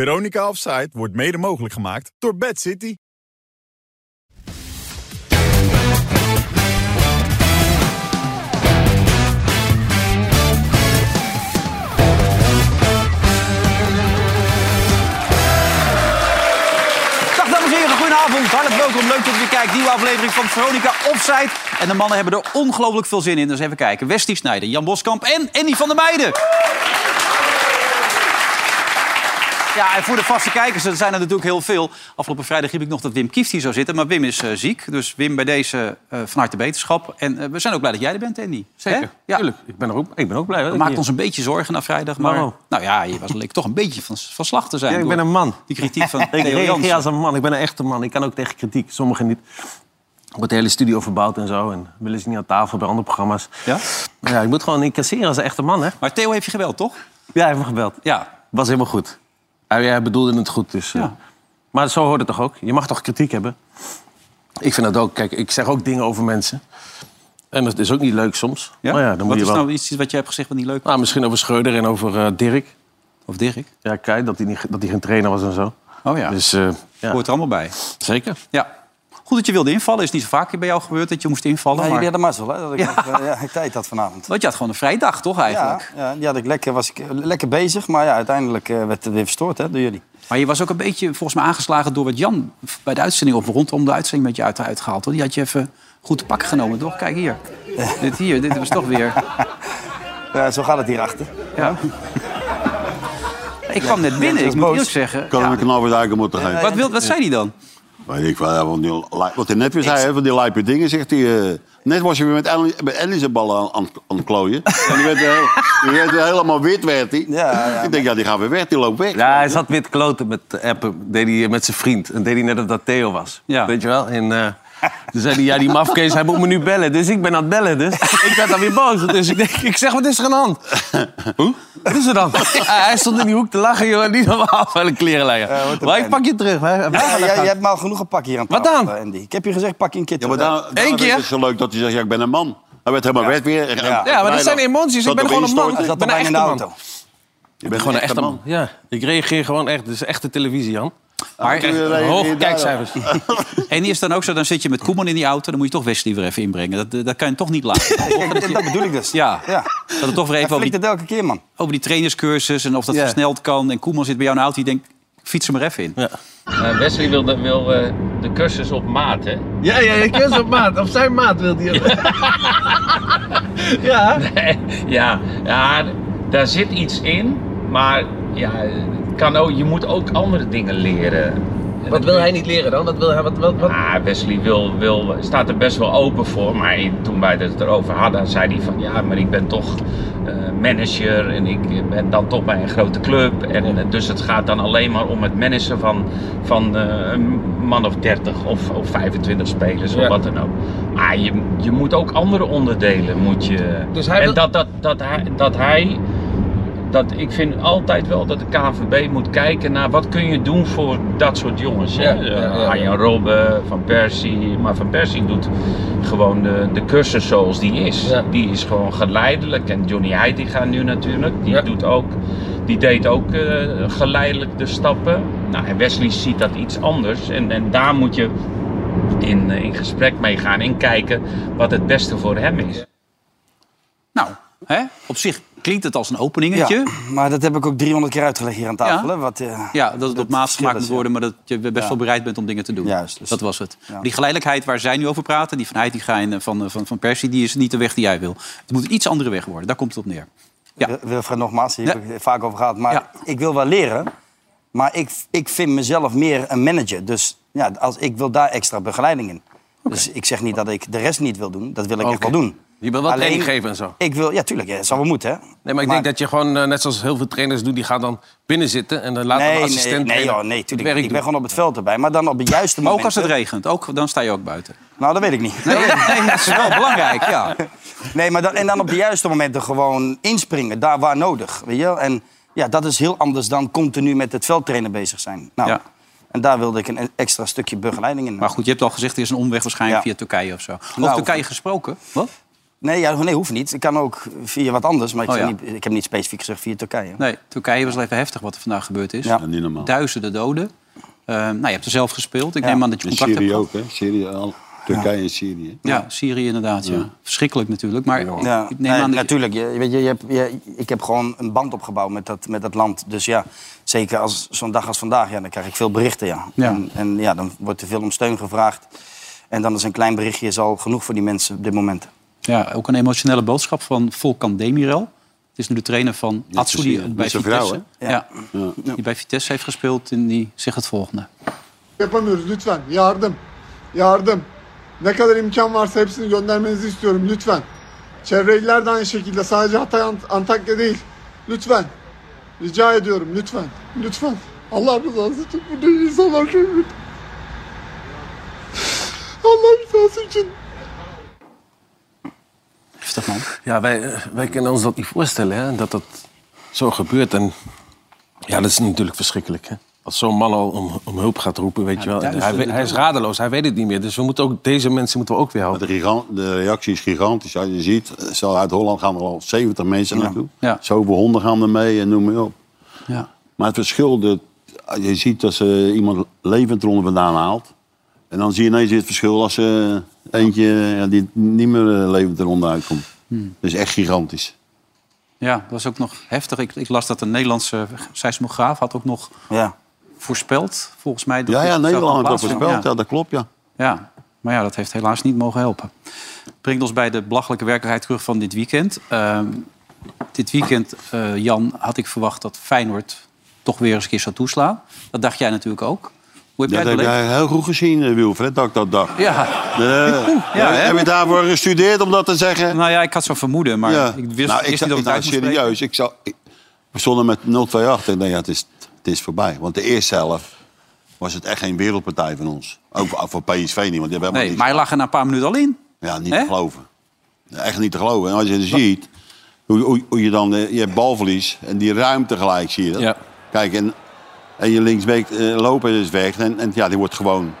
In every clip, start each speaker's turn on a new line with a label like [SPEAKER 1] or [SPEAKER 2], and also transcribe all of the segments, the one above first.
[SPEAKER 1] Veronica Offside wordt mede mogelijk gemaakt door Bad City.
[SPEAKER 2] Dag dames en heren, goedenavond. Hartelijk welkom. Leuk dat u weer kijkt. Nieuwe aflevering van Veronica Offside. En de mannen hebben er ongelooflijk veel zin in. Dus even kijken. Westie Snijder, Jan Boskamp en Andy van der Meijden. Ja, en voor de vaste kijkers, er zijn er natuurlijk heel veel. Afgelopen vrijdag riep ik nog dat Wim Kieft hier zou zitten. Maar Wim is eh, ziek. Dus Wim, bij deze eh, van harte beterschap. En eh, we zijn ook blij dat jij er bent, Andy. Hè?
[SPEAKER 3] Zeker,
[SPEAKER 2] Ja.
[SPEAKER 3] tuurlijk. Ik ben, er ook, ik ben ook blij. hoor,
[SPEAKER 2] Dat
[SPEAKER 3] dat
[SPEAKER 2] maakt
[SPEAKER 3] ik
[SPEAKER 2] ons
[SPEAKER 3] hier-
[SPEAKER 2] een beetje zorgen na vrijdag. Maar
[SPEAKER 3] Waarom?
[SPEAKER 2] nou ja, je was leek toch een beetje van, van slag te zijn.
[SPEAKER 3] Ja, ik
[SPEAKER 2] door
[SPEAKER 3] ben een man.
[SPEAKER 2] Die kritiek van
[SPEAKER 3] Ik
[SPEAKER 2] Theo
[SPEAKER 3] reageer
[SPEAKER 2] Jansen.
[SPEAKER 3] als een man. Ik ben een echte man. Ik kan ook tegen kritiek. Sommigen niet. Er wordt de hele studio verbouwd en zo. En willen ze niet aan tafel bij andere programma's.
[SPEAKER 2] Ja?
[SPEAKER 3] Maar ja, ik moet gewoon incasseren als een echte man, hè?
[SPEAKER 2] Maar Theo heeft je geweld, toch?
[SPEAKER 3] Ja, hij heeft me gebeld.
[SPEAKER 2] Ja.
[SPEAKER 3] Was helemaal goed. Hij, hij bedoelde het goed, dus... eh,
[SPEAKER 2] Ja.
[SPEAKER 3] maar zo hoort het toch ook? Je mag toch kritiek hebben? Ik vind dat ook. Kijk, ik zeg ook dingen over mensen. En dat is ook niet leuk soms. Maar Oh ja, dan moet
[SPEAKER 2] wat
[SPEAKER 3] je
[SPEAKER 2] is
[SPEAKER 3] wel...
[SPEAKER 2] nou iets wat jij hebt gezegd wat niet leuk was?
[SPEAKER 3] Nou, misschien over Schreuder en over eh, Dirk.
[SPEAKER 2] Of Dirk?
[SPEAKER 3] Ja, kijk, dat hij, niet, dat hij geen trainer was en zo.
[SPEAKER 2] Oh ja,
[SPEAKER 3] Dus eh, ja,
[SPEAKER 2] hoort er allemaal bij.
[SPEAKER 3] zeker.
[SPEAKER 2] Ja. Goed dat je wilde invallen. Is niet zo vaak bij jou gebeurd dat je moest invallen.
[SPEAKER 4] Nee,
[SPEAKER 2] maar...
[SPEAKER 4] jullie hadden mazzel, hè? Dat ik
[SPEAKER 2] Ja.
[SPEAKER 4] nog, eh, ja, geen tijd had vanavond.
[SPEAKER 2] Want je had gewoon een vrije dag, toch eigenlijk?
[SPEAKER 4] Ja, ja, die had ik lekker, was ik eh, lekker bezig, maar ja, uiteindelijk eh, werd het weer verstoord hè, door jullie.
[SPEAKER 2] Maar je was ook een beetje volgens mij aangeslagen door wat Jan bij de uitzending op rondom de uitzending met je uit, uitgehaald. hoor. Die had je even goed te pakken genomen, toch? Kijk hier. dit hier, dit was toch weer.
[SPEAKER 4] Ja, zo gaat het hierachter.
[SPEAKER 2] Ja. Ik kwam net binnen, ik
[SPEAKER 4] was
[SPEAKER 2] moet
[SPEAKER 4] boos.
[SPEAKER 2] eerlijk zeggen.
[SPEAKER 5] Kan
[SPEAKER 2] ja.
[SPEAKER 5] hem een knal weer duiken moeten geven.
[SPEAKER 2] Wat, wil, wat zei hij dan?
[SPEAKER 3] Ah,
[SPEAKER 5] Weet ik wel, ja, want die, li- wat hij net weer zei, hè, van die lijpe dingen, zegt hij. eh, net was je weer met Ellie, met Ellie zijn ballen aan, aan, aan het klooien. en die werd, weer heel- die werd weer helemaal wit, werd hij.
[SPEAKER 4] Ja, ja.
[SPEAKER 5] ik denk, ja, die gaat weer weg, die loopt weg.
[SPEAKER 3] Ja, hij zat weer te kloten met de appen. Deed hij eh, met zijn vriend. En deed hij net of dat Theo was.
[SPEAKER 2] Ja.
[SPEAKER 3] Weet je wel? En eh, toen zei hij, ja, die mafkees, hij moet me nu bellen. Dus ik ben aan het bellen, dus. ik werd dan weer boos. Dus ik denk, ik zeg, wat is er aan de hand? Hoe? Wat is er dan? hij hij stond in die hoek te lachen, joh. En die normaal van de kleren leggen.
[SPEAKER 4] wat een
[SPEAKER 3] maar ik
[SPEAKER 4] pijn.
[SPEAKER 3] pak je terug. Hè. Heb jij
[SPEAKER 4] Ja,
[SPEAKER 3] gelijk
[SPEAKER 4] jij,
[SPEAKER 3] gehad?
[SPEAKER 4] jij hebt me al genoeg gepakt hier aan
[SPEAKER 3] Wat
[SPEAKER 4] tafel,
[SPEAKER 3] dan?
[SPEAKER 4] eh, Andy. Ik heb je gezegd, pak je een keer
[SPEAKER 5] Ja, maar
[SPEAKER 4] terug.
[SPEAKER 5] daar, daarom
[SPEAKER 3] keer.
[SPEAKER 5] is het zo leuk dat hij zegt, ja, ik ben een man. Hij werd helemaal wit weer. En- en
[SPEAKER 3] Ja, maar dat
[SPEAKER 5] vrijdag
[SPEAKER 3] zijn emoties.
[SPEAKER 5] zat
[SPEAKER 3] Ik ben
[SPEAKER 5] op
[SPEAKER 3] gewoon een man.
[SPEAKER 5] instorten.
[SPEAKER 4] Hij
[SPEAKER 3] Ik
[SPEAKER 4] zat
[SPEAKER 3] ben
[SPEAKER 4] al
[SPEAKER 3] een
[SPEAKER 4] bijna in
[SPEAKER 3] echte
[SPEAKER 4] de
[SPEAKER 3] man.
[SPEAKER 4] auto.
[SPEAKER 5] Je bent gewoon een echte man.
[SPEAKER 3] Ja, ik reageer gewoon echt. Dit is echte televisie, Jan.
[SPEAKER 2] Maar,
[SPEAKER 3] Hoge kijkcijfers.
[SPEAKER 2] en die is dan ook zo, dan zit je met Koeman in die auto... dan moet je toch Wesley weer even inbrengen. Dat, dat kan je toch niet laten.
[SPEAKER 4] Kijk, dat, dat bedoel ik dus.
[SPEAKER 2] Ja.
[SPEAKER 4] ja.
[SPEAKER 2] Dat het toch weer
[SPEAKER 4] Hij
[SPEAKER 2] even over die,
[SPEAKER 4] flikt het elke keer, man.
[SPEAKER 2] over die trainerscursus en of dat
[SPEAKER 3] Ja.
[SPEAKER 2] versneld kan. En Koeman zit bij jou in de auto, die denkt, fiets er maar even in.
[SPEAKER 3] Ja.
[SPEAKER 6] Eh, Wesley wil, de, wil eh, de cursus op maat, hè?
[SPEAKER 3] Ja, ja, ik ken op maat. Op zijn maat wil hij. ja.
[SPEAKER 6] ja, ja, daar zit iets in, maar ja, het kan ook, je moet ook andere dingen leren.
[SPEAKER 3] Wat wil hij niet leren dan? Wat wil hij, wat, wat, wat?
[SPEAKER 6] Ah, Wesley wil, wil, staat er best wel open voor, maar toen wij het erover hadden, zei hij van ja, maar ik ben toch eh, manager en ik ben dan toch bij een grote club. En, eh, dus het gaat dan alleen maar om het managen van, van eh, een man of 30 of, of 25 spelers
[SPEAKER 3] Ja.
[SPEAKER 6] of wat dan ook. Maar je, je moet ook andere onderdelen moet je.
[SPEAKER 3] Dus hij
[SPEAKER 6] en
[SPEAKER 3] wil-
[SPEAKER 6] dat, dat, dat hij. Dat hij dat, ik vind altijd wel dat de KNVB moet kijken naar wat kun je doen voor dat soort jongens. hè?
[SPEAKER 3] Ja, ja, ja.
[SPEAKER 6] Eh, Arjen Robben, Van Persie. Maar Van Persie doet gewoon de, de cursus zoals die is.
[SPEAKER 3] Ja.
[SPEAKER 6] Die is gewoon geleidelijk. En Johnny Heitinga nu natuurlijk. Die,
[SPEAKER 3] Ja.
[SPEAKER 6] doet ook, die deed ook eh, geleidelijk de stappen. Nou, en Wesley ziet dat iets anders. En, en daar moet je in, eh, in gesprek mee gaan. En kijken wat het beste voor hem is.
[SPEAKER 2] Nou, hè? op zich klinkt het als een openingetje. Ja,
[SPEAKER 4] maar dat heb ik ook 300 keer uitgelegd hier aan tafel.
[SPEAKER 2] Ja.
[SPEAKER 4] Hè? Wat, eh,
[SPEAKER 2] dat het op
[SPEAKER 4] verschil
[SPEAKER 2] maat
[SPEAKER 4] is,
[SPEAKER 2] gemaakt moet
[SPEAKER 4] ja.
[SPEAKER 2] worden, maar dat je best wel bereid bent om dingen te doen.
[SPEAKER 4] Juist, dus-
[SPEAKER 2] Dat was het.
[SPEAKER 4] Ja.
[SPEAKER 2] Maar Die geleidelijkheid waar zij nu over praten, die van Heitinga en eh, van, eh, van, van Persie, die is niet de weg die jij wil. Het moet een iets andere weg worden, daar komt het op neer. Ja.
[SPEAKER 4] Wil- Wilfred, nogmaals, hier
[SPEAKER 2] Ja.
[SPEAKER 4] heb ik het vaak over gehad. Maar
[SPEAKER 2] Ja.
[SPEAKER 4] ik wil wel leren, maar ik, ik vind mezelf meer een manager. Dus ja, als, ik wil daar extra begeleiding in. Dus ik zeg niet dat ik de rest niet wil doen. Dat wil ik echt
[SPEAKER 3] Oké.
[SPEAKER 4] wel doen.
[SPEAKER 3] Je wil wel training geven en zo.
[SPEAKER 4] Ik wil, ja, tuurlijk. Ja, dat zou wel moeten, hè.
[SPEAKER 3] Nee, maar ik denk dat je gewoon, eh, net zoals heel veel trainers doen, die gaan dan binnen zitten en dan laat
[SPEAKER 4] Nee,
[SPEAKER 3] een
[SPEAKER 4] nee,
[SPEAKER 3] assistent
[SPEAKER 4] nee,
[SPEAKER 3] trainer
[SPEAKER 4] joh, nee,
[SPEAKER 3] het
[SPEAKER 4] tuurlijk.
[SPEAKER 3] werk
[SPEAKER 4] Ik
[SPEAKER 3] doen.
[SPEAKER 4] ben gewoon op het veld erbij. Maar dan op het juiste
[SPEAKER 2] Maar
[SPEAKER 4] moment.
[SPEAKER 2] ook als het regent, ook, dan sta je ook buiten.
[SPEAKER 4] Nou, dat weet ik niet.
[SPEAKER 2] Nee, nee, dat is wel belangrijk, ja.
[SPEAKER 4] Nee, maar dan, en dan op de juiste momenten gewoon inspringen, daar waar nodig. Weet je? wel? En ja, dat is heel anders dan continu met het veldtrainen bezig zijn. Nou,
[SPEAKER 2] Ja.
[SPEAKER 4] En daar wilde ik een extra stukje begeleiding in.
[SPEAKER 2] Maar goed, je hebt al gezegd, er is een omweg waarschijnlijk
[SPEAKER 4] Ja.
[SPEAKER 2] via Turkije of zo. Over
[SPEAKER 4] Nou,
[SPEAKER 2] Turkije gesproken. Wat?
[SPEAKER 4] Nee, ja, nee, hoeft niet. Ik kan ook via wat anders. Maar ik,
[SPEAKER 2] Oh,
[SPEAKER 4] zeg
[SPEAKER 2] ja.
[SPEAKER 4] niet, ik heb niet specifiek gezegd via Turkije.
[SPEAKER 2] Nee, Turkije was wel even heftig wat er vandaag gebeurd is.
[SPEAKER 4] Ja.
[SPEAKER 5] Ja, niet normaal.
[SPEAKER 2] Duizenden doden. Eh, nou, je hebt er zelf gespeeld. Ik
[SPEAKER 4] Ja.
[SPEAKER 2] neem aan dat je
[SPEAKER 5] In
[SPEAKER 2] contact hebt
[SPEAKER 5] Syrië
[SPEAKER 2] gehad.
[SPEAKER 5] ook, hè? Syrië, al, Turkije en Syrië.
[SPEAKER 2] Ja, Syrië inderdaad. Ja. Verschrikkelijk natuurlijk. Maar
[SPEAKER 4] Ja,
[SPEAKER 2] ik neem aan
[SPEAKER 4] nee,
[SPEAKER 2] dat je-
[SPEAKER 4] natuurlijk. Je, weet je, je hebt, je- ik heb gewoon een band opgebouwd met dat, met dat land. Dus ja, zeker als zo'n dag als vandaag, ja, dan krijg ik veel berichten. Ja.
[SPEAKER 2] Ja.
[SPEAKER 4] En, en ja, dan wordt er veel om steun gevraagd. En dan is een klein berichtje is al genoeg voor die mensen op dit moment.
[SPEAKER 2] Ja, ook een emotionele boodschap van Volkan Demirel. Het is nu de trainer van Atsu, die
[SPEAKER 5] precies, ja.
[SPEAKER 2] bij
[SPEAKER 5] Met zijn
[SPEAKER 2] Vitesse,
[SPEAKER 5] vrouw,
[SPEAKER 2] ja. die bij Vitesse heeft gespeeld en die zegt het volgende.
[SPEAKER 7] Yapamıyoruz lütfen. Yardım. Yardım. Ne kadar imkan varsa hepsini göndermenizi istiyorum lütfen. Çevre iller de aynı şekilde. Sadece Hatay, Ant- Antakya değil. Lütfen. Rica ediyorum lütfen. Lütfen. Allah rızası için burada insanlar çok kötü. Allah rızası için.
[SPEAKER 2] Heftig man.
[SPEAKER 3] Ja, wij, eh, wij kunnen ons dat niet voorstellen, hè? dat dat zo gebeurt. En ja, dat is natuurlijk verschrikkelijk, hè? Als zo'n man al om, om hulp gaat roepen, weet je wel. En Hij,
[SPEAKER 2] duizenden
[SPEAKER 3] weet- hij is radeloos, hij weet het niet meer. Dus we moeten ook, deze mensen moeten we ook weer
[SPEAKER 5] Maar
[SPEAKER 3] helpen.
[SPEAKER 5] De, gigant, de reactie is gigantisch. Als je ziet, eh, stel uit Holland gaan er al 70 mensen naartoe.
[SPEAKER 2] Ja.
[SPEAKER 5] Zoveel honden gaan er mee en noem maar op.
[SPEAKER 2] Ja.
[SPEAKER 5] Maar het verschil, dat- je ziet dat ze iemand levend eronder vandaan haalt. En dan zie je ineens het verschil als ze eentje ja, die niet meer eh, levend eronder uitkomt.
[SPEAKER 2] Hmm.
[SPEAKER 5] Dat is echt gigantisch.
[SPEAKER 2] ja, dat was ook nog heftig. Ik, ik las dat een Nederlandse seismograaf had ook nog
[SPEAKER 4] Ja.
[SPEAKER 2] voorspeld, volgens mij. dat
[SPEAKER 5] Ja,
[SPEAKER 2] dit
[SPEAKER 5] ja,
[SPEAKER 2] zou
[SPEAKER 5] Nederland
[SPEAKER 2] gaan
[SPEAKER 5] had dat
[SPEAKER 2] plaatsvinden.
[SPEAKER 5] voorspeld.
[SPEAKER 2] Ja.
[SPEAKER 5] Ja, dat klopt, ja.
[SPEAKER 2] Ja, maar ja, dat heeft helaas niet mogen helpen. Brengt ons bij de belachelijke werkelijkheid terug van dit weekend. Ehm, dit weekend, eh, Jan, had ik verwacht dat Feyenoord toch weer eens een keer zou toeslaan. Dat dacht jij natuurlijk ook. Hoe heb jij
[SPEAKER 5] Dat
[SPEAKER 2] het
[SPEAKER 5] heb
[SPEAKER 2] beleefd?
[SPEAKER 5] jij heel goed gezien, eh, Wilfred, dat ik dat dacht.
[SPEAKER 2] Ja,
[SPEAKER 5] Eh,
[SPEAKER 2] ja, hè?
[SPEAKER 5] heb je daarvoor gestudeerd om dat te zeggen?
[SPEAKER 2] nou ja, ik had zo'n vermoeden, maar
[SPEAKER 5] Ja.
[SPEAKER 2] ik wist,
[SPEAKER 5] Nou,
[SPEAKER 2] wist
[SPEAKER 5] zat-
[SPEAKER 2] niet of
[SPEAKER 5] ik
[SPEAKER 2] ik het uit
[SPEAKER 5] nou,
[SPEAKER 2] moest spreken.
[SPEAKER 5] serieus. Ik zou, ik, we stonden met 0-2 achter. Ik dacht, ja, het is, het is voorbij. Want de eerste helft was het echt geen wereldpartij van ons. Ook voor- voor PSV niet, want die hebben helemaal
[SPEAKER 2] Nee,
[SPEAKER 5] niks.
[SPEAKER 2] maar hij lag er na een paar minuten al in.
[SPEAKER 5] Ja, niet
[SPEAKER 2] Hè?
[SPEAKER 5] te geloven. Echt niet te geloven. En als je het ziet, hoe, hoe, hoe je dan... eh, Je hebt balverlies en die ruimte gelijk, zie je dat?
[SPEAKER 3] Ja.
[SPEAKER 5] Kijk, en, en je linksbeek eh lopen is weg. En, en ja, die wordt gewoon...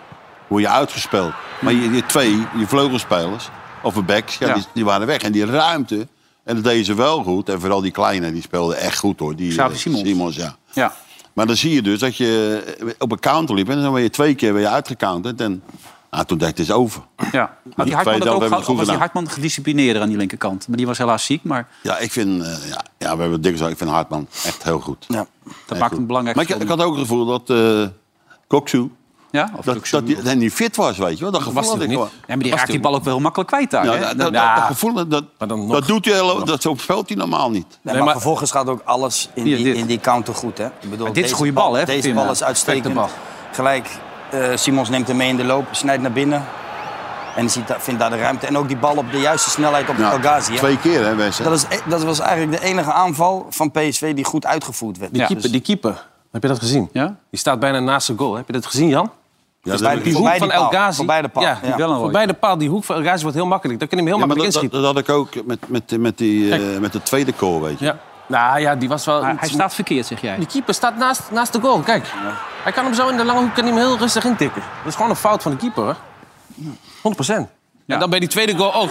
[SPEAKER 5] Word je uitgespeeld. Maar je, je twee, je vleugelspelers, of de backs, ja,
[SPEAKER 2] Ja.
[SPEAKER 5] Die, die waren weg. En die ruimte, en dat deden ze wel goed. En vooral die kleine, die speelde echt goed, hoor. Die,
[SPEAKER 2] Xavi
[SPEAKER 5] eh,
[SPEAKER 2] Simons.
[SPEAKER 5] ja.
[SPEAKER 2] Ja,
[SPEAKER 5] Maar dan zie je dus dat je eh, op een counter liep. En dan ben je twee keer weer uitgecounterd. En nou, toen dacht ik, het is over.
[SPEAKER 2] ja. Had
[SPEAKER 5] tweede
[SPEAKER 2] die Hartman dat
[SPEAKER 5] helft hebben
[SPEAKER 2] ook
[SPEAKER 5] we het
[SPEAKER 2] gehad?
[SPEAKER 5] goed
[SPEAKER 2] Of was die
[SPEAKER 5] gedaan.
[SPEAKER 2] Hartman gedisciplineerder aan die linkerkant? Maar die was helaas ziek, maar
[SPEAKER 5] Ja, ik vind, eh, ja, ja, we hebben dik Ik vind Hartman echt heel goed.
[SPEAKER 4] Ja.
[SPEAKER 2] dat maakt een belangrijk
[SPEAKER 5] Maar ik, ik
[SPEAKER 2] verschil.
[SPEAKER 5] had ook het gevoel dat eh Koksu,
[SPEAKER 2] Ja, of
[SPEAKER 5] dat,
[SPEAKER 2] Luxemburg.
[SPEAKER 5] dat die, dat die fit was, weet je wel. Dat gevoel
[SPEAKER 3] was
[SPEAKER 5] had
[SPEAKER 3] hij
[SPEAKER 5] ik
[SPEAKER 3] ook
[SPEAKER 5] wel.
[SPEAKER 3] niet.
[SPEAKER 2] Ja, maar die
[SPEAKER 3] Was
[SPEAKER 2] raakt die Nou,
[SPEAKER 3] die
[SPEAKER 2] bal ook wel heel makkelijk kwijt daar.
[SPEAKER 5] Ja,
[SPEAKER 2] hè?
[SPEAKER 5] dat, dat,
[SPEAKER 2] Ja.
[SPEAKER 5] dat gevoel, dat,
[SPEAKER 3] Maar dan nog.
[SPEAKER 5] dat doet hij, heel- dat zo speelt hij normaal niet.
[SPEAKER 4] Nee,
[SPEAKER 3] Nee,
[SPEAKER 4] maar,
[SPEAKER 3] maar-
[SPEAKER 4] vervolgens gaat ook alles in,
[SPEAKER 2] Hier,
[SPEAKER 4] die,
[SPEAKER 2] dit.
[SPEAKER 4] in die counter goed. Hè? Ik bedoel,
[SPEAKER 2] dit is een goede bal, hè,
[SPEAKER 4] Deze
[SPEAKER 2] Tim?
[SPEAKER 4] bal is
[SPEAKER 2] Perfecte
[SPEAKER 4] uitstekend.
[SPEAKER 2] bal.
[SPEAKER 4] Gelijk, eh, Simons neemt hem mee in de loop, snijdt naar binnen. En ziet, daar- vindt daar de ruimte. En ook die bal op de juiste snelheid op
[SPEAKER 5] Nou,
[SPEAKER 4] El Ghazi. hè.
[SPEAKER 5] twee keer, hè, Wes. hè?
[SPEAKER 4] Dat, is, e- dat was eigenlijk de enige aanval van PSV die goed uitgevoerd werd.
[SPEAKER 3] Die,
[SPEAKER 2] Ja. dus-
[SPEAKER 3] keeper, die keeper, heb je dat gezien?
[SPEAKER 2] Ja?
[SPEAKER 3] Die staat bijna naast de goal. Heb je dat gezien, Jan?
[SPEAKER 5] Ja, dat-
[SPEAKER 4] Dus bij de-
[SPEAKER 3] Die
[SPEAKER 5] ja,
[SPEAKER 3] hoek
[SPEAKER 4] Voorbij
[SPEAKER 3] van
[SPEAKER 4] die
[SPEAKER 3] El
[SPEAKER 4] paal,
[SPEAKER 3] Ghazi.
[SPEAKER 4] voorbij de paal.
[SPEAKER 3] Ja,
[SPEAKER 4] Ja.
[SPEAKER 2] Wel een rooie.
[SPEAKER 3] Voorbij de paal. Die hoek van El Ghazi wordt heel makkelijk. Daar kun je hem heel
[SPEAKER 5] maar
[SPEAKER 3] makkelijk
[SPEAKER 5] dat, dat,
[SPEAKER 3] inschieten.
[SPEAKER 5] dat had ik ook met, met, met, die, eh, met de tweede goal, weet je.
[SPEAKER 3] Ja. Nou ja, die was wel...
[SPEAKER 2] Maar hij staat verkeerd, zeg jij.
[SPEAKER 3] Die keeper staat naast, naast de goal. Kijk, hij kan hem zo in de lange hoek kan hij hem heel rustig intikken. Dat is gewoon een fout van de keeper, hoor. 100 En dan bij die tweede goal ook.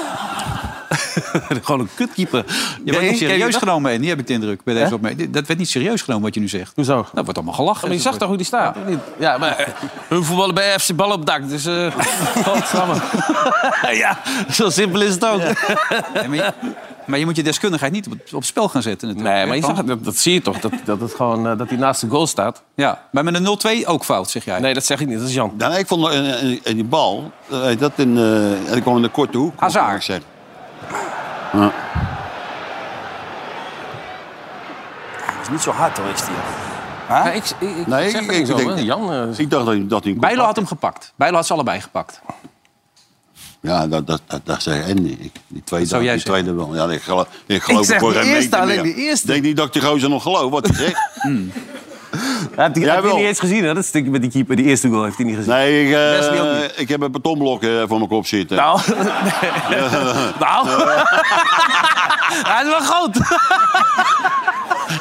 [SPEAKER 3] gewoon een kutkeeper.
[SPEAKER 2] Je
[SPEAKER 3] Nee,
[SPEAKER 2] wordt niet
[SPEAKER 3] ken je
[SPEAKER 2] serieus
[SPEAKER 3] dat?
[SPEAKER 2] genomen, en die heb ik de indruk bij deze
[SPEAKER 3] Hè?
[SPEAKER 2] opmerking. Dat werd niet serieus genomen wat je nu zegt.
[SPEAKER 3] Hoezo?
[SPEAKER 2] Dat wordt allemaal gelachen.
[SPEAKER 3] maar je zag toch hoe die staat? of niet? Ja, maar eh, hun voetballen bij FC Bal op dak. Dus, eh godsamme. ja, zo simpel is het ook.
[SPEAKER 2] Ja, maar, je, maar je moet je deskundigheid niet op, op het spel gaan zetten. Natuurlijk.
[SPEAKER 3] Nee, maar je zag, het, dat, dat zie je toch, dat, dat, het gewoon, eh, dat hij naast de goal staat.
[SPEAKER 2] Ja, maar met een 0-2 ook fout, zeg jij.
[SPEAKER 3] Nee, dat zeg ik niet, dat is Jan.
[SPEAKER 5] Ja, nee, ik vond eh, eh, eh, die bal, eh, dat in, eh dat kwam in de korte hoek. moet
[SPEAKER 2] Hazard.
[SPEAKER 5] ik zeggen.
[SPEAKER 4] Dat is niet zo hard hoor, is die.
[SPEAKER 3] Ja, ik, ik, ik
[SPEAKER 5] Nee,
[SPEAKER 3] zeg
[SPEAKER 5] ik-
[SPEAKER 3] het niet
[SPEAKER 5] ik
[SPEAKER 3] zo,
[SPEAKER 5] denk-
[SPEAKER 3] hè. Jan... eh,
[SPEAKER 5] Dus Ik dacht dat hij dat hij een
[SPEAKER 2] Bijlo had hem gepakt. Bijlo had ze allebei gepakt.
[SPEAKER 5] Ja, dat, dat, dat, dat zei Andy. Ik, die tweede,
[SPEAKER 2] zou jij
[SPEAKER 5] die tweede wel. Ja, ik geloof, ik geloof
[SPEAKER 3] Ik zeg
[SPEAKER 5] voor
[SPEAKER 3] die
[SPEAKER 5] geen
[SPEAKER 3] eerste,
[SPEAKER 5] meter
[SPEAKER 3] alleen
[SPEAKER 5] meer.
[SPEAKER 3] die eerste.
[SPEAKER 5] Ik denk niet dat ik die gozer nog geloof wat hij zegt.
[SPEAKER 3] Heb die,
[SPEAKER 5] Jij
[SPEAKER 3] heb je
[SPEAKER 5] wel.
[SPEAKER 3] niet eens gezien, hè? Dat stukje met die keeper. Die eerste goal heeft hij niet gezien.
[SPEAKER 5] Nee, ik, eh,
[SPEAKER 3] Wesley ook niet.
[SPEAKER 5] ik heb een betonblok eh, voor mijn kop zitten.
[SPEAKER 3] Nou, nee. nou. hij is wel groot.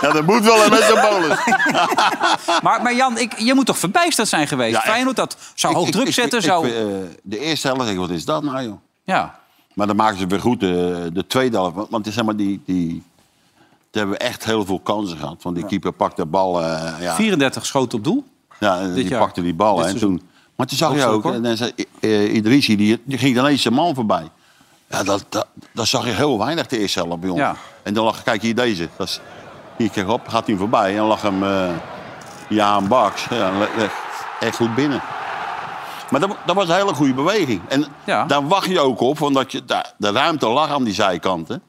[SPEAKER 5] Ja, dat moet wel een met zo'n bolus.
[SPEAKER 2] Maar, maar Jan, ik, je moet toch verbijsterd zijn geweest?
[SPEAKER 5] Ja, echt.
[SPEAKER 2] Feyenoord dat zou hoog
[SPEAKER 5] Ik-
[SPEAKER 2] druk
[SPEAKER 5] ik-
[SPEAKER 2] zetten.
[SPEAKER 5] ik-
[SPEAKER 2] zou...
[SPEAKER 5] ik, eh, de eerste helft, ik, wat is dat nou, joh?
[SPEAKER 2] ja.
[SPEAKER 5] Maar dan maken ze weer goed de, de tweede helft. Want- Want zeg maar, die, die, ze hebben echt heel veel kansen gehad. Want die keeper pakte de bal. eh, ja,
[SPEAKER 2] 34 schoten op doel.
[SPEAKER 5] ja, en die
[SPEAKER 2] jaar.
[SPEAKER 5] pakte die bal.
[SPEAKER 2] Dit
[SPEAKER 5] hè, En
[SPEAKER 2] seizoen.
[SPEAKER 5] toen, maar toen zag je
[SPEAKER 2] Hoogste
[SPEAKER 5] ook,
[SPEAKER 2] record.
[SPEAKER 5] en dan zei, eh, Idrissi, die, die ging ineens zijn man voorbij. Ja, dat, dat, dat zag je heel weinig de eerste helft bij ons.
[SPEAKER 2] Ja.
[SPEAKER 5] En dan lag, kijk hier deze. Dat is, hier, kijk op, gaat hij voorbij. En dan lag hem eh Jaan Baks. Ja, le- le- echt goed binnen. Maar dat, dat was een hele goede beweging. En
[SPEAKER 2] Ja.
[SPEAKER 5] daar wacht je ook op, omdat je, daar, de ruimte lag aan die zijkanten.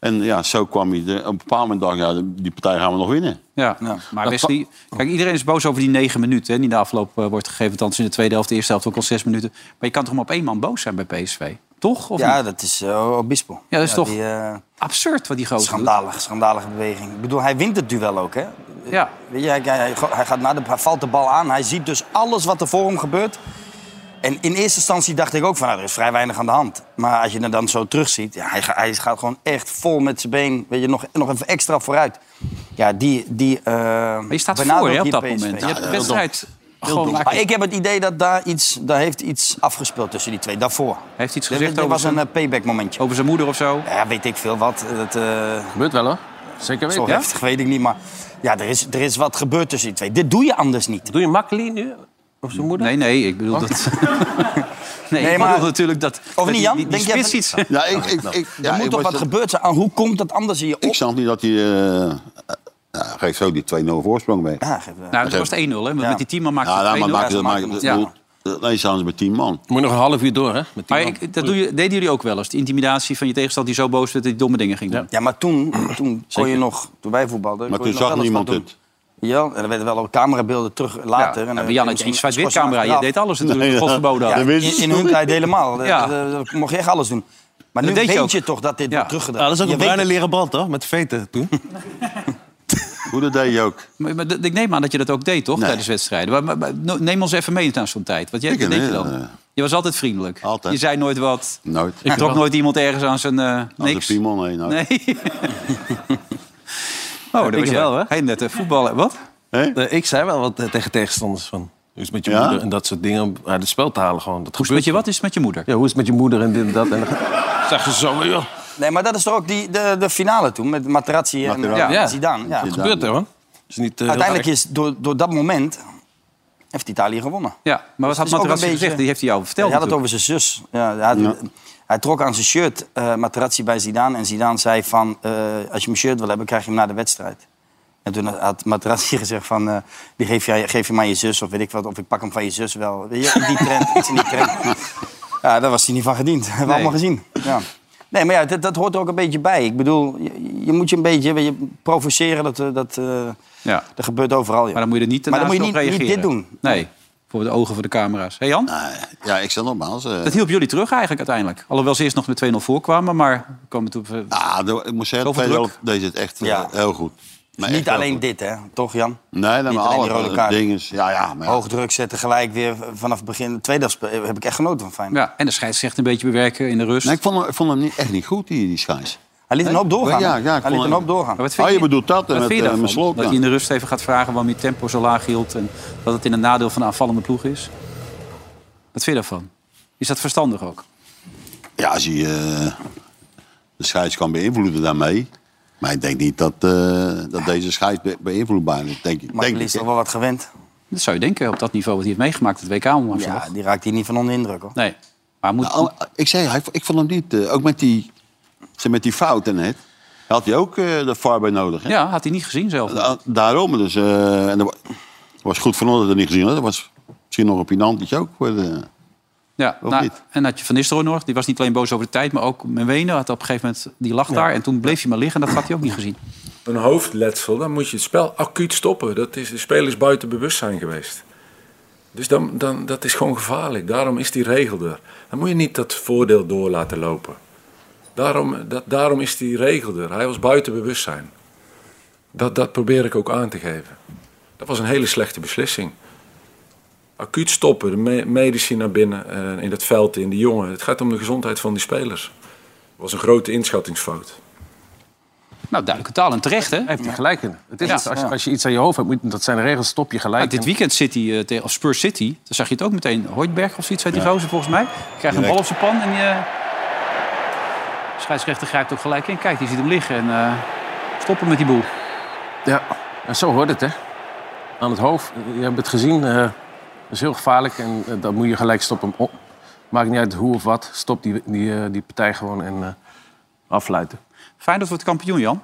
[SPEAKER 5] En ja, zo kwam hij. er- Op een bepaald moment dacht ik, ja, die partij gaan we nog winnen.
[SPEAKER 2] Ja, Nou, maar Wesley... Kijk, iedereen is boos over die negen minuten... Hè, die na afloop eh, wordt gegeven. Althans in de tweede helft, de eerste helft ook al zes minuten. Maar je kan toch maar op één man boos zijn bij PSV? Toch? Of
[SPEAKER 4] Ja,
[SPEAKER 2] niet?
[SPEAKER 4] dat is eh, Obispo.
[SPEAKER 2] Ja, dat is toch-
[SPEAKER 4] Die, eh,
[SPEAKER 2] Absurd wat die gozer doet.
[SPEAKER 4] schandalig, schandalige beweging. Ik bedoel, hij wint het duel ook, hè?
[SPEAKER 2] Ja.
[SPEAKER 4] Weet je, hij, hij, hij gaat naar de, hij valt de bal aan. Hij ziet dus alles wat er voor hem gebeurt. En in eerste instantie dacht ik ook van, nou, er is vrij weinig aan de hand. Maar als je hem dan zo terugziet, ja, hij, ga- hij gaat gewoon echt vol met zijn been. Weet je, nog, nog even extra vooruit. Ja, die... die eh
[SPEAKER 2] Maar je staat voor
[SPEAKER 4] benadrukt
[SPEAKER 2] hè, op
[SPEAKER 4] die
[SPEAKER 2] dat
[SPEAKER 4] PSV.
[SPEAKER 2] moment. Je hebt de
[SPEAKER 5] heel
[SPEAKER 2] wedstrijd gewoon...
[SPEAKER 4] Maar
[SPEAKER 2] Hij
[SPEAKER 4] ik heb het idee dat daar iets, daar heeft iets afgespeeld tussen die twee, daarvoor.
[SPEAKER 2] heeft iets
[SPEAKER 4] Dit,
[SPEAKER 2] gezegd
[SPEAKER 4] dit
[SPEAKER 2] over
[SPEAKER 4] was een
[SPEAKER 2] zijn, Oh.
[SPEAKER 4] eh, payback momentje.
[SPEAKER 2] over zijn moeder of zo.
[SPEAKER 4] Ja, weet ik veel wat. Dat, eh,
[SPEAKER 3] Gebeurt wel, hoor. Zeker
[SPEAKER 4] zo
[SPEAKER 3] weten. Ja?
[SPEAKER 4] heftig weet ik niet, maar ja, er, is, er is wat gebeurd tussen die twee. Dit doe je anders niet.
[SPEAKER 3] Doe je makkelijk nu? Of zijn moeder?
[SPEAKER 2] Nee, nee, ik bedoel dat... Nee,
[SPEAKER 4] Nee,
[SPEAKER 2] ik
[SPEAKER 4] maar-
[SPEAKER 2] bedoel natuurlijk dat... dat
[SPEAKER 4] niet,
[SPEAKER 2] die-
[SPEAKER 4] Jan?
[SPEAKER 2] Die, die
[SPEAKER 4] Denk jij
[SPEAKER 2] spits
[SPEAKER 4] van-
[SPEAKER 2] iets... Nou,
[SPEAKER 5] Ja, ik, ik, ik, Nou, ja,
[SPEAKER 4] er
[SPEAKER 5] ik
[SPEAKER 4] moet toch
[SPEAKER 5] was
[SPEAKER 4] wat
[SPEAKER 5] dat-
[SPEAKER 4] gebeurd zijn? Aan hoe komt dat anders in je op?
[SPEAKER 5] Ik snap niet dat hij... eh, eh, ja, geeft zo die 2-0 voorsprong mee.
[SPEAKER 4] Ja, geef, eh,
[SPEAKER 2] Nou, dat was het 1-0, hè? want
[SPEAKER 4] Ja.
[SPEAKER 2] Met die tien man maakt
[SPEAKER 5] Ja,
[SPEAKER 2] het
[SPEAKER 5] nou, maar
[SPEAKER 2] 2-0.
[SPEAKER 5] maakt
[SPEAKER 4] ze
[SPEAKER 5] het...
[SPEAKER 4] maken
[SPEAKER 5] maakt het-
[SPEAKER 2] hem nog.
[SPEAKER 5] bedoel, Nee, staan ze met 10 man.
[SPEAKER 3] Moet nog een half uur door, hè? Met die
[SPEAKER 2] Maar
[SPEAKER 3] man.
[SPEAKER 2] ik, dat doe je, deden jullie ook wel eens. De intimidatie van je tegenstander die zo boos werd dat hij domme dingen ging doen.
[SPEAKER 4] ja, maar toen, toen kon je nog, toen wij voetbalden...
[SPEAKER 5] Maar
[SPEAKER 4] kon je
[SPEAKER 5] toen
[SPEAKER 4] nog
[SPEAKER 5] zag
[SPEAKER 4] wel eens wat
[SPEAKER 5] niemand
[SPEAKER 4] doen.
[SPEAKER 5] het.
[SPEAKER 4] Ja, en er werden wel ook camerabeelden terug later.
[SPEAKER 2] Ja,
[SPEAKER 4] en,
[SPEAKER 2] maar
[SPEAKER 4] eh,
[SPEAKER 2] Jan had je
[SPEAKER 4] misschien
[SPEAKER 2] een zwart-wit
[SPEAKER 4] schorsen
[SPEAKER 2] camera. Je
[SPEAKER 4] achteraf.
[SPEAKER 2] deed alles natuurlijk.
[SPEAKER 5] Nee, ja.
[SPEAKER 2] Godverboden
[SPEAKER 4] Ja,
[SPEAKER 2] had.
[SPEAKER 5] wist
[SPEAKER 4] in,
[SPEAKER 5] je
[SPEAKER 4] in hun tijd helemaal. Eh,
[SPEAKER 2] Ja.
[SPEAKER 4] Ja. mocht je echt alles doen. Maar nu
[SPEAKER 2] deed je
[SPEAKER 4] weet je,
[SPEAKER 2] ook.
[SPEAKER 4] toch dat dit
[SPEAKER 2] Ja.
[SPEAKER 4] wordt teruggedaan.
[SPEAKER 8] Ah, dat is ook
[SPEAKER 4] Je
[SPEAKER 8] een
[SPEAKER 4] weet
[SPEAKER 8] bruine
[SPEAKER 4] het.
[SPEAKER 8] leren band, toch? Met veten toen.
[SPEAKER 5] Hoe dat deed je ook.
[SPEAKER 2] Maar, maar d- ik neem aan dat je dat ook deed, toch?
[SPEAKER 5] Nee.
[SPEAKER 2] Tijdens wedstrijden. Maar, maar- maar no- neem ons even mee naar zo'n tijd. Wat jij,
[SPEAKER 5] Ik
[SPEAKER 2] wat deed je
[SPEAKER 5] nee,
[SPEAKER 2] dan?
[SPEAKER 5] eh,
[SPEAKER 2] je was altijd vriendelijk.
[SPEAKER 5] Altijd.
[SPEAKER 2] Je zei nooit wat.
[SPEAKER 5] Nooit.
[SPEAKER 2] Je trok nooit iemand ergens aan zijn eh,
[SPEAKER 5] Als
[SPEAKER 2] niks.
[SPEAKER 5] de piemel heen. nooit.
[SPEAKER 2] nee. oh, dat
[SPEAKER 3] ik
[SPEAKER 2] was jij.
[SPEAKER 3] wel, hè?
[SPEAKER 2] Hij net voetballen. voetballer. Wat?
[SPEAKER 5] Hè?
[SPEAKER 3] Eh, ik zei wel wat eh, tegen tegenstanders van. Hoe is het met je
[SPEAKER 5] Ja?
[SPEAKER 3] moeder en dat soort dingen. om Uit het spel te halen gewoon. Dat
[SPEAKER 2] Hoe is het met
[SPEAKER 3] gebeurt
[SPEAKER 2] je, wat is het met je moeder?
[SPEAKER 3] Ja, hoe is het met je moeder en dit en dat? En dan zeg ze zo, joh.
[SPEAKER 4] Nee, maar dat is toch ook die, de, de finale toen met Materazzi en
[SPEAKER 5] Materazzi.
[SPEAKER 4] eh,
[SPEAKER 3] Ja.
[SPEAKER 4] Zidane. Ja.
[SPEAKER 5] Zidane.
[SPEAKER 3] Gebeurt er, man. Is niet, eh,
[SPEAKER 4] Uiteindelijk is door, door dat moment heeft Italië gewonnen.
[SPEAKER 2] Ja, maar wat
[SPEAKER 4] het
[SPEAKER 2] had
[SPEAKER 4] is ook
[SPEAKER 2] Materazzi
[SPEAKER 4] een beetje-
[SPEAKER 2] gezegd? Die heeft hij jou verteld.
[SPEAKER 4] Hij had het
[SPEAKER 2] natuurlijk.
[SPEAKER 4] over zijn zus. Ja, hij, had- hij trok aan zijn shirt eh Materazzi bij Zidane. En Zidane zei van, eh, als je mijn shirt wil hebben, krijg je hem na de wedstrijd. En toen had Materazzi gezegd van, eh, die geef je, geef je maar aan je zus of weet ik wat. Of ik pak hem van je zus wel. Weet je, in die trend, iets in die trend. Ja, daar was hij niet van gediend. Hebben we allemaal gezien. Ja. Nee, maar ja, dat, dat hoort er ook een beetje bij. Ik bedoel, je, je moet je een beetje weet je, provoceren. Dat, eh, dat, eh,
[SPEAKER 2] Ja.
[SPEAKER 4] dat gebeurt overal. joh.
[SPEAKER 2] Maar dan moet je er niet
[SPEAKER 4] Maar dan
[SPEAKER 2] daarnaast
[SPEAKER 4] moet
[SPEAKER 2] op
[SPEAKER 4] je niet- niet
[SPEAKER 2] reageren.
[SPEAKER 4] dit doen.
[SPEAKER 2] Nee, voor de ogen van de camera's. Hé Jan,
[SPEAKER 5] Nou, Ja, ik zei nogmaals... eh,
[SPEAKER 2] dat hielp jullie terug eigenlijk uiteindelijk. Alhoewel ze eerst nog met 2-0 voorkwamen, maar kwamen toen... eh,
[SPEAKER 5] ah, de- ik moet zeggen, tweede
[SPEAKER 2] Zoveel druk.
[SPEAKER 5] helft deed het echt eh,
[SPEAKER 4] Ja.
[SPEAKER 5] heel goed. Maar echt
[SPEAKER 4] Niet
[SPEAKER 5] heel
[SPEAKER 4] alleen
[SPEAKER 5] goed.
[SPEAKER 4] dit, hè? Toch, Jan?
[SPEAKER 5] Nee, nee,
[SPEAKER 4] Niet
[SPEAKER 5] maar
[SPEAKER 4] alleen die rode
[SPEAKER 5] alle
[SPEAKER 4] kaart.
[SPEAKER 5] dingen. Ja, ja, maar ja.
[SPEAKER 4] Hoog druk zetten, gelijk weer vanaf het begin. Tweede helft spe- heb ik echt genoten van Feyenoord.
[SPEAKER 2] ja, en de scheidsrechter een beetje bewerken in de rust.
[SPEAKER 5] Nee, ik vond hem, ik vond hem niet, echt niet goed, die, die schijs.
[SPEAKER 4] Hij liet een hoop doorgaan.
[SPEAKER 5] Ja, ja, ik
[SPEAKER 4] hij liet
[SPEAKER 5] vond
[SPEAKER 4] een
[SPEAKER 5] hem-
[SPEAKER 4] hoop doorgaan.
[SPEAKER 2] Maar wat
[SPEAKER 5] Oh, je bedoelt dat,
[SPEAKER 2] wat
[SPEAKER 5] eh, met,
[SPEAKER 2] vind je
[SPEAKER 5] eh,
[SPEAKER 2] daarvan?
[SPEAKER 5] met Slot, ja.
[SPEAKER 2] Dat hij in de rrust even gaat vragen waarom je tempo zo laag hield... en dat het in het nadeel van de aanvallende ploeg is. Wat vind je daarvan? Is dat verstandig ook?
[SPEAKER 5] Ja, als je eh, de scheids kan beïnvloeden daarmee. Maar ik denk niet dat, eh, dat deze scheids be- beïnvloedbaar is, denk ik.
[SPEAKER 4] Maar
[SPEAKER 5] Denk
[SPEAKER 4] hij
[SPEAKER 5] ik
[SPEAKER 4] is
[SPEAKER 5] hè.
[SPEAKER 4] toch wel wat gewend.
[SPEAKER 2] Dat zou je denken op dat niveau wat hij heeft meegemaakt... het WK om
[SPEAKER 4] Ja, die raakt hier niet van onder indruk, hoor.
[SPEAKER 2] Nee, maar moet...
[SPEAKER 5] Nou, ik zei, hij- ik vond hem niet... eh, ook met die, zeg, met die fouten net. Had hij ook eh de VAR bij nodig, hè?
[SPEAKER 2] ja, had hij niet gezien zelf.
[SPEAKER 5] Da- Daarom dus. eh, en dat wa- was goed voor ons dat we het niet gezien hadden. Dat was misschien nog een pinantje ook. Voor de,
[SPEAKER 2] Ja,
[SPEAKER 5] Of
[SPEAKER 2] nou,
[SPEAKER 5] niet?
[SPEAKER 2] en had je Van Nistelrooy nog. Die was niet alleen boos over de tijd, maar ook Menwene had op een gegeven moment... die lag daar en toen bleef hij maar liggen. En dat had hij ook niet gezien.
[SPEAKER 9] een hoofdletsel, dan moet je het spel acuut stoppen. Dat is de spelers buiten bewustzijn geweest. Dus dan, dan, dat is gewoon gevaarlijk. Daarom is die regel er. Dan moet je niet dat voordeel door laten lopen. Daarom, dat, daarom is die regel er. Hij was buiten bewustzijn. Dat, dat probeer ik ook aan te geven. Dat was een hele slechte beslissing. Acuut stoppen, de me- medici naar binnen, eh, in dat veld, in de jongen. Het gaat om de gezondheid van die spelers. Het was een grote inschattingsfout.
[SPEAKER 2] Nou, duidelijke taal en terecht, hè?
[SPEAKER 3] Hij heeft er gelijk in. Het is
[SPEAKER 2] Ja.
[SPEAKER 3] iets, als, je- als je iets aan je hoofd hebt, moet, dat zijn de regels, stop je gelijk.
[SPEAKER 2] Maar dit weekend City, eh, tegen- of Spurs City, daar zag je het ook meteen. Hoytberg of zoiets, heet die gozer volgens mij. Krijgt een bal op zijn pan en je... eh, scheidsrechter grijpt ook gelijk in. Kijk, die ziet hem liggen en eh, stoppen met die boel.
[SPEAKER 3] Ja, en zo hoort het, hè? Aan het hoofd. Je hebt het gezien. eh, dat is heel gevaarlijk en eh, dan moet je gelijk stoppen. Oh, maakt niet uit hoe of wat. Stop die, die, eh, die partij gewoon en eh, afluiten.
[SPEAKER 2] Fijn dat we het kampioen, Jan.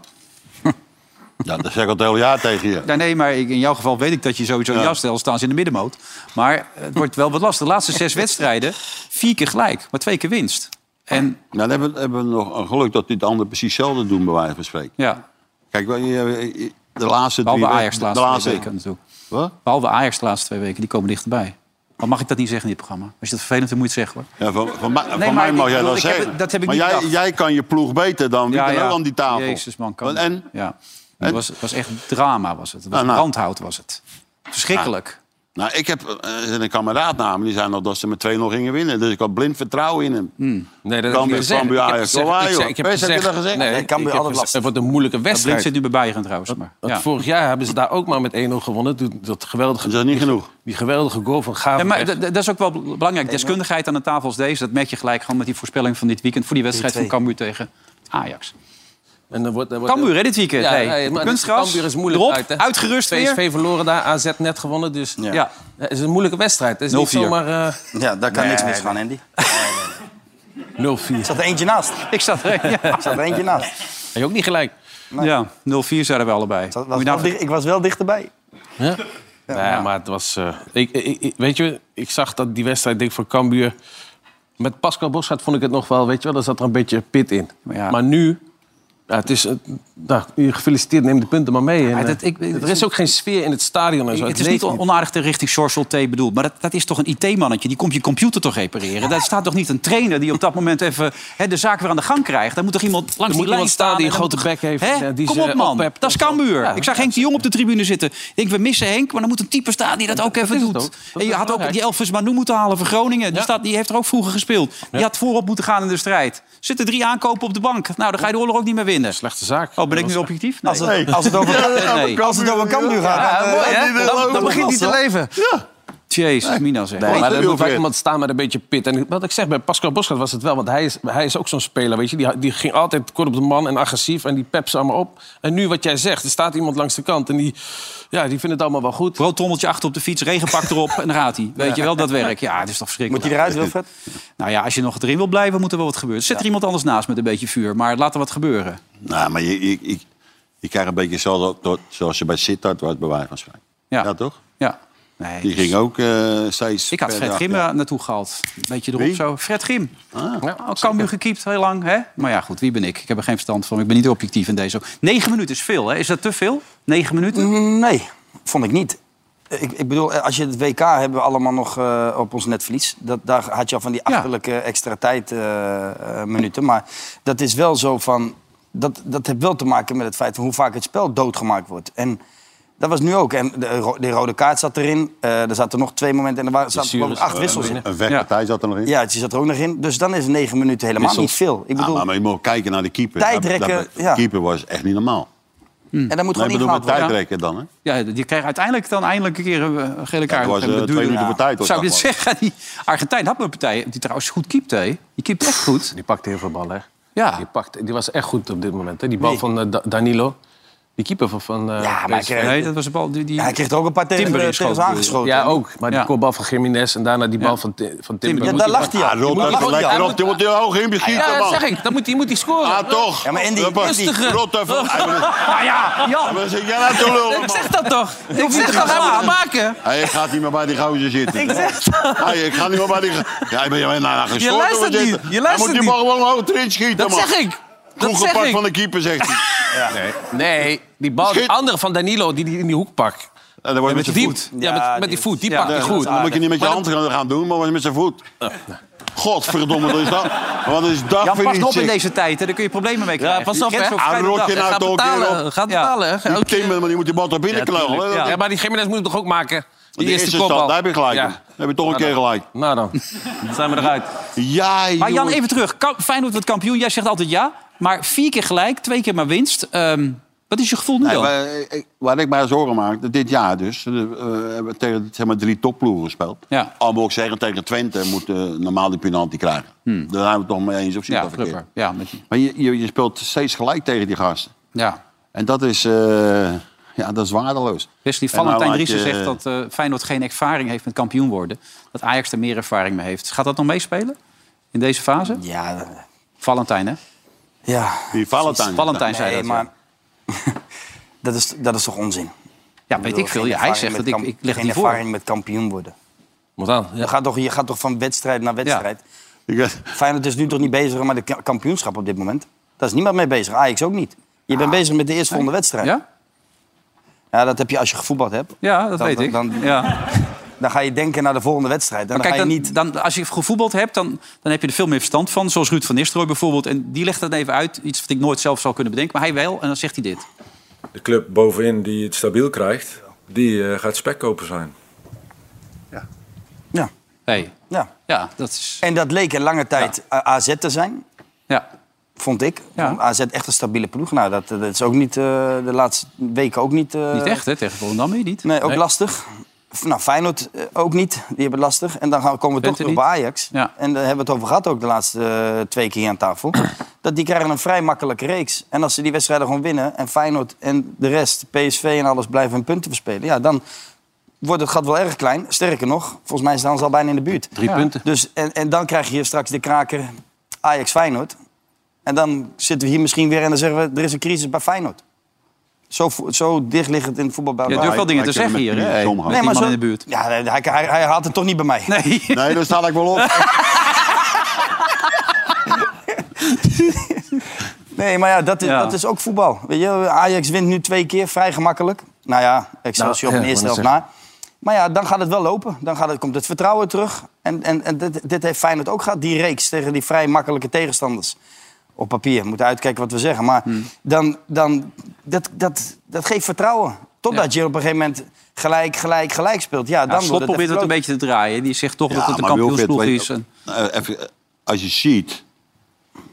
[SPEAKER 5] Ja, dat zeg ik al het hele jaar tegen je.
[SPEAKER 2] Ja, nee, maar ik- in jouw geval weet ik dat je sowieso in jouw stijl staan ze in de middenmoot. Maar het wordt wel wat lastig. De laatste zes wedstrijden, vier keer gelijk, maar twee keer winst. En
[SPEAKER 5] Nou, dan hebben, we- hebben we nog een geluk dat die de anderen precies hetzelfde doen, bij wijze van spreken.
[SPEAKER 2] ja,
[SPEAKER 5] Kijk, wel, je- je- de laatste drie...
[SPEAKER 2] behalve Ajax de
[SPEAKER 5] de
[SPEAKER 2] laatste,
[SPEAKER 5] laatste
[SPEAKER 2] twee weken natuurlijk.
[SPEAKER 5] Wat?
[SPEAKER 2] Behalve Ajax de laatste twee weken, die komen dichterbij. Maar mag ik dat niet zeggen in dit programma? Als je dat vervelend vindt, moet je het zeggen hoor.
[SPEAKER 5] Ja, van, van, mij- van
[SPEAKER 2] maar
[SPEAKER 5] mij
[SPEAKER 2] ik
[SPEAKER 5] mag jij
[SPEAKER 2] bedoel,
[SPEAKER 5] dat
[SPEAKER 2] ik heb
[SPEAKER 5] zeggen.
[SPEAKER 2] het- dat heb ik
[SPEAKER 5] maar
[SPEAKER 2] niet
[SPEAKER 5] jij,
[SPEAKER 2] bedacht.
[SPEAKER 5] jij kan je ploeg beter dan wie dan ook aan die tafel.
[SPEAKER 2] Jezus man, kan
[SPEAKER 5] Want- En
[SPEAKER 2] Ja. Het was, was echt drama, was het. Het was
[SPEAKER 5] Nou, nou.
[SPEAKER 2] brandhout, was het. Verschrikkelijk.
[SPEAKER 5] Nou, ik heb eh, een kameraad namen, die zei nog dat ze met 2-0 gingen winnen. Dus ik had blind vertrouwen in hem.
[SPEAKER 2] Hmm.
[SPEAKER 3] Nee, dat
[SPEAKER 5] Cambuur- Cambuur, Ajax. Oh, joh. Wees, heb je dat gezegd?
[SPEAKER 4] Nee, Cambuur
[SPEAKER 3] ik heb
[SPEAKER 4] altijd
[SPEAKER 3] gezegd,
[SPEAKER 4] lastig.
[SPEAKER 3] Het wordt een moeilijke
[SPEAKER 2] Blind
[SPEAKER 3] wedstrijd.
[SPEAKER 2] zit nu bij Bayern trouwens. Maar,
[SPEAKER 3] Want
[SPEAKER 2] ja.
[SPEAKER 3] Vorig jaar hebben ze daar ook maar met 1-0 gewonnen. Toen Dat
[SPEAKER 5] Dat
[SPEAKER 3] geweldige,
[SPEAKER 5] is niet genoeg.
[SPEAKER 3] die geweldige goal van Gaven.
[SPEAKER 2] Ja, maar d- d- dat is ook wel bel- belangrijk. Deskundigheid aan een tafel als deze, dat merk je gelijk gewoon met die voorspelling van dit weekend voor die wedstrijd van
[SPEAKER 4] 3-2.
[SPEAKER 2] Cambuur tegen Ajax.
[SPEAKER 3] en dan wordt, dan wordt-
[SPEAKER 2] Cambuur hè, dit weekend.
[SPEAKER 3] Ja,
[SPEAKER 2] hey.
[SPEAKER 3] ja, maar
[SPEAKER 2] Op
[SPEAKER 3] dit-
[SPEAKER 2] kunstgras,
[SPEAKER 3] Cambuur is moeilijk
[SPEAKER 2] erop,
[SPEAKER 3] uit, hè?
[SPEAKER 2] uitgerust weer.
[SPEAKER 3] PSV verloren daar, AZ net gewonnen. Dus
[SPEAKER 4] Ja.
[SPEAKER 2] Ja.
[SPEAKER 3] het is een moeilijke wedstrijd. Het is niet
[SPEAKER 2] 0-4.
[SPEAKER 3] zomaar eh,
[SPEAKER 4] Ja, daar kan niks misgaan, Andy. Er
[SPEAKER 3] 0-4.
[SPEAKER 4] zat er eentje naast.
[SPEAKER 2] ik zat er. Ja,
[SPEAKER 4] Er zat er eentje naast.
[SPEAKER 3] Heb je ook niet gelijk.
[SPEAKER 2] ja 0-4 zeiden we allebei.
[SPEAKER 4] Dat
[SPEAKER 2] Moet
[SPEAKER 4] was
[SPEAKER 2] je
[SPEAKER 4] wel
[SPEAKER 2] nou-
[SPEAKER 4] dicht- ik was wel dichterbij.
[SPEAKER 3] Ja? Nou ja, maar het was... eh, ik, ik, ik- weet je, ik zag dat die wedstrijd denk ik, voor Cambuur... Met Pascal Boschart vond ik het nog wel, weet je wel, daar zat er een beetje pit in.
[SPEAKER 2] Maar ja.
[SPEAKER 3] Maar nu, ja, het is, eh, nou, gefeliciteerd, neem de punten maar mee. En,
[SPEAKER 2] Ja, dat-
[SPEAKER 3] eh,
[SPEAKER 2] ik-
[SPEAKER 3] er is ook geen sfeer in het stadion en zo.
[SPEAKER 2] het is
[SPEAKER 3] leeft
[SPEAKER 2] niet on- onaardig ter richting Sorsel T bedoeld. Maar dat, dat is toch een IT-mannetje. Die komt je computer toch repareren. Daar staat toch niet een trainer die op dat moment even hè, de zaak weer aan de gang krijgt. Daar moet toch iemand langs
[SPEAKER 3] moet
[SPEAKER 2] die lijn
[SPEAKER 3] iemand staan
[SPEAKER 2] staan.
[SPEAKER 3] die
[SPEAKER 2] en
[SPEAKER 3] een
[SPEAKER 2] dan
[SPEAKER 3] grote
[SPEAKER 2] moet-
[SPEAKER 3] bek heeft,
[SPEAKER 2] Hè?
[SPEAKER 3] eh, die
[SPEAKER 2] Kom
[SPEAKER 3] ze
[SPEAKER 2] op man,
[SPEAKER 3] oppept
[SPEAKER 2] dat is
[SPEAKER 3] of zo.
[SPEAKER 2] Cambuur.
[SPEAKER 3] Ja,
[SPEAKER 2] ik zag Henk de Jong op de tribune zitten. Ik denk, we missen Henk, maar dan moet een type staan die dat ook even
[SPEAKER 3] is het
[SPEAKER 2] doet.
[SPEAKER 3] ook. Dat is
[SPEAKER 2] En je
[SPEAKER 3] ook
[SPEAKER 2] had ook
[SPEAKER 3] belangrijk.
[SPEAKER 2] die Elvis Manu moeten halen voor Groningen. Die,
[SPEAKER 3] Ja.
[SPEAKER 2] staat, die heeft er ook vroeger gespeeld. Die had voorop moeten gaan in de strijd. Zitten drie aankopen op de bank. Nou, dan ga je de oorlog ook niet meer winnen.
[SPEAKER 3] Slechte zaak.
[SPEAKER 2] Oh, ben ik nu objectief? Nee.
[SPEAKER 4] Als het, als het over,
[SPEAKER 2] Nee.
[SPEAKER 4] als het over Cambuur gaat, dan, eh,
[SPEAKER 3] Dan, dan begint hij te leven.
[SPEAKER 2] Jezus, Mina zeg.
[SPEAKER 3] Nee, maar
[SPEAKER 5] dat
[SPEAKER 3] er
[SPEAKER 5] wil
[SPEAKER 3] moet wel
[SPEAKER 5] weer.
[SPEAKER 3] iemand staan met een beetje pit. En wat ik zeg, bij Pascal Boschat was het wel. Want hij is, hij is ook zo'n speler, weet je. Die, die ging altijd kort op de man en agressief. En die pept ze allemaal op. En nu wat jij zegt, er staat iemand langs de kant. En die, ja, die vindt het allemaal wel goed.
[SPEAKER 2] broodtrommeltje achter op de fiets, regenpak erop en dan gaat hij. Weet je wel, dat werk. Ja, het is toch
[SPEAKER 4] moet
[SPEAKER 2] verschrikkelijk.
[SPEAKER 4] hij eruit, Wilfred?
[SPEAKER 2] Nou ja, als je nog erin wil blijven, moet er wel wat gebeuren. Zit er iemand anders naast met een beetje vuur, maar laat er wat gebeuren.
[SPEAKER 5] Nou, maar je, je, je, je krijgt een beetje zoals, dat- zoals je bij Sittard was, bij wijze van spreken.
[SPEAKER 2] Ja.
[SPEAKER 5] Ja, toch?
[SPEAKER 2] Ja. Nee.
[SPEAKER 5] Die ging ook eh, steeds...
[SPEAKER 2] Ik had
[SPEAKER 5] verder
[SPEAKER 2] Fred Grim
[SPEAKER 5] achter.
[SPEAKER 2] er naartoe gehaald. Beetje erop
[SPEAKER 5] Wie?
[SPEAKER 2] zo. Fred Grim.
[SPEAKER 4] Ah,
[SPEAKER 3] Ja,
[SPEAKER 2] Al Cambuur gekiept, heel lang. Hè? Maar ja, goed, wie ben ik? Ik heb er geen verstand van. Ik ben niet objectief in deze. Negen minuten is veel, hè? Is dat te veel? Negen minuten?
[SPEAKER 4] Nee, vond ik niet. Ik, ik bedoel, eh, als je het WK hebben we allemaal nog eh, op ons netverlies. Dat, daar had je al van die
[SPEAKER 2] Ja.
[SPEAKER 4] achterlijke extra tijd eh, eh, minuten. Maar dat is wel zo van... Dat, dat heeft wel te maken met het feit van hoe vaak het spel doodgemaakt wordt. En dat was nu ook. En de, ro- de rode kaart zat erin. Eh er zaten nog twee momenten en er waren, zaten geloof ik acht wissels in.
[SPEAKER 5] Een wegpartij zat er nog in.
[SPEAKER 4] Ja, die zat er ook nog in. Dus dan is negen minuten helemaal
[SPEAKER 5] Wissels.
[SPEAKER 4] niet veel.
[SPEAKER 5] Ja,
[SPEAKER 4] Ik bedoel,
[SPEAKER 5] maar, maar je moet kijken naar de keeper.
[SPEAKER 4] Tijdrekken,
[SPEAKER 5] Dat- dat-
[SPEAKER 4] ja.
[SPEAKER 5] De keeper was echt niet normaal.
[SPEAKER 4] en dat
[SPEAKER 5] Nee, ik
[SPEAKER 4] moet gewoon
[SPEAKER 5] bedoel
[SPEAKER 4] ingehaald
[SPEAKER 5] met
[SPEAKER 4] worden.
[SPEAKER 5] tijdrekken dan, hè?
[SPEAKER 2] Ja, die kreeg uiteindelijk dan eindelijk een keer een eh, gele
[SPEAKER 5] Ja,
[SPEAKER 2] kaart.
[SPEAKER 5] het was
[SPEAKER 2] En
[SPEAKER 5] eh,
[SPEAKER 2] dat
[SPEAKER 5] twee
[SPEAKER 2] duurde-
[SPEAKER 5] minuten voor tijd. was
[SPEAKER 2] Zou ik
[SPEAKER 5] dat
[SPEAKER 2] dit
[SPEAKER 5] maar.
[SPEAKER 2] zeggen? Die Argentijn had mijn partij, die trouwens goed keept, hè? Die keept echt goed.
[SPEAKER 3] Die pakte heel veel ballen, hè?
[SPEAKER 2] Ja.
[SPEAKER 3] Die, pakte, die was echt goed op dit moment, hè? Die bal van eh, Da- Danilo. Die keeper van... van eh,
[SPEAKER 4] Ja, maar ik,
[SPEAKER 3] PSV.
[SPEAKER 4] eh,
[SPEAKER 2] Nee, dat was een bal die... die...
[SPEAKER 4] Ja, hij kreeg er ook een paar tegen,
[SPEAKER 2] Timber
[SPEAKER 4] tegen
[SPEAKER 2] inschoten.
[SPEAKER 4] ons aangeschoten.
[SPEAKER 3] Ja, ook. Maar die
[SPEAKER 2] Ja.
[SPEAKER 3] kopbal van Jiménez en daarna die bal van, Ti- van Timber.
[SPEAKER 4] Ja,
[SPEAKER 3] Moet
[SPEAKER 4] daar
[SPEAKER 3] die
[SPEAKER 4] lacht hij
[SPEAKER 5] Ah,
[SPEAKER 4] aan.
[SPEAKER 5] Rob, dat is
[SPEAKER 3] gewoon-
[SPEAKER 5] lekker
[SPEAKER 3] ja,
[SPEAKER 5] op. Die wordt heel hoog in beschieten,
[SPEAKER 3] Ja, dat
[SPEAKER 5] man.
[SPEAKER 3] zeg ik. Dan moet hij moet die scoren.
[SPEAKER 5] Ah, toch?
[SPEAKER 4] Ja, maar Andy,
[SPEAKER 5] Huppel.
[SPEAKER 3] rustige.
[SPEAKER 5] Rot even. Hij wil-
[SPEAKER 2] Ah ja, Jan!
[SPEAKER 5] Wat zit jij nou te lullen,
[SPEAKER 3] Ik
[SPEAKER 5] man?
[SPEAKER 3] zeg dat toch? Ik
[SPEAKER 2] niet
[SPEAKER 3] zeg
[SPEAKER 2] te
[SPEAKER 3] dat,
[SPEAKER 2] gaan
[SPEAKER 3] hij moet het
[SPEAKER 2] slaan.
[SPEAKER 3] maken.
[SPEAKER 5] Hey, ik ga niet meer bij die gozer zitten. Ik zeg ik ga niet meer bij die gozer Ja, ik ben je naar gestorven.
[SPEAKER 3] luistert niet. Je
[SPEAKER 5] Hij moet
[SPEAKER 3] luistert
[SPEAKER 5] die
[SPEAKER 3] niet.
[SPEAKER 5] bal gewoon hoog erin schieten,
[SPEAKER 3] Dat
[SPEAKER 5] man.
[SPEAKER 3] zeg ik. Dat
[SPEAKER 5] Goed
[SPEAKER 3] zeg
[SPEAKER 5] gepakt van
[SPEAKER 3] ik.
[SPEAKER 5] de keeper, zegt hij.
[SPEAKER 3] Nee, die bal, die
[SPEAKER 5] Schiet.
[SPEAKER 3] andere van Danilo, die die in die hoek pakt.
[SPEAKER 5] En dan word je met zijn
[SPEAKER 3] Diep.
[SPEAKER 5] voet.
[SPEAKER 3] Ja, met,
[SPEAKER 4] Ja,
[SPEAKER 3] met
[SPEAKER 4] die-
[SPEAKER 3] die voet. Die
[SPEAKER 2] ja,
[SPEAKER 3] pakt
[SPEAKER 5] Ja,
[SPEAKER 3] hij goed.
[SPEAKER 5] Dan moet je niet met je
[SPEAKER 3] Maar
[SPEAKER 5] hand gaan- gaan doen, maar met zijn voet. Godverdomme, wat is dat? Wat is dat
[SPEAKER 2] Jan,
[SPEAKER 5] voor
[SPEAKER 2] pas
[SPEAKER 5] iets?
[SPEAKER 2] op in
[SPEAKER 5] zeg?
[SPEAKER 2] deze tijd, hè. daar kun je problemen mee krijgen.
[SPEAKER 3] pas op,
[SPEAKER 2] Je kent
[SPEAKER 3] hè.
[SPEAKER 2] zo'n
[SPEAKER 5] Ah,
[SPEAKER 2] vrije
[SPEAKER 5] rot
[SPEAKER 2] dag.
[SPEAKER 5] je nou
[SPEAKER 3] Gaat
[SPEAKER 5] toch weer
[SPEAKER 3] betalen.
[SPEAKER 5] op.
[SPEAKER 3] Gaat
[SPEAKER 2] Ja.
[SPEAKER 3] betalen. hè.
[SPEAKER 5] Die Timmer, maar die moet die bal toch binnenklauwen. hè?
[SPEAKER 2] tuurlijk,
[SPEAKER 5] Dat-
[SPEAKER 3] Ja, maar die Jiménez moet hem toch ook maken? Die
[SPEAKER 5] Die eerste stand, daar heb je gelijk. in. Daar heb je toch een keer gelijk.
[SPEAKER 3] Nou dan, zijn we eruit.
[SPEAKER 5] Ja,
[SPEAKER 2] Maar Jan,
[SPEAKER 5] jongen.
[SPEAKER 2] even terug. Kam- Feyenoord wordt kampioen. Jij zegt altijd ja. Maar vier keer gelijk, twee keer maar winst. Ehm, Wat is je gevoel nu
[SPEAKER 5] Nee,
[SPEAKER 2] dan?
[SPEAKER 5] waar, ik- waar ik mij zorgen maak, dat dit jaar dus, eh, hebben we tegen zeg maar, drie topploegen gespeeld.
[SPEAKER 2] Ja.
[SPEAKER 5] Al moet ik zeggen, tegen Twente moet eh, normaal die penalty krijgen. Daar zijn we het nog mee eens of zit
[SPEAKER 2] Hmm. ja,
[SPEAKER 5] dat verkeerd?
[SPEAKER 2] Flipper. Ja, met die,
[SPEAKER 5] Maar je, je, je speelt steeds gelijk tegen die gasten.
[SPEAKER 2] ja.
[SPEAKER 5] En dat is, eh, ja, dat is waardeloos.
[SPEAKER 2] Wesley
[SPEAKER 5] En nou
[SPEAKER 2] Valentijn
[SPEAKER 5] laat
[SPEAKER 2] Driessen
[SPEAKER 5] je-
[SPEAKER 2] zegt dat eh, Feyenoord geen ervaring heeft met kampioen worden. Dat Ajax er meer ervaring mee heeft. Gaat dat nog meespelen in deze fase?
[SPEAKER 4] Ja, eh,
[SPEAKER 2] Valentijn, hè?
[SPEAKER 4] ja.
[SPEAKER 5] Die Valentijn.
[SPEAKER 2] Valentijn zei
[SPEAKER 4] Nee,
[SPEAKER 2] dat.
[SPEAKER 4] maar
[SPEAKER 2] ja.
[SPEAKER 4] dat, is, dat is toch onzin?
[SPEAKER 2] Ja, weet ik
[SPEAKER 4] bedoel,
[SPEAKER 2] veel.
[SPEAKER 4] geen
[SPEAKER 2] Ja, hij
[SPEAKER 4] ervaring
[SPEAKER 2] zegt
[SPEAKER 4] met
[SPEAKER 2] dat ik,
[SPEAKER 4] kamp-
[SPEAKER 2] ik lig
[SPEAKER 4] geen
[SPEAKER 2] niet
[SPEAKER 4] ervaring
[SPEAKER 2] voor.
[SPEAKER 4] met kampioen worden.
[SPEAKER 3] Wat dan? Ja.
[SPEAKER 4] Je, gaat toch, je gaat toch van wedstrijd naar wedstrijd?
[SPEAKER 5] Ik-
[SPEAKER 4] Feyenoord is nu toch niet bezig met het ka- kampioenschap op dit moment? Daar is niemand mee bezig. Ajax ook niet. Je bent bezig met de eerstvolgende wedstrijd. Ja?
[SPEAKER 2] Ah. Ja?
[SPEAKER 4] dat heb je als je gevoetbald hebt.
[SPEAKER 2] Ja, dat
[SPEAKER 4] Dan-
[SPEAKER 2] weet ik.
[SPEAKER 4] dan-
[SPEAKER 2] ja.
[SPEAKER 4] Dan ga je denken naar de volgende wedstrijd. En
[SPEAKER 2] Maar
[SPEAKER 4] dan
[SPEAKER 2] kijk,
[SPEAKER 4] ga je
[SPEAKER 2] dan,
[SPEAKER 4] niet...
[SPEAKER 2] dan, als je gevoetbald hebt, dan, dan heb je er veel meer verstand van. Zoals Ruud van Nistelrooy bijvoorbeeld. En die legt dat even uit. Iets wat ik nooit zelf zou kunnen bedenken. Maar hij wel. En dan zegt hij dit.
[SPEAKER 9] De club bovenin die het stabiel krijgt, die eh, gaat spekkoper zijn.
[SPEAKER 4] Ja,
[SPEAKER 2] Hey.
[SPEAKER 4] ja.
[SPEAKER 2] Ja, dat is...
[SPEAKER 4] En dat leek een lange tijd eh, AZ te zijn.
[SPEAKER 2] Ja.
[SPEAKER 4] Vond ik.
[SPEAKER 2] Ja.
[SPEAKER 4] Vond AZ echt een stabiele ploeg. Nou, dat, dat is ook niet eh, de laatste weken ook niet... eh,
[SPEAKER 2] Niet echt, hè? Tegen Volendam hier niet.
[SPEAKER 4] Nee, ook lastig. F- Nou, Feyenoord eh, ook niet. Die hebben het lastig. En dan gaan, komen we toch
[SPEAKER 2] Twente
[SPEAKER 4] terug bij Ajax.
[SPEAKER 2] Ja.
[SPEAKER 4] En daar hebben we het over gehad ook de laatste eh, twee keer aan tafel. dat die krijgen een vrij makkelijke reeks. En als ze die wedstrijden gewoon winnen... en Feyenoord en de rest, PSV en alles, blijven hun punten verspelen... ja, dan wordt het gat wel erg klein. Sterker nog, volgens mij staan ze al bijna in de buurt.
[SPEAKER 3] Drie punten.
[SPEAKER 4] Dus, en, en dan krijg je hier straks de kraker Ajax-Feyenoord. En dan zitten we hier misschien weer en dan zeggen we... er is een crisis bij Feyenoord. Zo, vo- zo dicht ligt het in het voetbal bij
[SPEAKER 2] Je
[SPEAKER 4] elkaar.
[SPEAKER 2] durft wel dingen te
[SPEAKER 5] maar ik
[SPEAKER 2] zeggen
[SPEAKER 5] heb
[SPEAKER 2] hier,
[SPEAKER 5] hem
[SPEAKER 2] hè?
[SPEAKER 5] met
[SPEAKER 2] Hey,
[SPEAKER 5] Tom
[SPEAKER 2] met
[SPEAKER 5] gehad.
[SPEAKER 2] die
[SPEAKER 5] Nee,
[SPEAKER 2] man in de buurt.
[SPEAKER 4] Ja, hij, hij, hij haalt het toch niet bij mij.
[SPEAKER 2] Nee.
[SPEAKER 5] Nee, daar sta ik wel op.
[SPEAKER 4] Nee, maar ja, dat is,
[SPEAKER 2] Ja.
[SPEAKER 4] dat is ook voetbal. Weet je, Ajax wint nu twee keer, vrij gemakkelijk. Nou ja, Excelsior
[SPEAKER 3] Nou,
[SPEAKER 4] op
[SPEAKER 3] ja,
[SPEAKER 4] de eerste
[SPEAKER 3] ik
[SPEAKER 4] helft
[SPEAKER 3] wou
[SPEAKER 4] na. Maar ja, dan gaat het wel lopen. Dan gaat het, komt het vertrouwen terug. En, en, en dit, dit heeft Feyenoord ook gehad, die reeks tegen die vrij makkelijke tegenstanders. Op papier, we moeten uitkijken wat we zeggen. Maar
[SPEAKER 2] Hmm.
[SPEAKER 4] dan, dan, dat, dat, dat geeft vertrouwen. Totdat je op een gegeven moment gelijk, gelijk, gelijk speelt. Ja, dan
[SPEAKER 2] Ja,
[SPEAKER 4] wordt
[SPEAKER 2] Slot
[SPEAKER 4] het
[SPEAKER 2] probeert
[SPEAKER 4] echt
[SPEAKER 2] het een
[SPEAKER 4] leuk.
[SPEAKER 2] beetje te draaien. Die zegt toch dat het een
[SPEAKER 5] maar Wilfred,
[SPEAKER 2] kampioensploeg
[SPEAKER 5] weet-
[SPEAKER 2] is. En,
[SPEAKER 5] eh, even, eh, als je ziet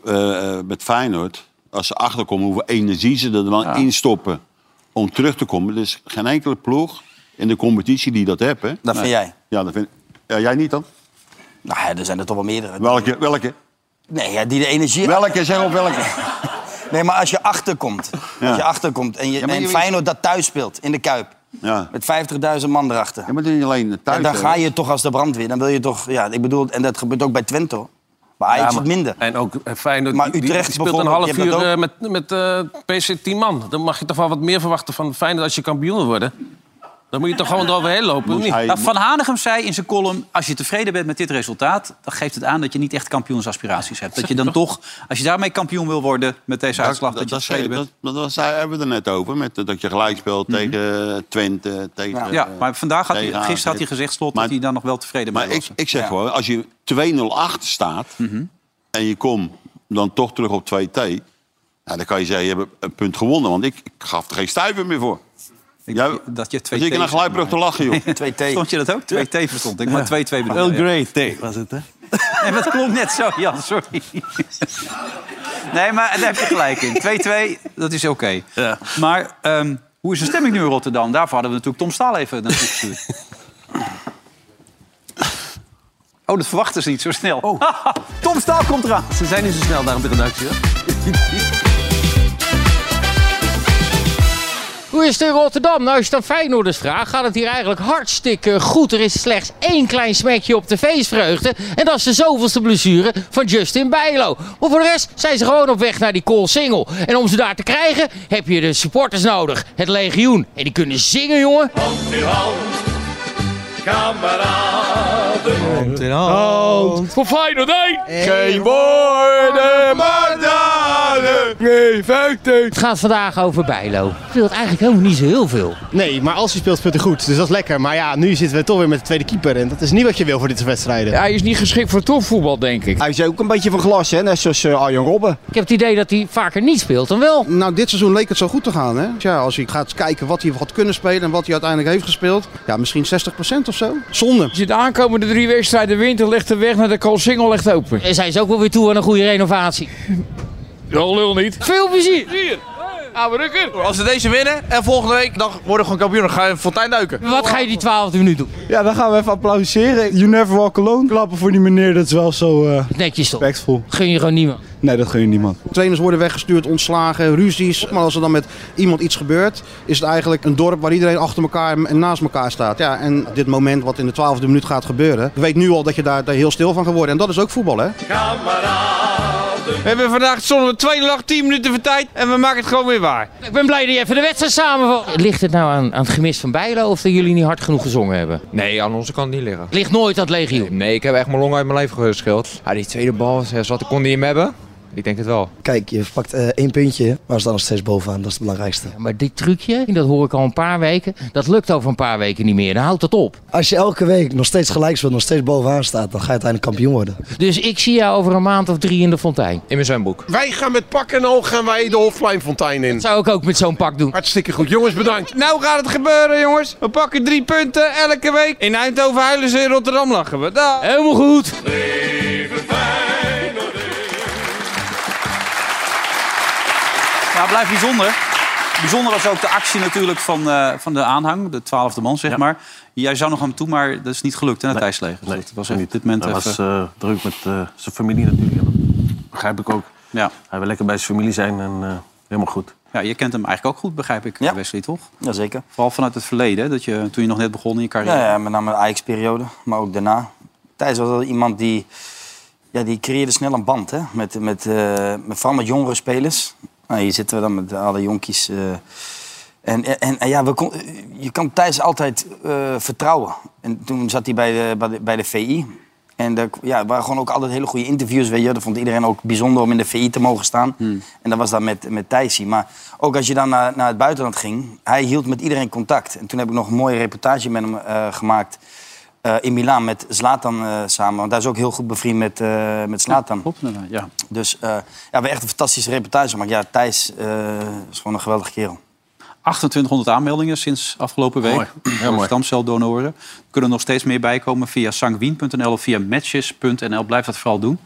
[SPEAKER 5] eh, eh, met Feyenoord, als ze achterkomen hoeveel energie ze er dan
[SPEAKER 2] Ja.
[SPEAKER 5] in stoppen om terug te komen. Er is geen enkele ploeg in de competitie die dat heeft. Hè?
[SPEAKER 4] Dat vind jij?
[SPEAKER 5] Ja, dat vind ja, jij niet dan?
[SPEAKER 4] Nou ja, er zijn er toch wel meerdere.
[SPEAKER 5] Welke? welke?
[SPEAKER 4] Nee, ja, die de energie
[SPEAKER 5] Welke? Zeg op welke.
[SPEAKER 4] Nee, maar als je achterkomt, als je achterkomt en, je,
[SPEAKER 5] maar
[SPEAKER 4] en
[SPEAKER 5] je-
[SPEAKER 4] Feyenoord dat thuis speelt in de Kuip,
[SPEAKER 5] Ja.
[SPEAKER 4] met 50.000 man erachter,
[SPEAKER 5] Ja, maar dit is niet alleen thuis.
[SPEAKER 4] en dan
[SPEAKER 5] hè.
[SPEAKER 4] ga je toch als de brandweer. Dan wil je toch, ja, ik bedoel, en dat gebeurt ook bij Twente, hoor. bij Ajax
[SPEAKER 3] Ja, maar-
[SPEAKER 4] het minder.
[SPEAKER 3] En ook eh, Feyenoord
[SPEAKER 4] Maar
[SPEAKER 3] die- die-
[SPEAKER 4] Utrecht
[SPEAKER 3] die speelt een
[SPEAKER 4] bijvoorbeeld,
[SPEAKER 3] half
[SPEAKER 4] die
[SPEAKER 3] uur
[SPEAKER 4] hebben
[SPEAKER 3] eh, met, met eh, PC 10 man. Dan mag je toch wel wat meer verwachten van Feyenoord als je kampioen wil worden. Dan moet je toch gewoon eroverheen lopen, of niet?
[SPEAKER 5] hij-
[SPEAKER 2] Nou, van Hanegem zei in zijn column... als je tevreden bent met dit resultaat... dan geeft het aan dat je niet echt kampioensaspiraties hebt. Dat je dan toch, als je daarmee kampioen wil worden... met deze uitslag, dat,
[SPEAKER 5] dat,
[SPEAKER 2] je
[SPEAKER 5] dat,
[SPEAKER 2] tevreden
[SPEAKER 5] zei-
[SPEAKER 2] bent.
[SPEAKER 5] dat, dat, dat zei- hebben we er net over. Met, eh, dat je gelijk speelt tegen eh, Twente. Tegen,
[SPEAKER 2] Mhm. Ja,
[SPEAKER 5] eh,
[SPEAKER 2] maar vandaag had hij,
[SPEAKER 5] tegen AZ.
[SPEAKER 2] gisteren had hij gezegd, Slot,
[SPEAKER 5] Maar-
[SPEAKER 2] dat hij daar nog wel tevreden mee
[SPEAKER 5] Maar ik,
[SPEAKER 2] was.
[SPEAKER 5] ik zeg gewoon, als je 2-0 achter staat
[SPEAKER 2] Mhm.
[SPEAKER 5] en je komt dan toch terug op 2T, nou, dan kan je zeggen, je hebt een punt gewonnen, want ik, ik gaf er geen stuiver meer voor.
[SPEAKER 2] Ik-
[SPEAKER 5] Jij-
[SPEAKER 2] dat je
[SPEAKER 5] Dan
[SPEAKER 2] twee
[SPEAKER 5] zit ik naar
[SPEAKER 2] T's
[SPEAKER 5] Gluibrug te lachen, joh.
[SPEAKER 4] Twee T.
[SPEAKER 2] Stond je dat ook? 2T verstond ik, maar 2-2 bedoel je.
[SPEAKER 3] Grey T was het, hè?
[SPEAKER 2] Nee, maar dat klonk net zo, Jan, sorry. Nee, maar daar heb je gelijk in. 2-2, dat is oké.
[SPEAKER 3] Ja.
[SPEAKER 2] Maar ehm, hoe is de stemming nu in Rotterdam? Daarvoor hadden we natuurlijk Tom Staal even naartoe gestuurd. Oh, dat verwachten ze niet zo snel. Oh. Tom Staal komt eraan.
[SPEAKER 3] Ze zijn niet zo snel daar op de redactie, hoor.
[SPEAKER 8] Hoe is het in Rotterdam? Nou, als je het aan Feyenoorders vraagt, gaat het hier eigenlijk hartstikke goed. Er is slechts één klein smekje op de feestvreugde. En dat is de zoveelste blessure van Justin Bijlo. Maar voor de rest zijn ze gewoon op weg naar die call single. En om ze daar te krijgen, heb je de supporters nodig. Het legioen. En die kunnen zingen, jongen. Voor Feyenoord 1! Het gaat vandaag over Bijlo. Ik wil het eigenlijk helemaal niet zo heel veel.
[SPEAKER 10] Nee, maar als je speelt, speelt hij goed. Dus dat is lekker. Maar ja, nu zitten we toch weer met de tweede keeper. En dat is niet wat je wil voor dit soort wedstrijden.
[SPEAKER 8] Hij is niet geschikt voor topvoetbal, denk ik.
[SPEAKER 11] Hij is ook een beetje van glas, hè? net zoals eh, Arjen Robben.
[SPEAKER 8] Ik heb het idee dat hij vaker niet speelt dan wel.
[SPEAKER 11] Nou, dit seizoen leek het zo goed te gaan. Hè? Ja, als je gaat kijken wat hij had kunnen spelen en wat hij uiteindelijk heeft gespeeld. Ja, misschien 60% of zo. Zonde.
[SPEAKER 12] Als je de aankomende drie wedstrijden wint, dan ligt de weg naar de Koolsingel echt open.
[SPEAKER 8] En zijn ze ook wel weer toe aan een goede renovatie.
[SPEAKER 12] Ja, lul niet.
[SPEAKER 8] Veel plezier!
[SPEAKER 12] Oude rukker.
[SPEAKER 13] Als ze deze winnen en volgende week, dan worden we gewoon kampioen. Dan ga je fontein duiken.
[SPEAKER 8] Wat ga je die twaalfde minuut doen?
[SPEAKER 14] Ja, dan gaan we even applaudisseren. You never walk alone. Klappen voor die meneer, dat is wel zo eh
[SPEAKER 8] Netjes toch?
[SPEAKER 14] respectvol.
[SPEAKER 8] Gun je gewoon niemand?
[SPEAKER 14] Nee, dat gun je niemand.
[SPEAKER 11] Trainers worden weggestuurd, ontslagen, ruzies. Maar als er dan met iemand iets gebeurt, is het eigenlijk een dorp waar iedereen achter elkaar en naast elkaar staat. Ja, en dit moment wat in de twaalfde minuut gaat gebeuren, ik weet nu al dat je daar, daar heel stil van gaat worden. En dat is ook voetbal, hè?
[SPEAKER 13] We hebben vandaag zonder 2 lag 10 minuten van tijd en we maken het gewoon weer waar.
[SPEAKER 8] Ik ben blij dat je even de wedstrijd samenvat. Ligt het nou aan, aan het gemis van Bijlo of dat jullie niet hard genoeg gezongen hebben?
[SPEAKER 13] Nee, aan onze kant niet liggen.
[SPEAKER 8] Ligt nooit dat legio.
[SPEAKER 13] Nee, ik heb echt mijn long uit mijn lijf geschild. Ah, die tweede bal, zes, wat kon die hem hebben? Ik denk het wel.
[SPEAKER 15] Kijk, je pakt eh, één puntje, maar ze dan nog steeds bovenaan. Dat is het belangrijkste.
[SPEAKER 8] Maar dit trucje, dat hoor ik al een paar weken, dat lukt over een paar weken niet meer. Dan houdt dat op.
[SPEAKER 15] Als je elke week nog steeds gelijk speelt, nog steeds bovenaan staat, dan ga je uiteindelijk kampioen worden.
[SPEAKER 8] Dus ik zie jou over een maand of drie in de fontein.
[SPEAKER 13] In mijn zwemboek.
[SPEAKER 16] Wij gaan met pak en oog gaan wij de Hofpleinfontein in. Dat
[SPEAKER 8] zou ik ook met zo'n pak doen.
[SPEAKER 16] Hartstikke goed. Jongens, bedankt.
[SPEAKER 13] Nou gaat het gebeuren, jongens. We pakken drie punten elke week. In Eindhoven huilen ze, in Rotterdam lachen we. Da.
[SPEAKER 8] Helemaal goed.
[SPEAKER 2] Ja, het blijft bijzonder. Bijzonder was ook de actie natuurlijk van, eh, van de aanhang, de twaalfde man, zeg maar. Jij zou nog aan hem toe, maar dat is niet gelukt hè, het ijsleger. Dus dat was echt op dit moment
[SPEAKER 17] Hij
[SPEAKER 2] even...
[SPEAKER 17] was eh, druk met eh, zijn familie natuurlijk. En dat begrijp ik ook.
[SPEAKER 2] Ja.
[SPEAKER 17] Hij wil lekker bij zijn familie zijn en eh, helemaal goed.
[SPEAKER 2] Ja, je kent hem eigenlijk ook goed, begrijp ik, Wesley, toch?
[SPEAKER 4] Jazeker.
[SPEAKER 2] Vooral vanuit het verleden, hè, dat je, toen je nog net begon in je carrière.
[SPEAKER 4] Ja, ja, met name de Ajax-periode, maar ook daarna. Thijs was wel iemand die, ja, die creëerde snel een band, hè? Met, met, eh, met, vooral met jongere spelers. Nou, hier zitten we dan met alle jonkies. eh. en, en, en ja, we kon- eh, je kan Thijs altijd eh, vertrouwen. En toen zat hij bij de, bij de, bij de VI. En daar ja, waren gewoon ook altijd hele goede interviews. Weet je. Dat vond iedereen ook bijzonder om in de VI te mogen staan.
[SPEAKER 2] Hmm.
[SPEAKER 4] En dat was dan met, met Thijsie. Maar ook als je dan naar, naar het buitenland ging, hij hield met iedereen contact. En toen heb ik nog een mooie reportage met hem eh, gemaakt eh, in Milaan met Zlatan eh, samen. Want hij is ook heel goed bevriend met, eh met Zlatan.
[SPEAKER 2] klopt, inderdaad, ja.
[SPEAKER 4] Dus eh, ja, we hebben echt een fantastische reportage gemaakt. Ja, Thijs eh, is gewoon een geweldige kerel.
[SPEAKER 2] 2800 aanmeldingen sinds afgelopen week.
[SPEAKER 4] Mooi.
[SPEAKER 2] Voor
[SPEAKER 4] mooi.
[SPEAKER 2] Stamceldonoren. Er kunnen nog steeds meer bijkomen via sanguin.nl of via matches.nl. Blijf dat vooral doen. Op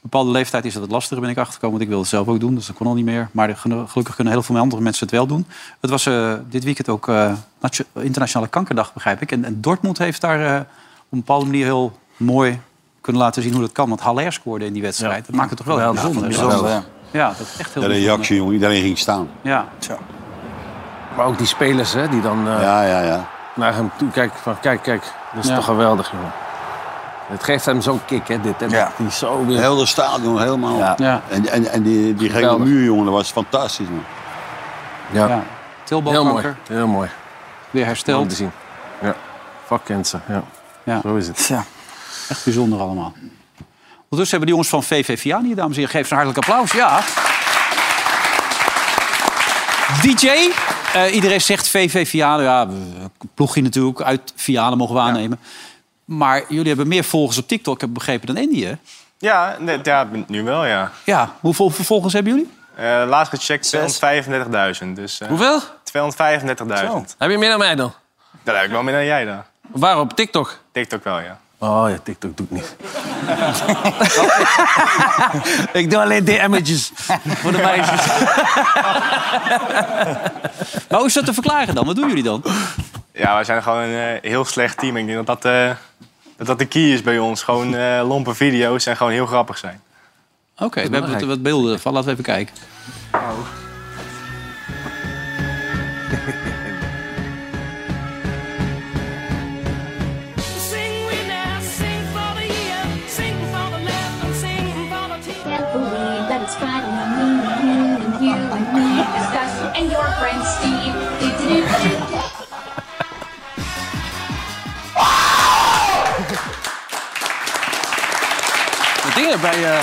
[SPEAKER 2] bepaalde leeftijd is dat het lastiger, ben ik achtergekomen. Want ik wilde het zelf ook doen, dus dat kon al niet meer. Maar genu- gelukkig kunnen heel veel andere mensen het wel doen. Het was eh, dit weekend ook eh, nation- Internationale Kankerdag, begrijp ik. En, en Dortmund heeft daar eh, op een bepaalde manier heel mooi kunnen laten zien hoe dat kan. Want Haller scoorde in die wedstrijd. Dat maakt het toch wel heel bijzonder.
[SPEAKER 5] Bijzonder,
[SPEAKER 2] Ja, dat is echt heel
[SPEAKER 5] De
[SPEAKER 2] bijzonder.
[SPEAKER 5] reactie, jongen. Iedereen ging staan.
[SPEAKER 2] Ja.
[SPEAKER 17] Maar ook die spelers, hè, die dan eh,
[SPEAKER 5] Ja, ja, ja.
[SPEAKER 17] naar hem toe kijken. Van, kijk, kijk, dat is
[SPEAKER 5] Ja.
[SPEAKER 17] toch geweldig, jongen. Het geeft hem zo'n kick, hè, dit. En dat die zo weer...
[SPEAKER 5] Heel de stadion, helemaal.
[SPEAKER 17] Ja. Ja.
[SPEAKER 5] En, en, en die, die gele
[SPEAKER 17] Geweldig.
[SPEAKER 5] muur, jongen, dat was fantastisch, man.
[SPEAKER 17] Ja. Heel mooi,
[SPEAKER 2] Tilbalkanker.
[SPEAKER 17] heel mooi.
[SPEAKER 2] Weer hersteld.
[SPEAKER 17] Mooi om te zien. Ja, fuck cancer, ja. Zo is het.
[SPEAKER 4] Ja.
[SPEAKER 2] Echt bijzonder allemaal. Ondertussen hebben de jongens van VV Vian hier, dames en heren. Geef ze een hartelijk applaus. Ja. DJ. Eh, iedereen zegt VV Vianen. nou Ja, we- ploegje natuurlijk. Uit Vianen mogen we aannemen. Maar jullie hebben meer volgers op TikTok, heb ik begrepen, dan Andy, hè?
[SPEAKER 18] Ja, nee, ja, nu wel, ja.
[SPEAKER 2] Ja. Hoeveel volgers hebben jullie?
[SPEAKER 18] Eh, laatst gecheckt 235.000. Dus,
[SPEAKER 17] Hoeveel?
[SPEAKER 18] 235.000.
[SPEAKER 17] Heb je meer dan mij dan?
[SPEAKER 18] Dat heb ik wel meer dan jij dan.
[SPEAKER 17] Waar, op TikTok?
[SPEAKER 18] TikTok wel, ja.
[SPEAKER 17] Oh ja, TikTok doet niet. ik doe alleen DM'tjes voor de meisjes.
[SPEAKER 2] Maar hoe is dat te verklaren dan? Wat doen jullie dan?
[SPEAKER 18] Ja, wij zijn gewoon een eh, heel slecht team. Ik denk dat dat, eh, dat, dat de key is bij ons. Gewoon eh, lompe video's en gewoon heel grappig zijn.
[SPEAKER 2] Oké, we hebben wat,
[SPEAKER 18] belangrijk.
[SPEAKER 2] wat beelden ervan. Laten we even kijken.
[SPEAKER 19] Can't believe that it's Friday, me and you and you and me and Gus and your friend Steve. Do-do-do-do.
[SPEAKER 17] De dingen bij, eh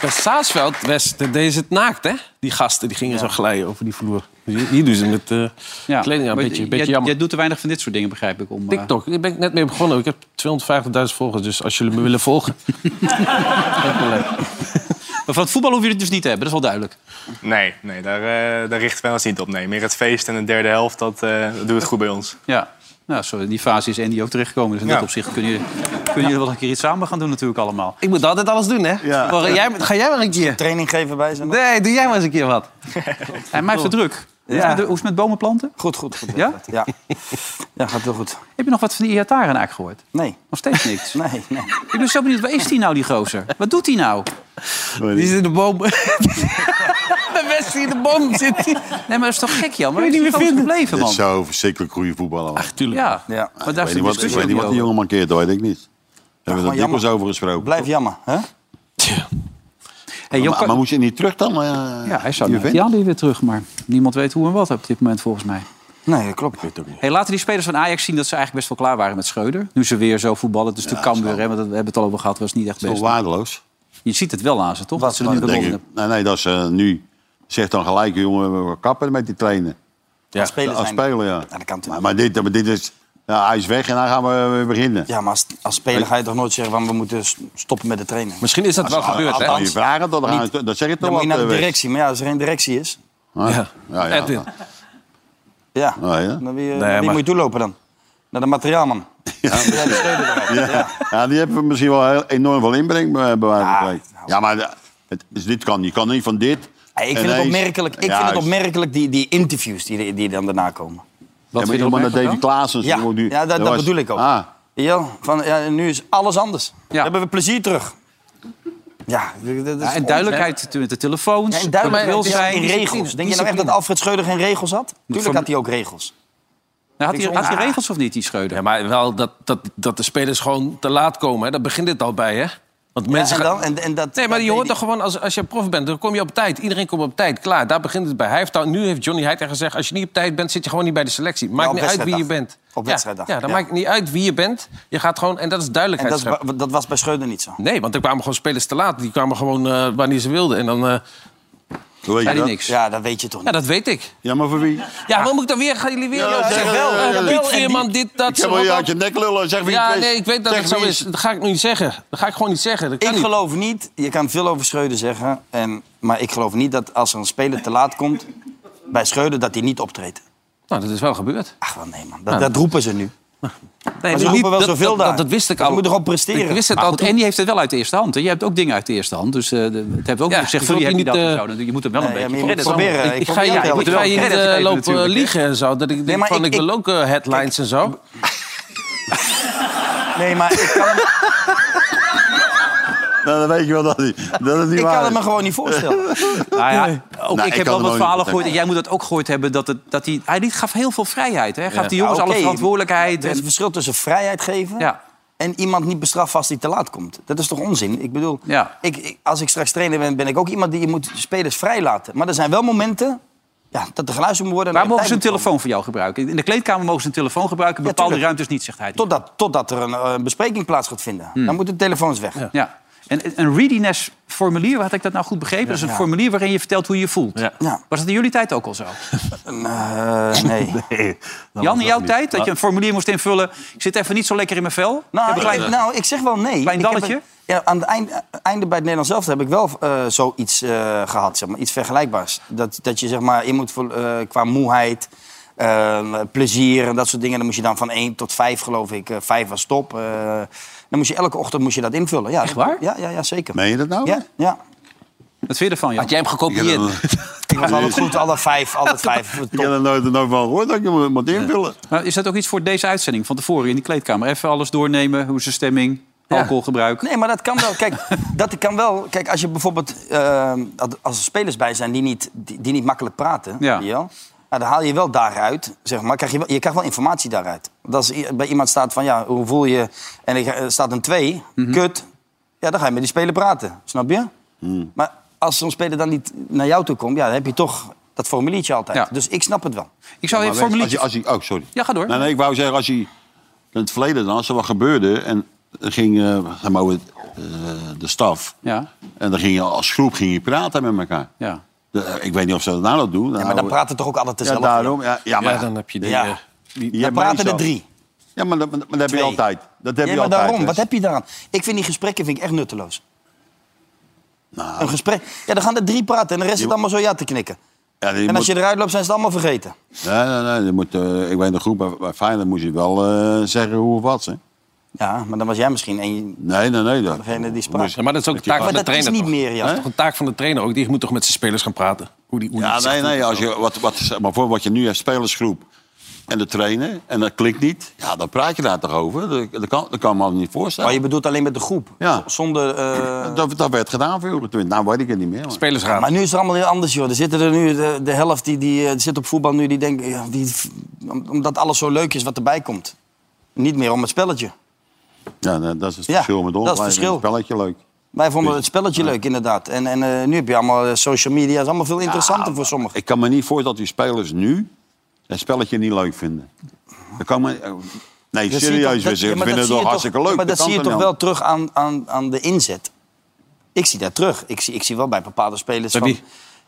[SPEAKER 17] bij Saasveld, West, dat deden ze het naakt, hè? Die gasten die gingen zo glijden over die vloer. Hier, hier doen ze met eh
[SPEAKER 2] Ja.
[SPEAKER 17] kleding aan.
[SPEAKER 2] maar
[SPEAKER 17] Een beetje,
[SPEAKER 2] j-
[SPEAKER 17] beetje
[SPEAKER 2] jij,
[SPEAKER 17] jammer.
[SPEAKER 2] jij doet te weinig van dit soort dingen, begrijp ik. Om, eh,
[SPEAKER 17] TikTok, daar ben ik net mee begonnen. Ik heb 250.000 volgers, dus als jullie me willen volgen... dat is leuk.
[SPEAKER 2] Maar van het voetbal hoef je het dus niet te hebben, dat is wel duidelijk.
[SPEAKER 18] Nee, nee daar, eh, daar richten wij ons niet op. Nee, meer het feest en de derde helft, dat, eh, dat doet het goed bij ons.
[SPEAKER 2] Ja. Nou, zo in die fase is Andy ook terechtgekomen. Dus in dat opzicht kun je, kun je wel een keer iets samen gaan doen natuurlijk allemaal.
[SPEAKER 3] Ik moet altijd alles doen, hè? Maar, eh, jij, ga jij maar een keer.
[SPEAKER 4] Training geven bij zijn.
[SPEAKER 3] Nee, doe jij maar eens een keer wat.
[SPEAKER 2] En mij heeft het druk. Hoe is het met- Hoe is het met bomen planten?
[SPEAKER 4] Goed, goed. goed
[SPEAKER 2] ja?
[SPEAKER 4] Ja. ja, gaat heel goed.
[SPEAKER 2] Heb je nog wat van die Iataren eigenlijk gehoord?
[SPEAKER 4] Nee.
[SPEAKER 2] Nog steeds niks?
[SPEAKER 4] nee, nee.
[SPEAKER 2] Ik ben zo benieuwd, waar is die nou, die gozer? Wat doet hij nou?
[SPEAKER 5] Die
[SPEAKER 3] zit in de boom. de best in de boom zit hij.
[SPEAKER 2] Nee, maar dat is toch gek, Jan? Waar
[SPEAKER 3] Kun
[SPEAKER 2] is
[SPEAKER 3] je
[SPEAKER 2] die
[SPEAKER 3] niet
[SPEAKER 2] gozer
[SPEAKER 3] meer vinden.
[SPEAKER 2] gebleven,
[SPEAKER 5] Dit
[SPEAKER 2] man?
[SPEAKER 5] zou verschrikkelijk goede voetballer was.
[SPEAKER 2] tuurlijk. Ja. Ja. Maar daar
[SPEAKER 5] ik
[SPEAKER 2] is
[SPEAKER 5] weet
[SPEAKER 2] de
[SPEAKER 5] niet wat, ik
[SPEAKER 2] discussie
[SPEAKER 5] weet niet
[SPEAKER 2] ook
[SPEAKER 5] wat die
[SPEAKER 2] niet
[SPEAKER 5] jongen mankeert, dat weet ik niet. We hebben er
[SPEAKER 4] gewoon
[SPEAKER 5] dikwijls over gesproken.
[SPEAKER 4] Blijf jammer, hè?
[SPEAKER 2] Hey, Jan,
[SPEAKER 5] maar, maar moest je niet terug dan? eh,
[SPEAKER 2] Ja, hij zou
[SPEAKER 5] Juventus?
[SPEAKER 2] die Jan weer terug, maar niemand weet hoe en wat op dit moment volgens mij.
[SPEAKER 4] Nee, dat klopt.
[SPEAKER 2] Hey, laten die spelers van Ajax zien dat ze eigenlijk best wel klaar waren met Schreuder. Nu ze weer zo voetballen. Dus de Cambuur, hè, want we hebben het al over gehad, was niet echt
[SPEAKER 5] is
[SPEAKER 2] best.
[SPEAKER 5] wel Oh, waardeloos.
[SPEAKER 2] Je ziet het wel aan ze, toch? Dat ze er nu
[SPEAKER 5] Dan denk
[SPEAKER 2] weer
[SPEAKER 5] ik, nee, nee, dat is eh, nu. Zeg dan gelijk, jongen, we kappen met die trainen.
[SPEAKER 4] Ja. Als speler
[SPEAKER 5] Als
[SPEAKER 4] zijn.
[SPEAKER 5] speler, ja.
[SPEAKER 4] dat kan
[SPEAKER 5] maar, maar dit, maar dit is... Ja, hij is weg en dan gaan we weer beginnen.
[SPEAKER 4] Ja, maar als, als speler ga je toch nooit zeggen van we moeten s- stoppen met de training.
[SPEAKER 5] Misschien is dat Als- wel als- gebeurd, als- hè? als je vragen, dan gaan we- dan zeg je toch
[SPEAKER 4] Dan moet je
[SPEAKER 5] wat,
[SPEAKER 4] naar de
[SPEAKER 5] eh, Wes.
[SPEAKER 4] directie. Maar ja, als er geen directie is...
[SPEAKER 5] Ja. Ja, ja.
[SPEAKER 4] Edwin. Ja,
[SPEAKER 5] Ah, Ja, ja.
[SPEAKER 4] dan wie, eh,
[SPEAKER 5] Nee,
[SPEAKER 4] naar wie
[SPEAKER 5] maar-
[SPEAKER 4] moet je toelopen dan? Naar de materiaalman. Ja, die steunen eruit.
[SPEAKER 5] Ja. Ja, die hebben misschien wel heel, enorm veel inbreng bij bij wijze van spreken. Ja, maar de- het, is dit kan. Je kan niet van dit.
[SPEAKER 4] nou. Ja, ik vind het opmerkelijk, ik vind het opmerkelijk die, die interviews die, die dan daarna komen.
[SPEAKER 5] Wat ja, maar iemand naar Davy Klaassen.
[SPEAKER 4] Ja,
[SPEAKER 5] die- die-
[SPEAKER 4] ja dat, dat
[SPEAKER 5] was-
[SPEAKER 4] bedoel ik ook.
[SPEAKER 5] Ah,
[SPEAKER 4] Ja, van, ja, nu is alles anders. Dan hebben we plezier terug. Ja, dat- dat is
[SPEAKER 2] Ja, en
[SPEAKER 4] onzin.
[SPEAKER 2] duidelijkheid met de telefoons.
[SPEAKER 4] Ja, en
[SPEAKER 2] dat
[SPEAKER 4] duidelijkheid
[SPEAKER 2] wil
[SPEAKER 4] is
[SPEAKER 2] zijn.
[SPEAKER 4] in regels. Denk je nou echt dat Alfred Schreuder geen regels had? Tuurlijk had hij ook regels.
[SPEAKER 2] Nou, had
[SPEAKER 4] Niks
[SPEAKER 2] hij, had hij
[SPEAKER 4] onder-
[SPEAKER 2] regels of niet, die Schreuder?
[SPEAKER 17] Ja, maar wel dat, dat, dat de spelers gewoon te laat komen. Hè? Daar begint dit al bij, hè? Want mensen
[SPEAKER 4] en
[SPEAKER 17] gaan-
[SPEAKER 4] dan- en- en dat-
[SPEAKER 17] nee, maar
[SPEAKER 4] dat
[SPEAKER 17] je hoort
[SPEAKER 4] deed
[SPEAKER 17] toch gewoon, als, als je prof bent, dan kom je op tijd. Iedereen komt op tijd, klaar. Daar begint het bij. Hij heeft dan, nu heeft Johnny Heiter gezegd, als je niet op tijd bent, zit je gewoon niet bij de selectie. Maakt
[SPEAKER 4] op
[SPEAKER 17] niet uit wie je
[SPEAKER 4] wedstrijddag.
[SPEAKER 17] bent.
[SPEAKER 4] Op
[SPEAKER 17] Ja,
[SPEAKER 4] wedstrijddag,
[SPEAKER 17] Ja, dan
[SPEAKER 4] ja.
[SPEAKER 17] maakt niet uit wie je bent. Je gaat gewoon, en dat is
[SPEAKER 4] En
[SPEAKER 17] duidelijkheid.
[SPEAKER 4] dat, is
[SPEAKER 17] scheppen.
[SPEAKER 4] wa- dat was bij Schreuder niet zo.
[SPEAKER 17] Nee, want er kwamen gewoon spelers te laat. Die kwamen gewoon eh, wanneer ze wilden. En dan... eh,
[SPEAKER 5] hoe weet je
[SPEAKER 17] zei hij
[SPEAKER 5] dat?
[SPEAKER 17] niks.
[SPEAKER 4] Ja, dat weet je toch
[SPEAKER 17] Ja, dat weet ik.
[SPEAKER 5] Ja, maar voor wie?
[SPEAKER 17] Ja, wat moet ik dan weer? Gaan jullie weer?
[SPEAKER 5] Ja,
[SPEAKER 17] Ja,
[SPEAKER 5] zeg
[SPEAKER 17] zeg wel.
[SPEAKER 5] wel,
[SPEAKER 17] eh,
[SPEAKER 5] ja,
[SPEAKER 17] Piet
[SPEAKER 5] ja.
[SPEAKER 17] Veerman, dit, dat.
[SPEAKER 5] Ik heb
[SPEAKER 17] zo,
[SPEAKER 5] wel je
[SPEAKER 17] wat
[SPEAKER 5] uit
[SPEAKER 17] dan.
[SPEAKER 5] je nek lullen, zeg wie
[SPEAKER 17] Ja,
[SPEAKER 5] het is.
[SPEAKER 17] nee, ik weet dat
[SPEAKER 5] Zeg
[SPEAKER 17] het zo
[SPEAKER 5] wie
[SPEAKER 17] is.
[SPEAKER 5] is.
[SPEAKER 17] Dat ga ik nu niet zeggen. Dat ga ik gewoon niet zeggen. Dat kan
[SPEAKER 4] Ik
[SPEAKER 17] niet.
[SPEAKER 4] geloof niet, je kan veel over Schreuder zeggen, en, maar ik geloof niet dat als er een speler te laat komt bij Schreuder, dat hij niet optreedt.
[SPEAKER 17] Nou, dat is wel gebeurd.
[SPEAKER 4] Ach, wel nee man, dat,
[SPEAKER 17] Nou,
[SPEAKER 4] dat roepen ze nu.
[SPEAKER 2] Nee,
[SPEAKER 4] Maar ze
[SPEAKER 2] niet-
[SPEAKER 4] roepen wel
[SPEAKER 2] dat-
[SPEAKER 4] zoveel
[SPEAKER 2] dat-
[SPEAKER 4] daar.
[SPEAKER 2] Dat, dat wist ik
[SPEAKER 4] Je
[SPEAKER 2] al.
[SPEAKER 4] moet erop presteren.
[SPEAKER 2] Ik wist het
[SPEAKER 4] Maar
[SPEAKER 2] al.
[SPEAKER 4] goed,
[SPEAKER 2] En die heeft het wel uit de eerste hand. hè? Jij hebt ook dingen uit de eerste hand. Dus eh, de- het hebben we ook niet gezegd.
[SPEAKER 17] ik wil
[SPEAKER 2] Voor wie heb je
[SPEAKER 17] je
[SPEAKER 2] dat?
[SPEAKER 17] niet,
[SPEAKER 2] en
[SPEAKER 17] eh,
[SPEAKER 2] zo. Je moet hem wel een
[SPEAKER 4] nee, ja,
[SPEAKER 2] beetje
[SPEAKER 4] maar je moet
[SPEAKER 2] credits aan-
[SPEAKER 4] proberen.
[SPEAKER 17] Ik,
[SPEAKER 4] Ik
[SPEAKER 17] ik ga
[SPEAKER 4] probeer
[SPEAKER 17] je,
[SPEAKER 4] het
[SPEAKER 17] ik
[SPEAKER 4] wel.
[SPEAKER 17] moet wel je niet
[SPEAKER 2] credits
[SPEAKER 17] eh,
[SPEAKER 2] geven
[SPEAKER 17] lopen
[SPEAKER 2] natuurlijk, hè.
[SPEAKER 17] liegen en zo. Dat ik denk
[SPEAKER 4] maar
[SPEAKER 17] van,
[SPEAKER 4] ik-
[SPEAKER 17] ik, wil ook eh, headlines en zo.
[SPEAKER 4] Nee, maar ik kan, hem-
[SPEAKER 5] Nou, dan weet je wel dat, hij- dat het niet
[SPEAKER 4] ik
[SPEAKER 5] waar
[SPEAKER 4] kan het
[SPEAKER 5] is.
[SPEAKER 4] me gewoon niet voorstellen.
[SPEAKER 2] Nou ja, ook
[SPEAKER 5] Nee,
[SPEAKER 2] ik
[SPEAKER 5] ik kan er
[SPEAKER 2] heb wel wat
[SPEAKER 5] nooit
[SPEAKER 2] verhalen
[SPEAKER 5] op
[SPEAKER 2] gehoord. En
[SPEAKER 5] denken.
[SPEAKER 2] jij moet dat ook gehoord hebben. Dat, het, dat hij, hij liet- gaf heel veel vrijheid. Hè? Hij gaf die jongens
[SPEAKER 4] Ja, oké.
[SPEAKER 2] alle verantwoordelijkheid.
[SPEAKER 4] Er is een
[SPEAKER 2] En,
[SPEAKER 4] verschil tussen vrijheid geven
[SPEAKER 2] ja,
[SPEAKER 4] en iemand niet bestraffen als hij te laat komt. Dat is toch onzin? Ik bedoel,
[SPEAKER 2] ja.
[SPEAKER 4] ik, ik- als ik straks trainer ben, ben ik ook iemand die je moet spelers vrij laten. Maar er zijn wel momenten ja, dat er geluisterd moet worden. en
[SPEAKER 2] Waar
[SPEAKER 4] dat
[SPEAKER 2] mogen ze
[SPEAKER 4] er
[SPEAKER 2] een
[SPEAKER 4] tijd moet
[SPEAKER 2] telefoon voor jou gebruiken? In de kleedkamer mogen ze een telefoon gebruiken.
[SPEAKER 4] Ja,
[SPEAKER 2] Bepaalde
[SPEAKER 4] tuurlijk.
[SPEAKER 2] ruimtes niet, zegt hij.
[SPEAKER 4] komen. Totdat, totdat er een, eh, een bespreking plaats gaat vinden. Dan moeten de telefoons weg.
[SPEAKER 2] Hmm. Ja. En een readiness formulier, had ik dat nou goed begrepen? dat is een
[SPEAKER 4] Ja.
[SPEAKER 2] formulier waarin je vertelt hoe je je voelt.
[SPEAKER 4] Ja.
[SPEAKER 2] Was dat in jullie tijd ook al zo?
[SPEAKER 4] Eh, nee.
[SPEAKER 2] Jan, in jouw tijd, dat je een formulier moest invullen... ik zit even niet zo lekker in mijn vel. ik heb
[SPEAKER 4] Nou,
[SPEAKER 2] een
[SPEAKER 4] ik,
[SPEAKER 2] klein-
[SPEAKER 4] nou, ik zeg wel nee.
[SPEAKER 2] Klein
[SPEAKER 4] Ik heb
[SPEAKER 2] dalletje?
[SPEAKER 4] een- ja, aan het einde, einde bij het Nederlands zelf heb ik wel eh, zoiets eh, gehad, zeg maar, iets vergelijkbaars. Dat, dat je zeg maar, in moet vol- eh, qua moeheid, eh, plezier en dat soort dingen. Dan moest je dan van 1 tot 5, geloof ik, eh 5 was top. eh, dan moest je elke ochtend moest je dat invullen. Ja, Echt
[SPEAKER 2] waar?
[SPEAKER 4] Ja, ja, ja zeker.
[SPEAKER 5] Meen je dat nou?
[SPEAKER 4] Ja, ja.
[SPEAKER 2] Wat vind je ervan, Jan?
[SPEAKER 17] Had jij hem gekopieerd?
[SPEAKER 4] Ik was altijd goed, alle vijf, alle vijf.
[SPEAKER 5] Ik heb er nooit, nooit van gehoord dat je moet- moet
[SPEAKER 17] Oh,
[SPEAKER 5] invullen.
[SPEAKER 2] Maar is dat ook iets voor deze uitzending van tevoren in die kleedkamer? Even alles doornemen, hoe is de stemming, alcoholgebruik.
[SPEAKER 4] Nee, maar dat kan wel. Kijk, dat kan wel. Kijk, als je bijvoorbeeld eh, dat- als er spelers bij zijn die niet, die, die niet makkelijk praten,
[SPEAKER 2] Ja.
[SPEAKER 4] weet je wel, nou, dan haal je wel daaruit, zeg maar. Krijg je, wel, je krijgt wel informatie daaruit. Want als i- bij iemand staat van ja, hoe voel je? En er eh, staat een 2, kut. Ja, dan ga je met die speler praten, snap je? Maar als zo'n speler dan niet naar jou toe komt, ja, dan heb je toch dat formuliertje altijd.
[SPEAKER 2] Ja.
[SPEAKER 4] Dus ik snap het wel.
[SPEAKER 2] Ik zou
[SPEAKER 5] Maar
[SPEAKER 2] even
[SPEAKER 5] weet-
[SPEAKER 2] een
[SPEAKER 5] als je,
[SPEAKER 2] formuliertje...
[SPEAKER 5] als je, oh, sorry.
[SPEAKER 2] Ja, ga door.
[SPEAKER 5] Nee, nee, ik wou zeggen, als je in het verleden dan, als er wat gebeurde en er ging eh, zeg maar, over, eh, de staf.
[SPEAKER 2] Ja,
[SPEAKER 5] En dan ging je als groep ging je praten met elkaar.
[SPEAKER 2] ja.
[SPEAKER 5] De- ik weet niet of ze dat nou dat doen.
[SPEAKER 4] Ja, maar dan
[SPEAKER 5] Nou,
[SPEAKER 4] praten toch ook altijd
[SPEAKER 5] ja,
[SPEAKER 4] dezelfde?
[SPEAKER 5] daarom. Ja, ja, maar,
[SPEAKER 17] Ja, dan heb je dingen.
[SPEAKER 4] Ja.
[SPEAKER 5] die- die
[SPEAKER 4] Dan
[SPEAKER 5] hebben
[SPEAKER 4] praten er
[SPEAKER 5] meestal-
[SPEAKER 4] drie.
[SPEAKER 5] Ja, maar dat, maar dat heb je
[SPEAKER 4] Twee.
[SPEAKER 5] altijd. Dat heb
[SPEAKER 4] ja,
[SPEAKER 5] je
[SPEAKER 4] maar
[SPEAKER 5] altijd. dus.
[SPEAKER 4] daarom,
[SPEAKER 5] hè.
[SPEAKER 4] wat heb je daaraan? Ik vind die gesprekken vind ik echt nutteloos.
[SPEAKER 5] Nou.
[SPEAKER 4] Een gesprek. Ja, dan gaan er drie praten en de rest
[SPEAKER 5] Je-
[SPEAKER 4] zit allemaal zo ja te knikken. en als je eruit loopt, zijn ze het allemaal vergeten.
[SPEAKER 5] Nee, nee, nee. Je moet, eh, ik weet nog goed, bij, bij Feyenoord moest je wel eh, zeggen hoe of wat. Hè?
[SPEAKER 4] Ja, maar dan was jij misschien een...
[SPEAKER 5] Nee, nee, nee. Dat,
[SPEAKER 4] Degene die sprak.
[SPEAKER 17] Ja, maar dat is ook de taak van de trainer. toch? Dat is
[SPEAKER 4] Hè?
[SPEAKER 17] toch een taak van de trainer ook. Die moet toch met zijn spelers gaan praten. Hoe die, hoe die
[SPEAKER 5] ja,
[SPEAKER 17] het
[SPEAKER 5] nee,
[SPEAKER 17] zegt, hoe
[SPEAKER 5] nee.
[SPEAKER 17] die-
[SPEAKER 5] Als je, wat, wat, zeg maar voor wat je nu hebt, spelersgroep en de trainer, en dat klikt niet, ja, dan praat je daar toch over. Dat, dat kan, dat kan me niet voorstellen.
[SPEAKER 4] Maar je bedoelt alleen met de groep?
[SPEAKER 5] Ja.
[SPEAKER 4] Zonder...
[SPEAKER 5] Dat, dat werd gedaan voor Europe 20. Nou weet ik het niet meer. maar-
[SPEAKER 4] Ja, maar nu is het allemaal heel anders, joh. Er zitten er nu de, de helft die, die eh, zit op voetbal nu, die denkt... ja, die, om- omdat alles zo leuk is wat erbij komt. Niet meer om het spelletje.
[SPEAKER 5] Ja, nou, dat is het
[SPEAKER 4] Ja,
[SPEAKER 5] verschil met ons.
[SPEAKER 4] dat is het
[SPEAKER 5] Wij vinden
[SPEAKER 4] verschil.
[SPEAKER 5] spelletje leuk.
[SPEAKER 4] Wij vonden het spelletje leuk, inderdaad. En, en eh, nu heb je allemaal eh, social media. Dat is allemaal veel interessanter voor sommigen.
[SPEAKER 5] Ik kan me niet voorstellen dat die spelers nu het spelletje niet leuk vinden. Dat kan me... eh, Nee,
[SPEAKER 4] Dat zie je toch-
[SPEAKER 5] serieus.
[SPEAKER 4] dat-
[SPEAKER 5] we
[SPEAKER 4] ja,
[SPEAKER 5] zeggen,
[SPEAKER 4] maar
[SPEAKER 5] we vinden
[SPEAKER 4] dat
[SPEAKER 5] het
[SPEAKER 4] zie
[SPEAKER 5] toch
[SPEAKER 4] je
[SPEAKER 5] hartstikke
[SPEAKER 4] toch-
[SPEAKER 5] leuk.
[SPEAKER 4] Maar dat,
[SPEAKER 5] kan
[SPEAKER 4] zie je toch
[SPEAKER 5] niet
[SPEAKER 4] wel terug aan, aan, aan de inzet. Ik zie dat terug. Ik zie, ik zie wel bij bepaalde spelers van...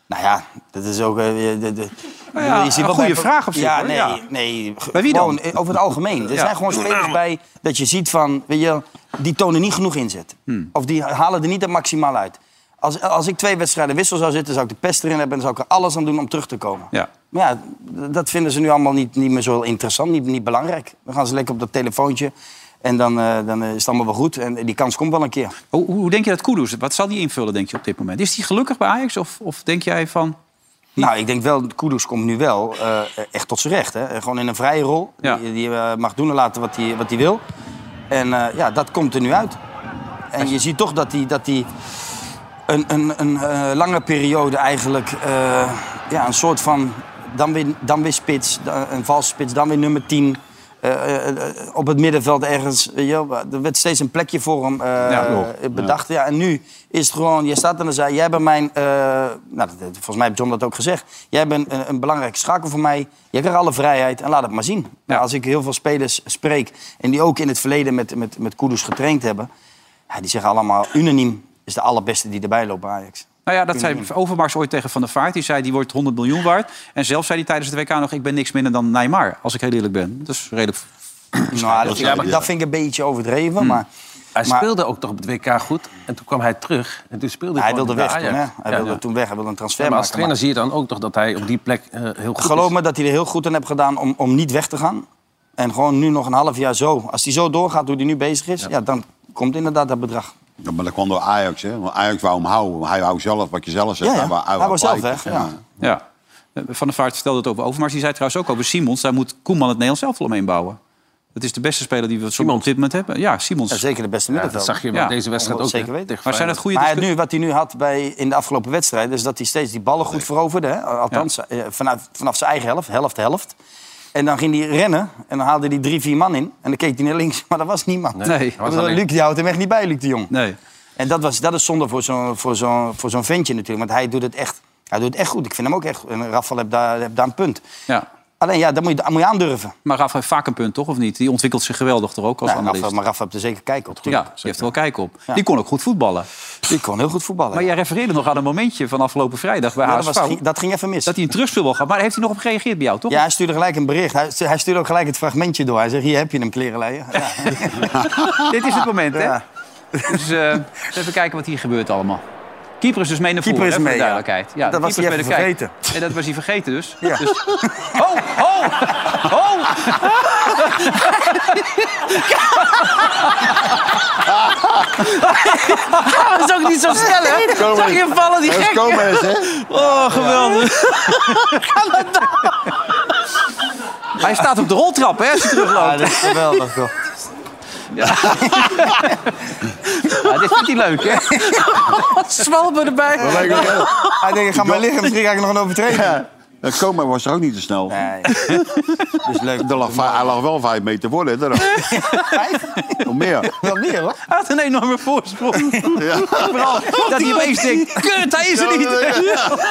[SPEAKER 4] Nou ja, dat is ook... eh, de, de,
[SPEAKER 2] Nou ja, een
[SPEAKER 4] wel
[SPEAKER 2] goede
[SPEAKER 4] bij-
[SPEAKER 2] vraag op zich,
[SPEAKER 4] Ja,
[SPEAKER 2] hoor.
[SPEAKER 4] nee,
[SPEAKER 2] Ja.
[SPEAKER 4] nee. ge-
[SPEAKER 2] Bij wie dan?
[SPEAKER 4] gewoon, eh, over het algemeen. Er
[SPEAKER 2] Ja.
[SPEAKER 4] zijn gewoon spelers bij dat je ziet van... Weet je, wel, die tonen niet genoeg inzet.
[SPEAKER 2] Hmm.
[SPEAKER 4] Of die halen er niet het maximaal uit. Als, als ik twee wedstrijden wissel zou zitten, zou ik de pest erin hebben... en zou ik er alles aan doen om terug te komen.
[SPEAKER 2] Ja.
[SPEAKER 4] Maar ja, d- dat vinden ze nu allemaal niet, niet meer zo interessant, niet, niet belangrijk. Dan gaan ze lekker op dat telefoontje en dan, eh, dan eh, is het allemaal wel goed. En die kans komt wel een keer.
[SPEAKER 2] Hoe, hoe denk je dat Kudus, wat zal die invullen denk je op dit moment? Is die gelukkig bij Ajax of, of denk jij van...
[SPEAKER 4] Nou, ik denk wel, Kudus komt nu wel eh, echt tot zijn recht. Hè? Eh, Gewoon in een vrije rol. Die, die eh, mag doen en laten wat hij wat hij wil. En eh, ja, dat komt er nu uit. En je ziet toch dat hij dat die een, een, een eh, lange periode eigenlijk... eh, ja, een soort van dan weer, dan weer spits, da- een valse spits, dan weer nummer 10... eh, eh, eh, op het middenveld ergens. weet je wel. er werd steeds een plekje voor hem eh,
[SPEAKER 2] Ja, joh.
[SPEAKER 4] bedacht. Ja, en nu is het gewoon, je staat en dan zei, jij bent mijn, eh, nou, dat- dat- volgens mij heeft John dat ook gezegd, jij bent een, een belangrijke schakel voor mij, jij krijgt alle vrijheid en laat het maar zien. Nou, Als ik heel veel spelers spreek en die ook in het verleden met, met, met Kudus getraind hebben, ja, die zeggen allemaal unaniem, is de allerbeste die erbij loopt bij Ajax.
[SPEAKER 2] Nou ja, dat
[SPEAKER 4] Mm.
[SPEAKER 2] zei Overmars ooit tegen Van der Vaart. Die zei, die wordt 100 miljoen waard. En zelf zei hij tijdens het WK nog, ik ben niks minder dan Neymar. Als ik heel eerlijk ben. Dat is redelijk...
[SPEAKER 4] Nou, dat,
[SPEAKER 2] Ja, maar-
[SPEAKER 4] dat vind ik een beetje overdreven,
[SPEAKER 17] Hmm.
[SPEAKER 4] maar...
[SPEAKER 17] Hij
[SPEAKER 4] maar-
[SPEAKER 17] speelde ook toch op het WK goed. En toen kwam hij terug. En toen speelde hij
[SPEAKER 4] Hij
[SPEAKER 17] gewoon
[SPEAKER 4] wilde
[SPEAKER 17] bij
[SPEAKER 4] weg toen, hè?
[SPEAKER 17] Ajax.
[SPEAKER 4] Hij wilde toen weg, hij wilde een transfer
[SPEAKER 17] maar als
[SPEAKER 4] maken.
[SPEAKER 17] trainer
[SPEAKER 4] maar-
[SPEAKER 17] zie je dan ook toch dat hij op die plek eh, heel goed
[SPEAKER 4] Geloof me dat hij er heel goed aan heeft gedaan om, om niet weg te gaan. En gewoon nu nog een half jaar zo. Als hij zo doorgaat hoe hij nu bezig is, ja. dan komt inderdaad dat bedrag.
[SPEAKER 5] Ja, maar dat kwam door Ajax, hè? Want Ajax wou hem houden. Hij wou zelf wat je zelf zegt.
[SPEAKER 4] Ja, ja.
[SPEAKER 5] wou-
[SPEAKER 4] Hij
[SPEAKER 5] wou
[SPEAKER 4] wou zelf
[SPEAKER 5] blijven.
[SPEAKER 4] weg, ja.
[SPEAKER 2] Ja. Eh, Van der Vaart vertelde het over Overmars. Die zei trouwens ook over Simons. Daar moet Koeman het Nederlands zelf wel omheen bouwen. Dat is de beste speler die we op dit moment hebben. Ja, Simons.
[SPEAKER 4] Ja, zeker de beste middenvelder.
[SPEAKER 2] Ja.
[SPEAKER 4] Zeker
[SPEAKER 17] eh,
[SPEAKER 4] weten.
[SPEAKER 2] Maar zijn dat goede
[SPEAKER 4] Maar
[SPEAKER 2] discu-
[SPEAKER 4] nu, wat hij nu had bij, in de afgelopen wedstrijden... is dat hij steeds die ballen goed veroverde. Hè? Althans, eh, vanaf, vanaf zijn eigen helft, helft, helft. En dan ging hij rennen en dan haalde hij drie, vier man in. En dan keek hij naar links, maar dat was niemand.
[SPEAKER 2] Nee, dat was
[SPEAKER 4] Ik bedoel,
[SPEAKER 2] alleen-
[SPEAKER 4] Luc die houdt hem echt niet bij, Luc de Jong.
[SPEAKER 2] Nee.
[SPEAKER 4] En dat, was, dat is zonde voor zo'n voor zo'n voor zo'n ventje natuurlijk. Want hij doet het echt, hij doet het echt goed. Ik vind hem ook echt goed. En Rafael heeft daar, heeft daar een punt.
[SPEAKER 2] Ja.
[SPEAKER 4] Alleen ja, dat moet je, dat moet je aandurven.
[SPEAKER 2] Maar Rafa heeft vaak een punt, toch? Of niet? Die ontwikkelt zich geweldig toch ook als
[SPEAKER 4] Nou,
[SPEAKER 2] analist.
[SPEAKER 4] Rafa, maar Rafa heeft er zeker kijk op.
[SPEAKER 2] ja, die heeft er wel kijk op. Die kon ook goed voetballen.
[SPEAKER 4] Die kon heel goed voetballen.
[SPEAKER 2] Maar jij refereerde nog aan een momentje van afgelopen vrijdag bij
[SPEAKER 4] Ja, dat,
[SPEAKER 2] HSV.
[SPEAKER 4] was, ging- dat ging even mis.
[SPEAKER 2] Dat hij een terugspelbal gaf. Maar heeft hij nog op gereageerd bij jou, toch?
[SPEAKER 4] Ja, hij stuurde gelijk een bericht. Hij, stu- hij stuurde ook gelijk het fragmentje door. Hij zegt, hier heb je hem, klerenleier. Ja.
[SPEAKER 2] Dit is het moment, hè?
[SPEAKER 4] Ja.
[SPEAKER 2] Dus eh, even kijken wat hier gebeurt allemaal. Keeper is dus mee naar voren,
[SPEAKER 4] Keeper is
[SPEAKER 2] hè, voor
[SPEAKER 4] mee,
[SPEAKER 2] de
[SPEAKER 4] ja.
[SPEAKER 2] duidelijkheid.
[SPEAKER 4] Dat
[SPEAKER 2] de
[SPEAKER 4] was
[SPEAKER 2] keeper
[SPEAKER 4] hij
[SPEAKER 2] is
[SPEAKER 4] even
[SPEAKER 2] bij de kijk. En dat was hij vergeten dus.
[SPEAKER 4] Ja.
[SPEAKER 2] Dus- Ho, ho, ho!
[SPEAKER 17] Dat is ook niet zo snel, hè?
[SPEAKER 5] Gomez.
[SPEAKER 17] Zag je vallen, die
[SPEAKER 5] Dat
[SPEAKER 17] gek?
[SPEAKER 5] is Gomez, hè?
[SPEAKER 17] Oh, geweldig.
[SPEAKER 2] Hij staat op de roltrap, hè, als je terugloopt. dat is
[SPEAKER 4] Ah, geweldig, toch?
[SPEAKER 2] Ja. Ja, dit vindt hij leuk, hè?
[SPEAKER 17] Zwalbe erbij.
[SPEAKER 4] Hij denkt, ik ga maar liggen. Misschien ga ik nog een overtreding.
[SPEAKER 5] Dat coma was er ook niet te snel.
[SPEAKER 4] Nee.
[SPEAKER 5] dus leuk. Er lag, va- hij lag wel vijf meter voor, hè? daar ook. Nog meer.
[SPEAKER 4] Wel meer, hoor.
[SPEAKER 2] Hij had een enorme voorsprong. Vooral dat hij opeens denkt, kut, hij is er niet.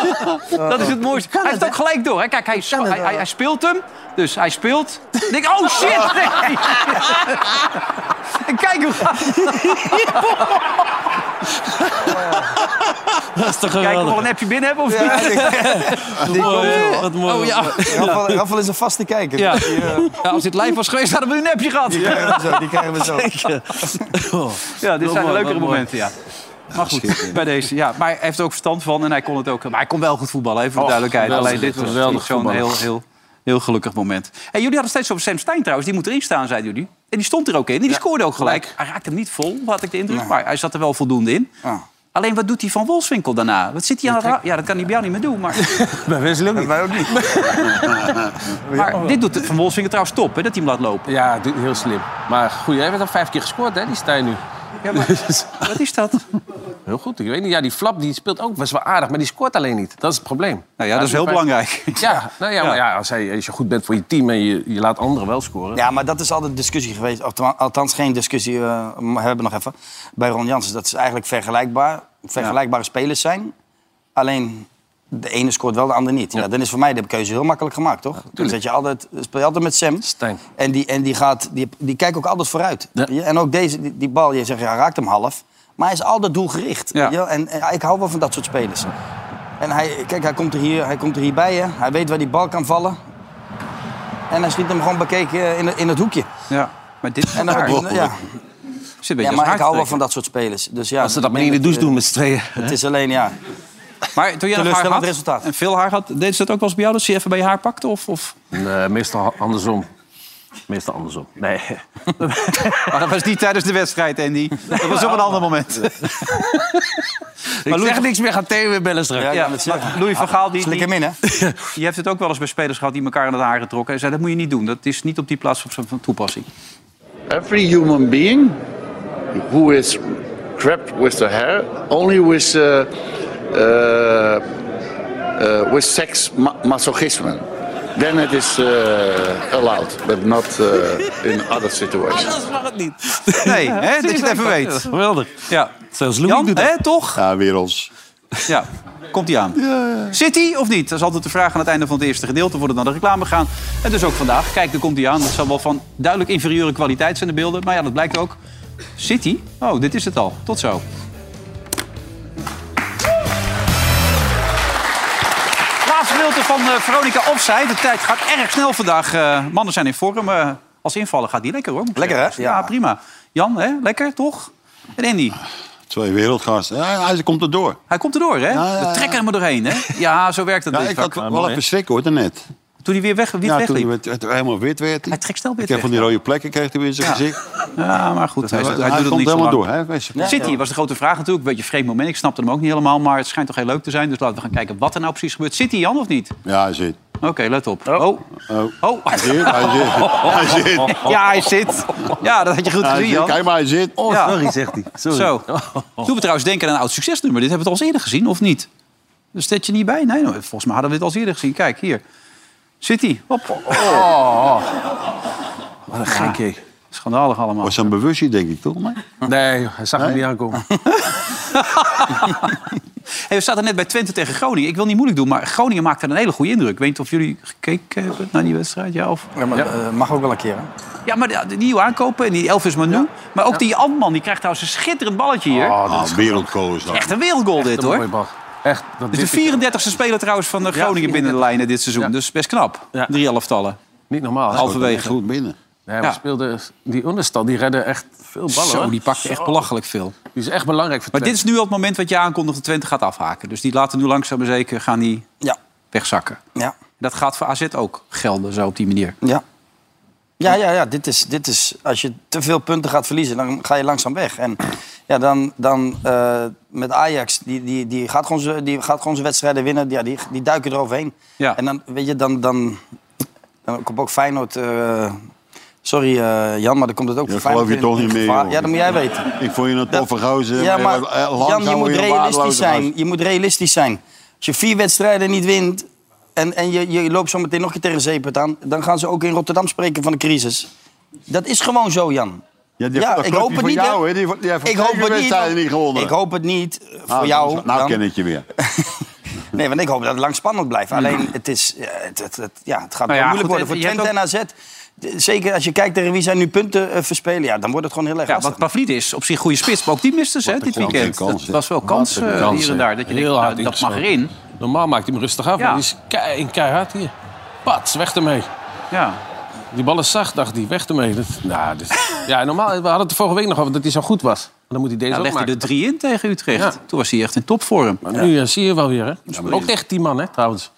[SPEAKER 2] Dat is het mooiste. Hij heeft ook gelijk door. Hè. Kijk, hij, sp- hij, hij, hij speelt hem. Dus hij speelt. Ik denk, oh shit! Nee. En kijk hoe gaat
[SPEAKER 17] Dat is toch
[SPEAKER 2] Kijk of we
[SPEAKER 17] geweldig.
[SPEAKER 2] al een appje binnen hebben of
[SPEAKER 4] Ja,
[SPEAKER 2] niet.
[SPEAKER 4] Die
[SPEAKER 17] Mooi,
[SPEAKER 4] komt
[SPEAKER 17] joh.
[SPEAKER 4] wel.
[SPEAKER 17] Wat mooi.
[SPEAKER 2] Oh, ja.
[SPEAKER 4] Rafael, Rafael is een vaste kijker.
[SPEAKER 2] Ja.
[SPEAKER 4] Die, eh,
[SPEAKER 2] Ja, als dit live was geweest, hadden we een appje gehad.
[SPEAKER 4] die krijgen we zo. Die krijgen we zo.
[SPEAKER 2] Ja, dit
[SPEAKER 17] Wat
[SPEAKER 2] zijn de
[SPEAKER 17] mooi,
[SPEAKER 2] leukere
[SPEAKER 17] wat mooi.
[SPEAKER 2] momenten, ja. Maar goed, bij deze. Ja, maar hij heeft er ook verstand van en hij kon het ook. Maar hij kon wel goed voetballen, even voor de
[SPEAKER 17] Och,
[SPEAKER 2] duidelijkheid.
[SPEAKER 17] geweldig,
[SPEAKER 2] Alleen dit was
[SPEAKER 17] geweldig
[SPEAKER 2] niet zo'n
[SPEAKER 17] voetballer.
[SPEAKER 2] heel, heel, heel gelukkig moment. En jullie hadden steeds over Sam Stein trouwens. Die moet erin staan, zeiden jullie. En die stond er ook in. En die scoorde ook gelijk. Hij raakte hem niet vol, had ik de indruk. Maar hij zat er wel voldoende in. Alleen wat doet hij van Wolfswinkel daarna? Wat zit hij aan het ra- Ja, dat kan hij bij jou niet meer doen. Maar,
[SPEAKER 17] Bij Wesley ook niet.
[SPEAKER 4] Wij ook niet.
[SPEAKER 2] maar dit doet Van Wolfswinkel trouwens top, hè, dat hij hem laat lopen.
[SPEAKER 17] Ja, doe- heel slim. Maar goed, jij hebt al vijf keer gescoord, hè, die Stijn nu. Dus,
[SPEAKER 2] Ja, maar wat is dat?
[SPEAKER 17] Heel goed, ik weet niet. Ja, die flap die speelt ook best wel aardig, maar die scoort alleen niet. Dat is het probleem.
[SPEAKER 2] Nou ja, dat is heel belangrijk.
[SPEAKER 17] Ja, nou ja, maar ja, als, hij, als je goed bent voor je team en je, je laat anderen wel scoren.
[SPEAKER 4] Ja, maar dat is altijd discussie geweest. Althans- Althans, geen discussie. eh, we hebben nog even. Bij Ron Jansen. Dat is eigenlijk vergelijkbaar. Vergelijkbare spelers zijn. Alleen de ene scoort wel, de ander niet. Ja. dan is voor mij de keuze heel makkelijk gemaakt, toch? dan zet je altijd, speel je altijd met Sam. En, die, en die, gaat, die, die kijkt ook altijd vooruit. Ja, En ook deze, die, die bal, je zegt, ja, hij raakt hem half. Maar hij is altijd doelgericht. weet je wel. En, en ik hou wel van dat soort spelers. En hij, kijk, hij komt, er hier, hij komt er hierbij. Hè. Hij weet waar die bal kan vallen. En hij schiet hem gewoon bekeken eh, in, het- in het hoekje.
[SPEAKER 2] Ja, maar dit is
[SPEAKER 4] En dan-
[SPEAKER 2] raar.
[SPEAKER 4] ja.
[SPEAKER 2] Zit een beetje
[SPEAKER 4] Ja,
[SPEAKER 2] als
[SPEAKER 4] maar ik hou wel
[SPEAKER 2] haartrekker.
[SPEAKER 4] van dat soort spelers. Dus ja,
[SPEAKER 17] Als ze dat
[SPEAKER 4] ik
[SPEAKER 17] maar
[SPEAKER 4] denk
[SPEAKER 17] niet in de douche
[SPEAKER 4] eh,
[SPEAKER 17] doen met z'n tweeën.
[SPEAKER 4] Het is alleen, ja.
[SPEAKER 2] Maar toen jij nog haar had
[SPEAKER 4] Teleurstellend resultaat.
[SPEAKER 2] en veel haar had, deed ze dat ook wel eens bij jou? Dat ze je even bij je haar pakte? Of, of?
[SPEAKER 17] Nee, eh, meestal ha- andersom. Meestal andersom. Nee.
[SPEAKER 2] Maar dat was niet tijdens de wedstrijd, Andy. Dat was op een ander moment.
[SPEAKER 17] Ik zeg niks meer, ga Theo weer bellen straks.
[SPEAKER 2] Ja, maar Louis van Gaal... Die,
[SPEAKER 4] Slik hem in, hè?
[SPEAKER 2] Je hebt het ook wel eens bij spelers gehad die elkaar aan het haar getrokken. En zei, dat moet je niet doen. Dat is niet op die plaats van- van toepassing.
[SPEAKER 20] Every human being who is crept with the hair only with uh, uh, uh, with sex ma- masochism. Then it is uh, allowed, but not uh, in other situations.
[SPEAKER 17] mag het niet.
[SPEAKER 2] Nee, hè, dat je het even weet.
[SPEAKER 17] Geweldig.
[SPEAKER 2] Ja.
[SPEAKER 17] Zelfs
[SPEAKER 2] Jan, hè, toch?
[SPEAKER 5] Ja, werelds.
[SPEAKER 2] Ja, komt hij aan. Zit hij of niet? Dat is altijd de vraag aan het einde van het eerste gedeelte. Voordat we naar de reclame gaan. En dus ook vandaag. Kijk, daar komt hij aan. Dat zal wel van duidelijk inferieure kwaliteit zijn, de beelden. Maar ja, dat blijkt ook. Zit hij? Oh, dit is het al. Tot zo. Laatste gedeelte van eh, Veronica Offside. De tijd gaat erg snel vandaag. Eh, mannen zijn in vorm. Eh, als invallen gaat die lekker, hoor. Lekker, hè? Ja, prima. Jan, hè? Lekker, toch? En Andy?
[SPEAKER 5] Twee wereldgasten. Ja, hij komt erdoor.
[SPEAKER 2] Hij komt erdoor, hè?
[SPEAKER 5] Ja, ja,
[SPEAKER 2] We
[SPEAKER 5] ja.
[SPEAKER 2] trekken hem er doorheen, hè? Ja, zo werkt het.
[SPEAKER 5] Ja,
[SPEAKER 2] dit
[SPEAKER 5] ik
[SPEAKER 2] vak.
[SPEAKER 5] had wel even schrik hoor, daarnet.
[SPEAKER 2] Toen hij weer weg, wit
[SPEAKER 5] ja,
[SPEAKER 2] wegliep.
[SPEAKER 5] toen het, het helemaal wit werd. Hij
[SPEAKER 2] trekt snel
[SPEAKER 5] wit weg. Van die rode plekken kreeg hij weer in zijn
[SPEAKER 2] Ja.
[SPEAKER 5] gezicht.
[SPEAKER 2] Ja, maar goed,
[SPEAKER 5] Dat
[SPEAKER 2] hij,
[SPEAKER 5] was-
[SPEAKER 2] hij
[SPEAKER 5] hij
[SPEAKER 2] doet het
[SPEAKER 5] komt
[SPEAKER 2] niet zo
[SPEAKER 5] helemaal
[SPEAKER 2] lang.
[SPEAKER 5] door, hè? Wees- Ja.
[SPEAKER 2] City
[SPEAKER 5] Ja.
[SPEAKER 2] was de grote vraag natuurlijk. Een beetje een vreemd moment. Ik snapte hem ook niet helemaal. Maar het schijnt toch heel leuk te zijn. Dus laten we gaan kijken wat er nou precies gebeurt. City, Jan, of niet?
[SPEAKER 5] Ja, hij zit.
[SPEAKER 2] Oké, let op. Oh. Oh.
[SPEAKER 5] Hij zit, hij zit. Hij zit.
[SPEAKER 2] Ja, hij zit. Ja, dat had je goed
[SPEAKER 5] Hij
[SPEAKER 2] gezien,
[SPEAKER 5] zit.
[SPEAKER 2] Jan.
[SPEAKER 5] Kijk maar, hij zit.
[SPEAKER 2] Oh, Ja. sorry,
[SPEAKER 17] zegt hij. Oh.
[SPEAKER 2] Zo. Toen we trouwens denken aan een oud succesnummer. Dit hebben we het al eens eerder gezien, of niet? Dus staat je niet bij? Nee, nou, volgens mij hadden we dit al eens eerder gezien. Kijk, hier. City. Hop. Oh.
[SPEAKER 17] Oh. Wat een gek, hé.
[SPEAKER 2] Schandalig allemaal.
[SPEAKER 5] Was een Oh, bewustzijn, denk ik, toch? Maar...
[SPEAKER 17] Nee, hij zag hem niet aankomen.
[SPEAKER 2] Hey, we zaten net bij Twente tegen Groningen. Ik wil niet moeilijk doen, maar Groningen maakte een hele goede indruk. Ik weet niet of jullie gekeken hebben naar die wedstrijd. Ja, of...
[SPEAKER 4] Ja, maar, eh, mag ook wel een keer, hè?
[SPEAKER 2] ja, maar die- die nieuwe aankopen en die Elvis Manu. Maar ook die Antman, die krijgt trouwens een schitterend balletje hier.
[SPEAKER 4] Ah,
[SPEAKER 5] Oh, dat wereldkool is dat.
[SPEAKER 2] Echt een wereldgoal dit, hoor.
[SPEAKER 17] Echt,
[SPEAKER 2] Dit is de 34e speler trouwens van de Groningen binnen de lijnen dit seizoen. Dus best knap. Drie elftallen.
[SPEAKER 17] Niet normaal. hè?
[SPEAKER 2] Halverwege.
[SPEAKER 5] Goed binnen.
[SPEAKER 17] Nee, we
[SPEAKER 2] Ja.
[SPEAKER 17] speelden die onderstand, die redden echt veel ballen.
[SPEAKER 2] Zo,
[SPEAKER 17] hoor.
[SPEAKER 2] die pakte echt
[SPEAKER 17] Zo.
[SPEAKER 2] belachelijk veel.
[SPEAKER 17] Die is echt belangrijk voor
[SPEAKER 2] Maar dit
[SPEAKER 17] Twente.
[SPEAKER 2] is nu al het moment wat je aankondigt dat Twente gaat afhaken. Dus die laten nu langzaam maar zeker gaan die
[SPEAKER 4] Ja.
[SPEAKER 2] wegzakken.
[SPEAKER 4] Ja.
[SPEAKER 2] Dat gaat voor AZ ook gelden, zo op die manier.
[SPEAKER 4] Ja. Ja, ja, ja. Dit is, dit is, als je te veel punten gaat verliezen, dan ga je langzaam weg. En ja, dan, dan eh, met Ajax, die, die, die, gaat gewoon zijn- die gaat gewoon zijn wedstrijden winnen. Ja, die, die duiken eroverheen.
[SPEAKER 2] Ja.
[SPEAKER 4] En dan, weet je, dan, dan, dan komt ook Feyenoord... eh, sorry eh, Jan, maar dan komt het ook
[SPEAKER 5] Dat
[SPEAKER 4] voor
[SPEAKER 5] geloof
[SPEAKER 4] Feyenoord
[SPEAKER 5] je
[SPEAKER 4] in-
[SPEAKER 5] toch
[SPEAKER 4] in
[SPEAKER 5] niet meer,
[SPEAKER 4] gevaar.
[SPEAKER 5] joh.
[SPEAKER 4] Ja, dat moet jij weten.
[SPEAKER 5] Ik vond je een toffe gozer.
[SPEAKER 4] Ja, maar
[SPEAKER 5] Eh, langzaam
[SPEAKER 4] Jan, je moet
[SPEAKER 5] weer een
[SPEAKER 4] realistisch
[SPEAKER 5] waardeloze
[SPEAKER 4] zijn.
[SPEAKER 5] gozer.
[SPEAKER 4] Je moet realistisch zijn. Als je vier wedstrijden niet wint en, en je, je loopt zo meteen nog een keer tegen zeepert aan... dan gaan ze ook in Rotterdam spreken van de crisis. Dat is gewoon zo, Jan.
[SPEAKER 5] Ja, die- dat
[SPEAKER 4] ik
[SPEAKER 5] clubje
[SPEAKER 4] hoop het
[SPEAKER 5] van
[SPEAKER 4] niet. hè.
[SPEAKER 5] jou, hè? Die- die heeft
[SPEAKER 4] ik
[SPEAKER 5] zeven
[SPEAKER 4] hoop het niet.
[SPEAKER 5] wedstrijden niet gewonnen.
[SPEAKER 4] Ik hoop het niet eh, voor
[SPEAKER 5] Ah,
[SPEAKER 4] jou.
[SPEAKER 5] nou, Nou
[SPEAKER 4] Jan.
[SPEAKER 5] ken ik je weer.
[SPEAKER 4] Nee, want ik hoop dat het lang spannend blijft. Alleen, het, is, eh, het, het, het- ja, het gaat
[SPEAKER 2] Nou
[SPEAKER 4] wel
[SPEAKER 2] ja,
[SPEAKER 4] moeilijk
[SPEAKER 2] goed,
[SPEAKER 4] worden voor
[SPEAKER 2] je hebt
[SPEAKER 4] Twente en AZ. De- Zeker als je kijkt tegen wie zij nu punten eh, verspelen... Ja, dan wordt het gewoon heel erg
[SPEAKER 2] Ja,
[SPEAKER 4] lastig.
[SPEAKER 2] want Pavlidis is op zich een goede spits. Maar ook die misten ze hè, dit
[SPEAKER 17] kans.
[SPEAKER 2] weekend.
[SPEAKER 17] Wat een
[SPEAKER 2] Dat
[SPEAKER 17] kans, hè.
[SPEAKER 2] was wel kans
[SPEAKER 17] Wat een
[SPEAKER 2] eh,
[SPEAKER 17] kans,
[SPEAKER 2] hier
[SPEAKER 17] hè.
[SPEAKER 2] en daar. Dat je
[SPEAKER 17] Heel
[SPEAKER 2] denkt, nou,
[SPEAKER 17] hard
[SPEAKER 2] dat mag
[SPEAKER 17] ingeschoten.
[SPEAKER 2] erin.
[SPEAKER 17] Normaal maakt hij hem rustig af,
[SPEAKER 2] Ja.
[SPEAKER 17] maar die is kei, en keihard hier. Pat, weg ermee.
[SPEAKER 2] Ja.
[SPEAKER 17] dus- Die bal is zacht, dacht hij. Weg ermee. Dat, nou, dit- ja, normaal, we hadden het vorige week nog over dat hij zo goed was. dan moet hij deze
[SPEAKER 2] Nou,
[SPEAKER 17] ook
[SPEAKER 2] legde
[SPEAKER 17] maken.
[SPEAKER 2] er drie in tegen Utrecht.
[SPEAKER 17] Ja.
[SPEAKER 2] Toen was hij echt in topvorm.
[SPEAKER 17] Maar nu eh, zie je wel weer, hè?
[SPEAKER 5] maar
[SPEAKER 17] ook
[SPEAKER 5] die-
[SPEAKER 17] echt die man, hè, trouwens.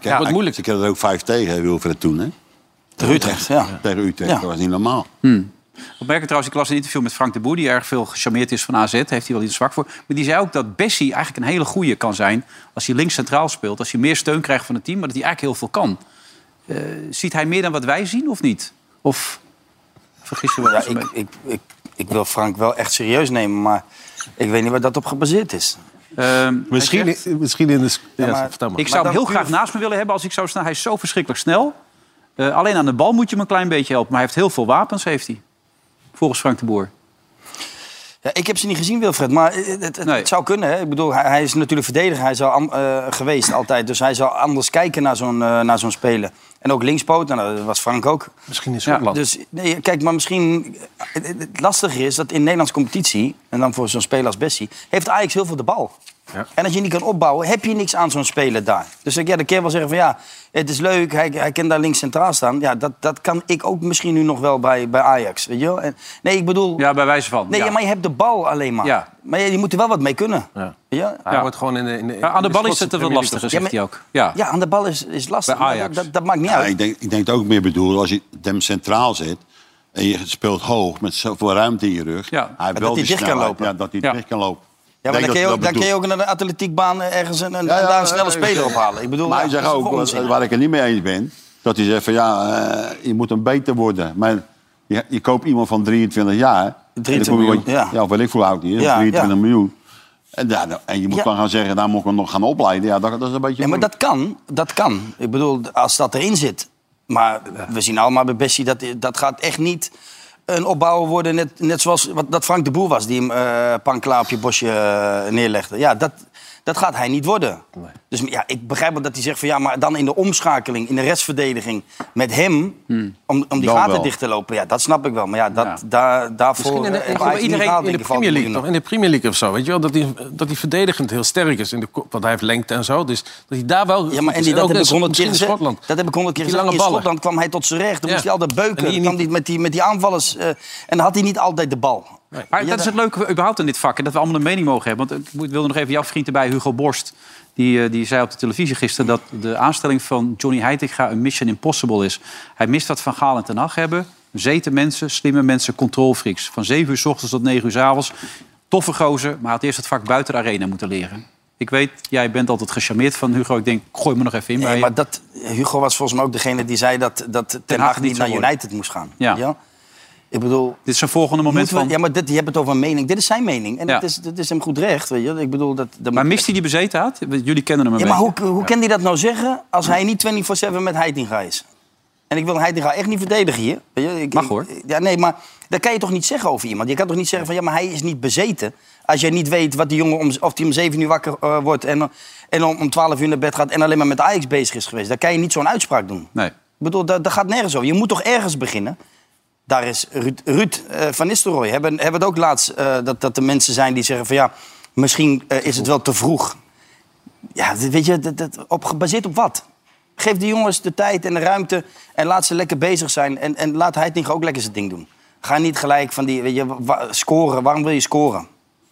[SPEAKER 17] Ja, wat moeilijk.
[SPEAKER 5] Nou, Ik had er ook vijf tegen, hè, Wilfred, toen, hè? Tegen Utrecht, ja. Tegen Utrecht,
[SPEAKER 2] Ja.
[SPEAKER 5] dat was niet normaal.
[SPEAKER 2] Wat merk ik trouwens, ik las een interview met Frank de Boer... die erg veel gecharmeerd is van AZ, heeft hij wel iets zwak voor. Maar die zei ook dat Bessie eigenlijk een hele goeie kan zijn... als hij links centraal speelt, als hij meer steun krijgt van het team... maar dat hij eigenlijk heel veel kan. Eh, ziet hij meer dan wat wij zien of niet? Of vergis je wel?
[SPEAKER 4] Ja, ik, ik, ik, ik wil Frank wel echt serieus nemen, maar ik weet niet waar dat op gebaseerd is.
[SPEAKER 17] Misschien, misschien in de... s- Ja, vertel maar.
[SPEAKER 2] Ehm, Ik zou hem heel graag naast me willen hebben als ik zou snel. Hij is zo verschrikkelijk snel. Eh, alleen aan de bal moet je hem een klein beetje helpen. Maar hij heeft heel veel wapens, heeft hij. Volgens Frank de Boer.
[SPEAKER 4] Ja, ik heb ze niet gezien, Wilfred, maar eh, het, het, het zou kunnen. Hè? Ik bedoel, hij, hij is natuurlijk verdediger hij is al, am- eh, geweest altijd. Dus hij zal anders kijken naar zo'n, eh, naar zo'n speler. En ook linkspoot, nou, dat was Frank ook.
[SPEAKER 17] Misschien in Schotland.
[SPEAKER 4] Dus nee, kijk, maar misschien... Het, het- het lastige is dat in Nederlandse competitie... en dan voor zo'n speler als Bessie... heeft Ajax heel veel de bal. En als je niet kan opbouwen, heb je niks aan zo'n speler daar. Dus ik- ja, dan kun je wel zeggen van ja, het is leuk, hij, hij kan daar links centraal staan. Ja, dat, dat kan ik ook misschien nu nog wel bij, bij Ajax, weet je wel? En, nee, ik bedoel...
[SPEAKER 2] Ja, bij wijze van.
[SPEAKER 4] Nee,
[SPEAKER 2] ja.
[SPEAKER 4] ja, maar je hebt de bal alleen maar.
[SPEAKER 2] Ja.
[SPEAKER 4] Maar je, je moet er wel wat mee kunnen. Ja. Ja?
[SPEAKER 17] Hij wordt gewoon in de, in de,
[SPEAKER 2] Maar aan de
[SPEAKER 17] in
[SPEAKER 2] bal is
[SPEAKER 17] Schotse
[SPEAKER 2] het wel
[SPEAKER 17] Premier League
[SPEAKER 2] lastiger,
[SPEAKER 17] of zo.
[SPEAKER 2] zegt hij ook.
[SPEAKER 4] Ja. aan de bal is, is lastig. maar Dat, dat, dat maakt niet
[SPEAKER 5] Ja,
[SPEAKER 4] uit.
[SPEAKER 5] ik, denk, ik denk het ook meer bedoel, als je hem centraal zet... en je speelt hoog, met zoveel ruimte in je rug...
[SPEAKER 4] Ja.
[SPEAKER 5] Hij
[SPEAKER 4] Maar
[SPEAKER 5] heeft
[SPEAKER 4] dat
[SPEAKER 5] wel
[SPEAKER 4] hij
[SPEAKER 5] die
[SPEAKER 4] dicht kan
[SPEAKER 5] snelheid,
[SPEAKER 4] lopen.
[SPEAKER 5] Ja, dat hij
[SPEAKER 4] Ja.
[SPEAKER 5] dicht kan lopen.
[SPEAKER 4] Ja, maar
[SPEAKER 5] Ik
[SPEAKER 4] dan
[SPEAKER 5] denk
[SPEAKER 4] kun, je
[SPEAKER 5] dat
[SPEAKER 4] ook,
[SPEAKER 5] hij
[SPEAKER 4] dan kun je
[SPEAKER 5] dat
[SPEAKER 4] ook naar de atletiekbaan eh, ergens een, een,
[SPEAKER 5] bedoelt. Ja,
[SPEAKER 4] daar
[SPEAKER 5] ja,
[SPEAKER 4] een snelle
[SPEAKER 5] ja, ja.
[SPEAKER 4] speler ophalen. Ik bedoel,
[SPEAKER 5] maar hij
[SPEAKER 4] ja,
[SPEAKER 5] zegt
[SPEAKER 4] dat is
[SPEAKER 5] ook, eh,
[SPEAKER 4] voor
[SPEAKER 5] wat-
[SPEAKER 4] ons, hè.
[SPEAKER 5] waar ik het niet mee eens ben... dat hij zegt van ja, eh, je moet hem beter worden. Maar je, je koopt iemand van 23 jaar... en dan
[SPEAKER 4] 23
[SPEAKER 5] kom je
[SPEAKER 4] miljoen,
[SPEAKER 5] wel-
[SPEAKER 4] ja.
[SPEAKER 5] Ja, of weet ik hoe oud die is,
[SPEAKER 4] Ja,
[SPEAKER 5] 23
[SPEAKER 4] ja.
[SPEAKER 5] miljoen. En, ja, dan- en je moet
[SPEAKER 4] Ja.
[SPEAKER 5] dan gaan zeggen, daar moet ik hem nog gaan opleiden. Ja, dat, dat is een beetje...
[SPEAKER 4] Ja, maar dat kan, dat kan. Ik bedoel, als dat erin zit. Maar we zien allemaal bij Bessie, dat, dat gaat echt niet een opbouwer worden... net, net zoals wat, dat Frank de Boer was, die hem eh panklaar op je bosje eh, neerlegde. Ja, dat, dat gaat hij niet worden. Dus ja, ik begrijp wel dat hij zegt van... ja, maar dan in de omschakeling, in de restverdediging met hem... om, om die
[SPEAKER 17] Hmm. Dan
[SPEAKER 4] gaten
[SPEAKER 17] wel.
[SPEAKER 4] dicht te lopen, ja, dat snap ik wel. Maar ja, dat, daar, daarvoor...
[SPEAKER 17] Misschien in de,
[SPEAKER 4] eh,
[SPEAKER 17] in
[SPEAKER 4] heeft
[SPEAKER 17] de-
[SPEAKER 4] Ajax niet
[SPEAKER 17] iedereen
[SPEAKER 4] gehaald,
[SPEAKER 17] in de
[SPEAKER 4] denk ik, van
[SPEAKER 17] Premier League
[SPEAKER 4] miljoenen.
[SPEAKER 17] toch? In de Premier League of zo, weet je wel? Dat hij, dat hij verdedigend heel sterk is. In de, kop, want hij heeft lengte en zo. Dus dat hij daar wel
[SPEAKER 4] Ja, maar en
[SPEAKER 17] goed is.
[SPEAKER 4] die, dat,
[SPEAKER 17] ook
[SPEAKER 4] heb ik
[SPEAKER 17] net-
[SPEAKER 4] honderd
[SPEAKER 17] misschien
[SPEAKER 4] keer
[SPEAKER 17] in
[SPEAKER 4] gezegd.
[SPEAKER 17] Schotland.
[SPEAKER 4] dat heb ik honderd keer
[SPEAKER 17] Die lange
[SPEAKER 4] gezegd. In
[SPEAKER 17] ballen.
[SPEAKER 4] Schotland kwam hij tot zijn recht. Dan
[SPEAKER 17] Ja.
[SPEAKER 4] moest hij altijd
[SPEAKER 17] En
[SPEAKER 4] beuken.
[SPEAKER 17] die
[SPEAKER 4] Dan kwam hij met, die, met die aanvallers. eh, en dan had hij niet altijd de bal.
[SPEAKER 2] Maar
[SPEAKER 4] Ja,
[SPEAKER 2] dat is het leuke überhaupt aan dit vak. En dat we allemaal een mening mogen hebben. Want eh, ik moet- wilde nog even jouw vriend erbij, Hugo Borst. Die, eh, die zei op de televisie gisteren dat de aanstelling van Johnny Heitinga een mission impossible is. Hij mist wat Van Gaal en Ten Hag hebben. Zeten mensen, slimme mensen, controlfreaks. Van 7 uur s ochtends tot 9 uur s avonds. Toffe gozer, maar had eerst het vak buiten de arena moeten leren. Ik weet, jij bent altijd gecharmeerd van Hugo. Ik denk, gooi me nog even in bij
[SPEAKER 17] Nou
[SPEAKER 4] Nee,
[SPEAKER 2] je.
[SPEAKER 4] maar dat, Hugo was volgens mij ook degene die zei dat, dat Ten
[SPEAKER 2] Hag
[SPEAKER 4] Hag
[SPEAKER 2] niet
[SPEAKER 4] niet naar
[SPEAKER 2] zou worden.
[SPEAKER 4] United moest gaan.
[SPEAKER 2] Ja.
[SPEAKER 4] Ik bedoel...
[SPEAKER 2] Dit is een volgende moment
[SPEAKER 4] moeten we-
[SPEAKER 2] van...
[SPEAKER 4] Ja, maar dit, je hebt het over een mening. Dit is zijn mening. En
[SPEAKER 2] Ja.
[SPEAKER 4] dat, is, dat is hem goed recht. Weet je? Ik bedoel, dat, dat
[SPEAKER 2] Maar mist hij die bezeten had? Jullie kennen hem een
[SPEAKER 4] Ja, maar hoe,
[SPEAKER 2] beetje.
[SPEAKER 4] hoe kan hij dat nou zeggen als hij niet 24-7 met Heitinga is? En ik wil Heitinga echt niet verdedigen hier. Weet je, ik-
[SPEAKER 2] Mag
[SPEAKER 4] ik-
[SPEAKER 2] hoor.
[SPEAKER 4] Ja, nee, maar dat kan je toch niet zeggen over iemand? Je kan toch niet zeggen van ja, maar hij is niet bezeten. Als jij niet weet wat die jongen om, of die om 7 uur wakker eh, wordt en, en om, om 12 uur naar bed gaat en alleen maar met Ajax bezig is geweest, dan kan je niet zo'n uitspraak doen.
[SPEAKER 2] Nee. Nou
[SPEAKER 4] Ik bedoel, dat, dat gaat nergens over. Je moet toch ergens beginnen? Daar is Ruud, Ruud, eh, van Nistelrooy. Hebben, hebben het ook laatst eh, dat, dat er mensen zijn die zeggen van ja, misschien eh, is het wel te vroeg. Ja, dit- weet je, dat, dat, op, gebaseerd op wat? Geef die jongens de tijd en de ruimte en laat ze lekker bezig zijn. En, en laat Heitinga ook lekker zijn ding doen. Ga niet gelijk van die, weet je, wa- scoren. Waarom wil je scoren?
[SPEAKER 2] Nou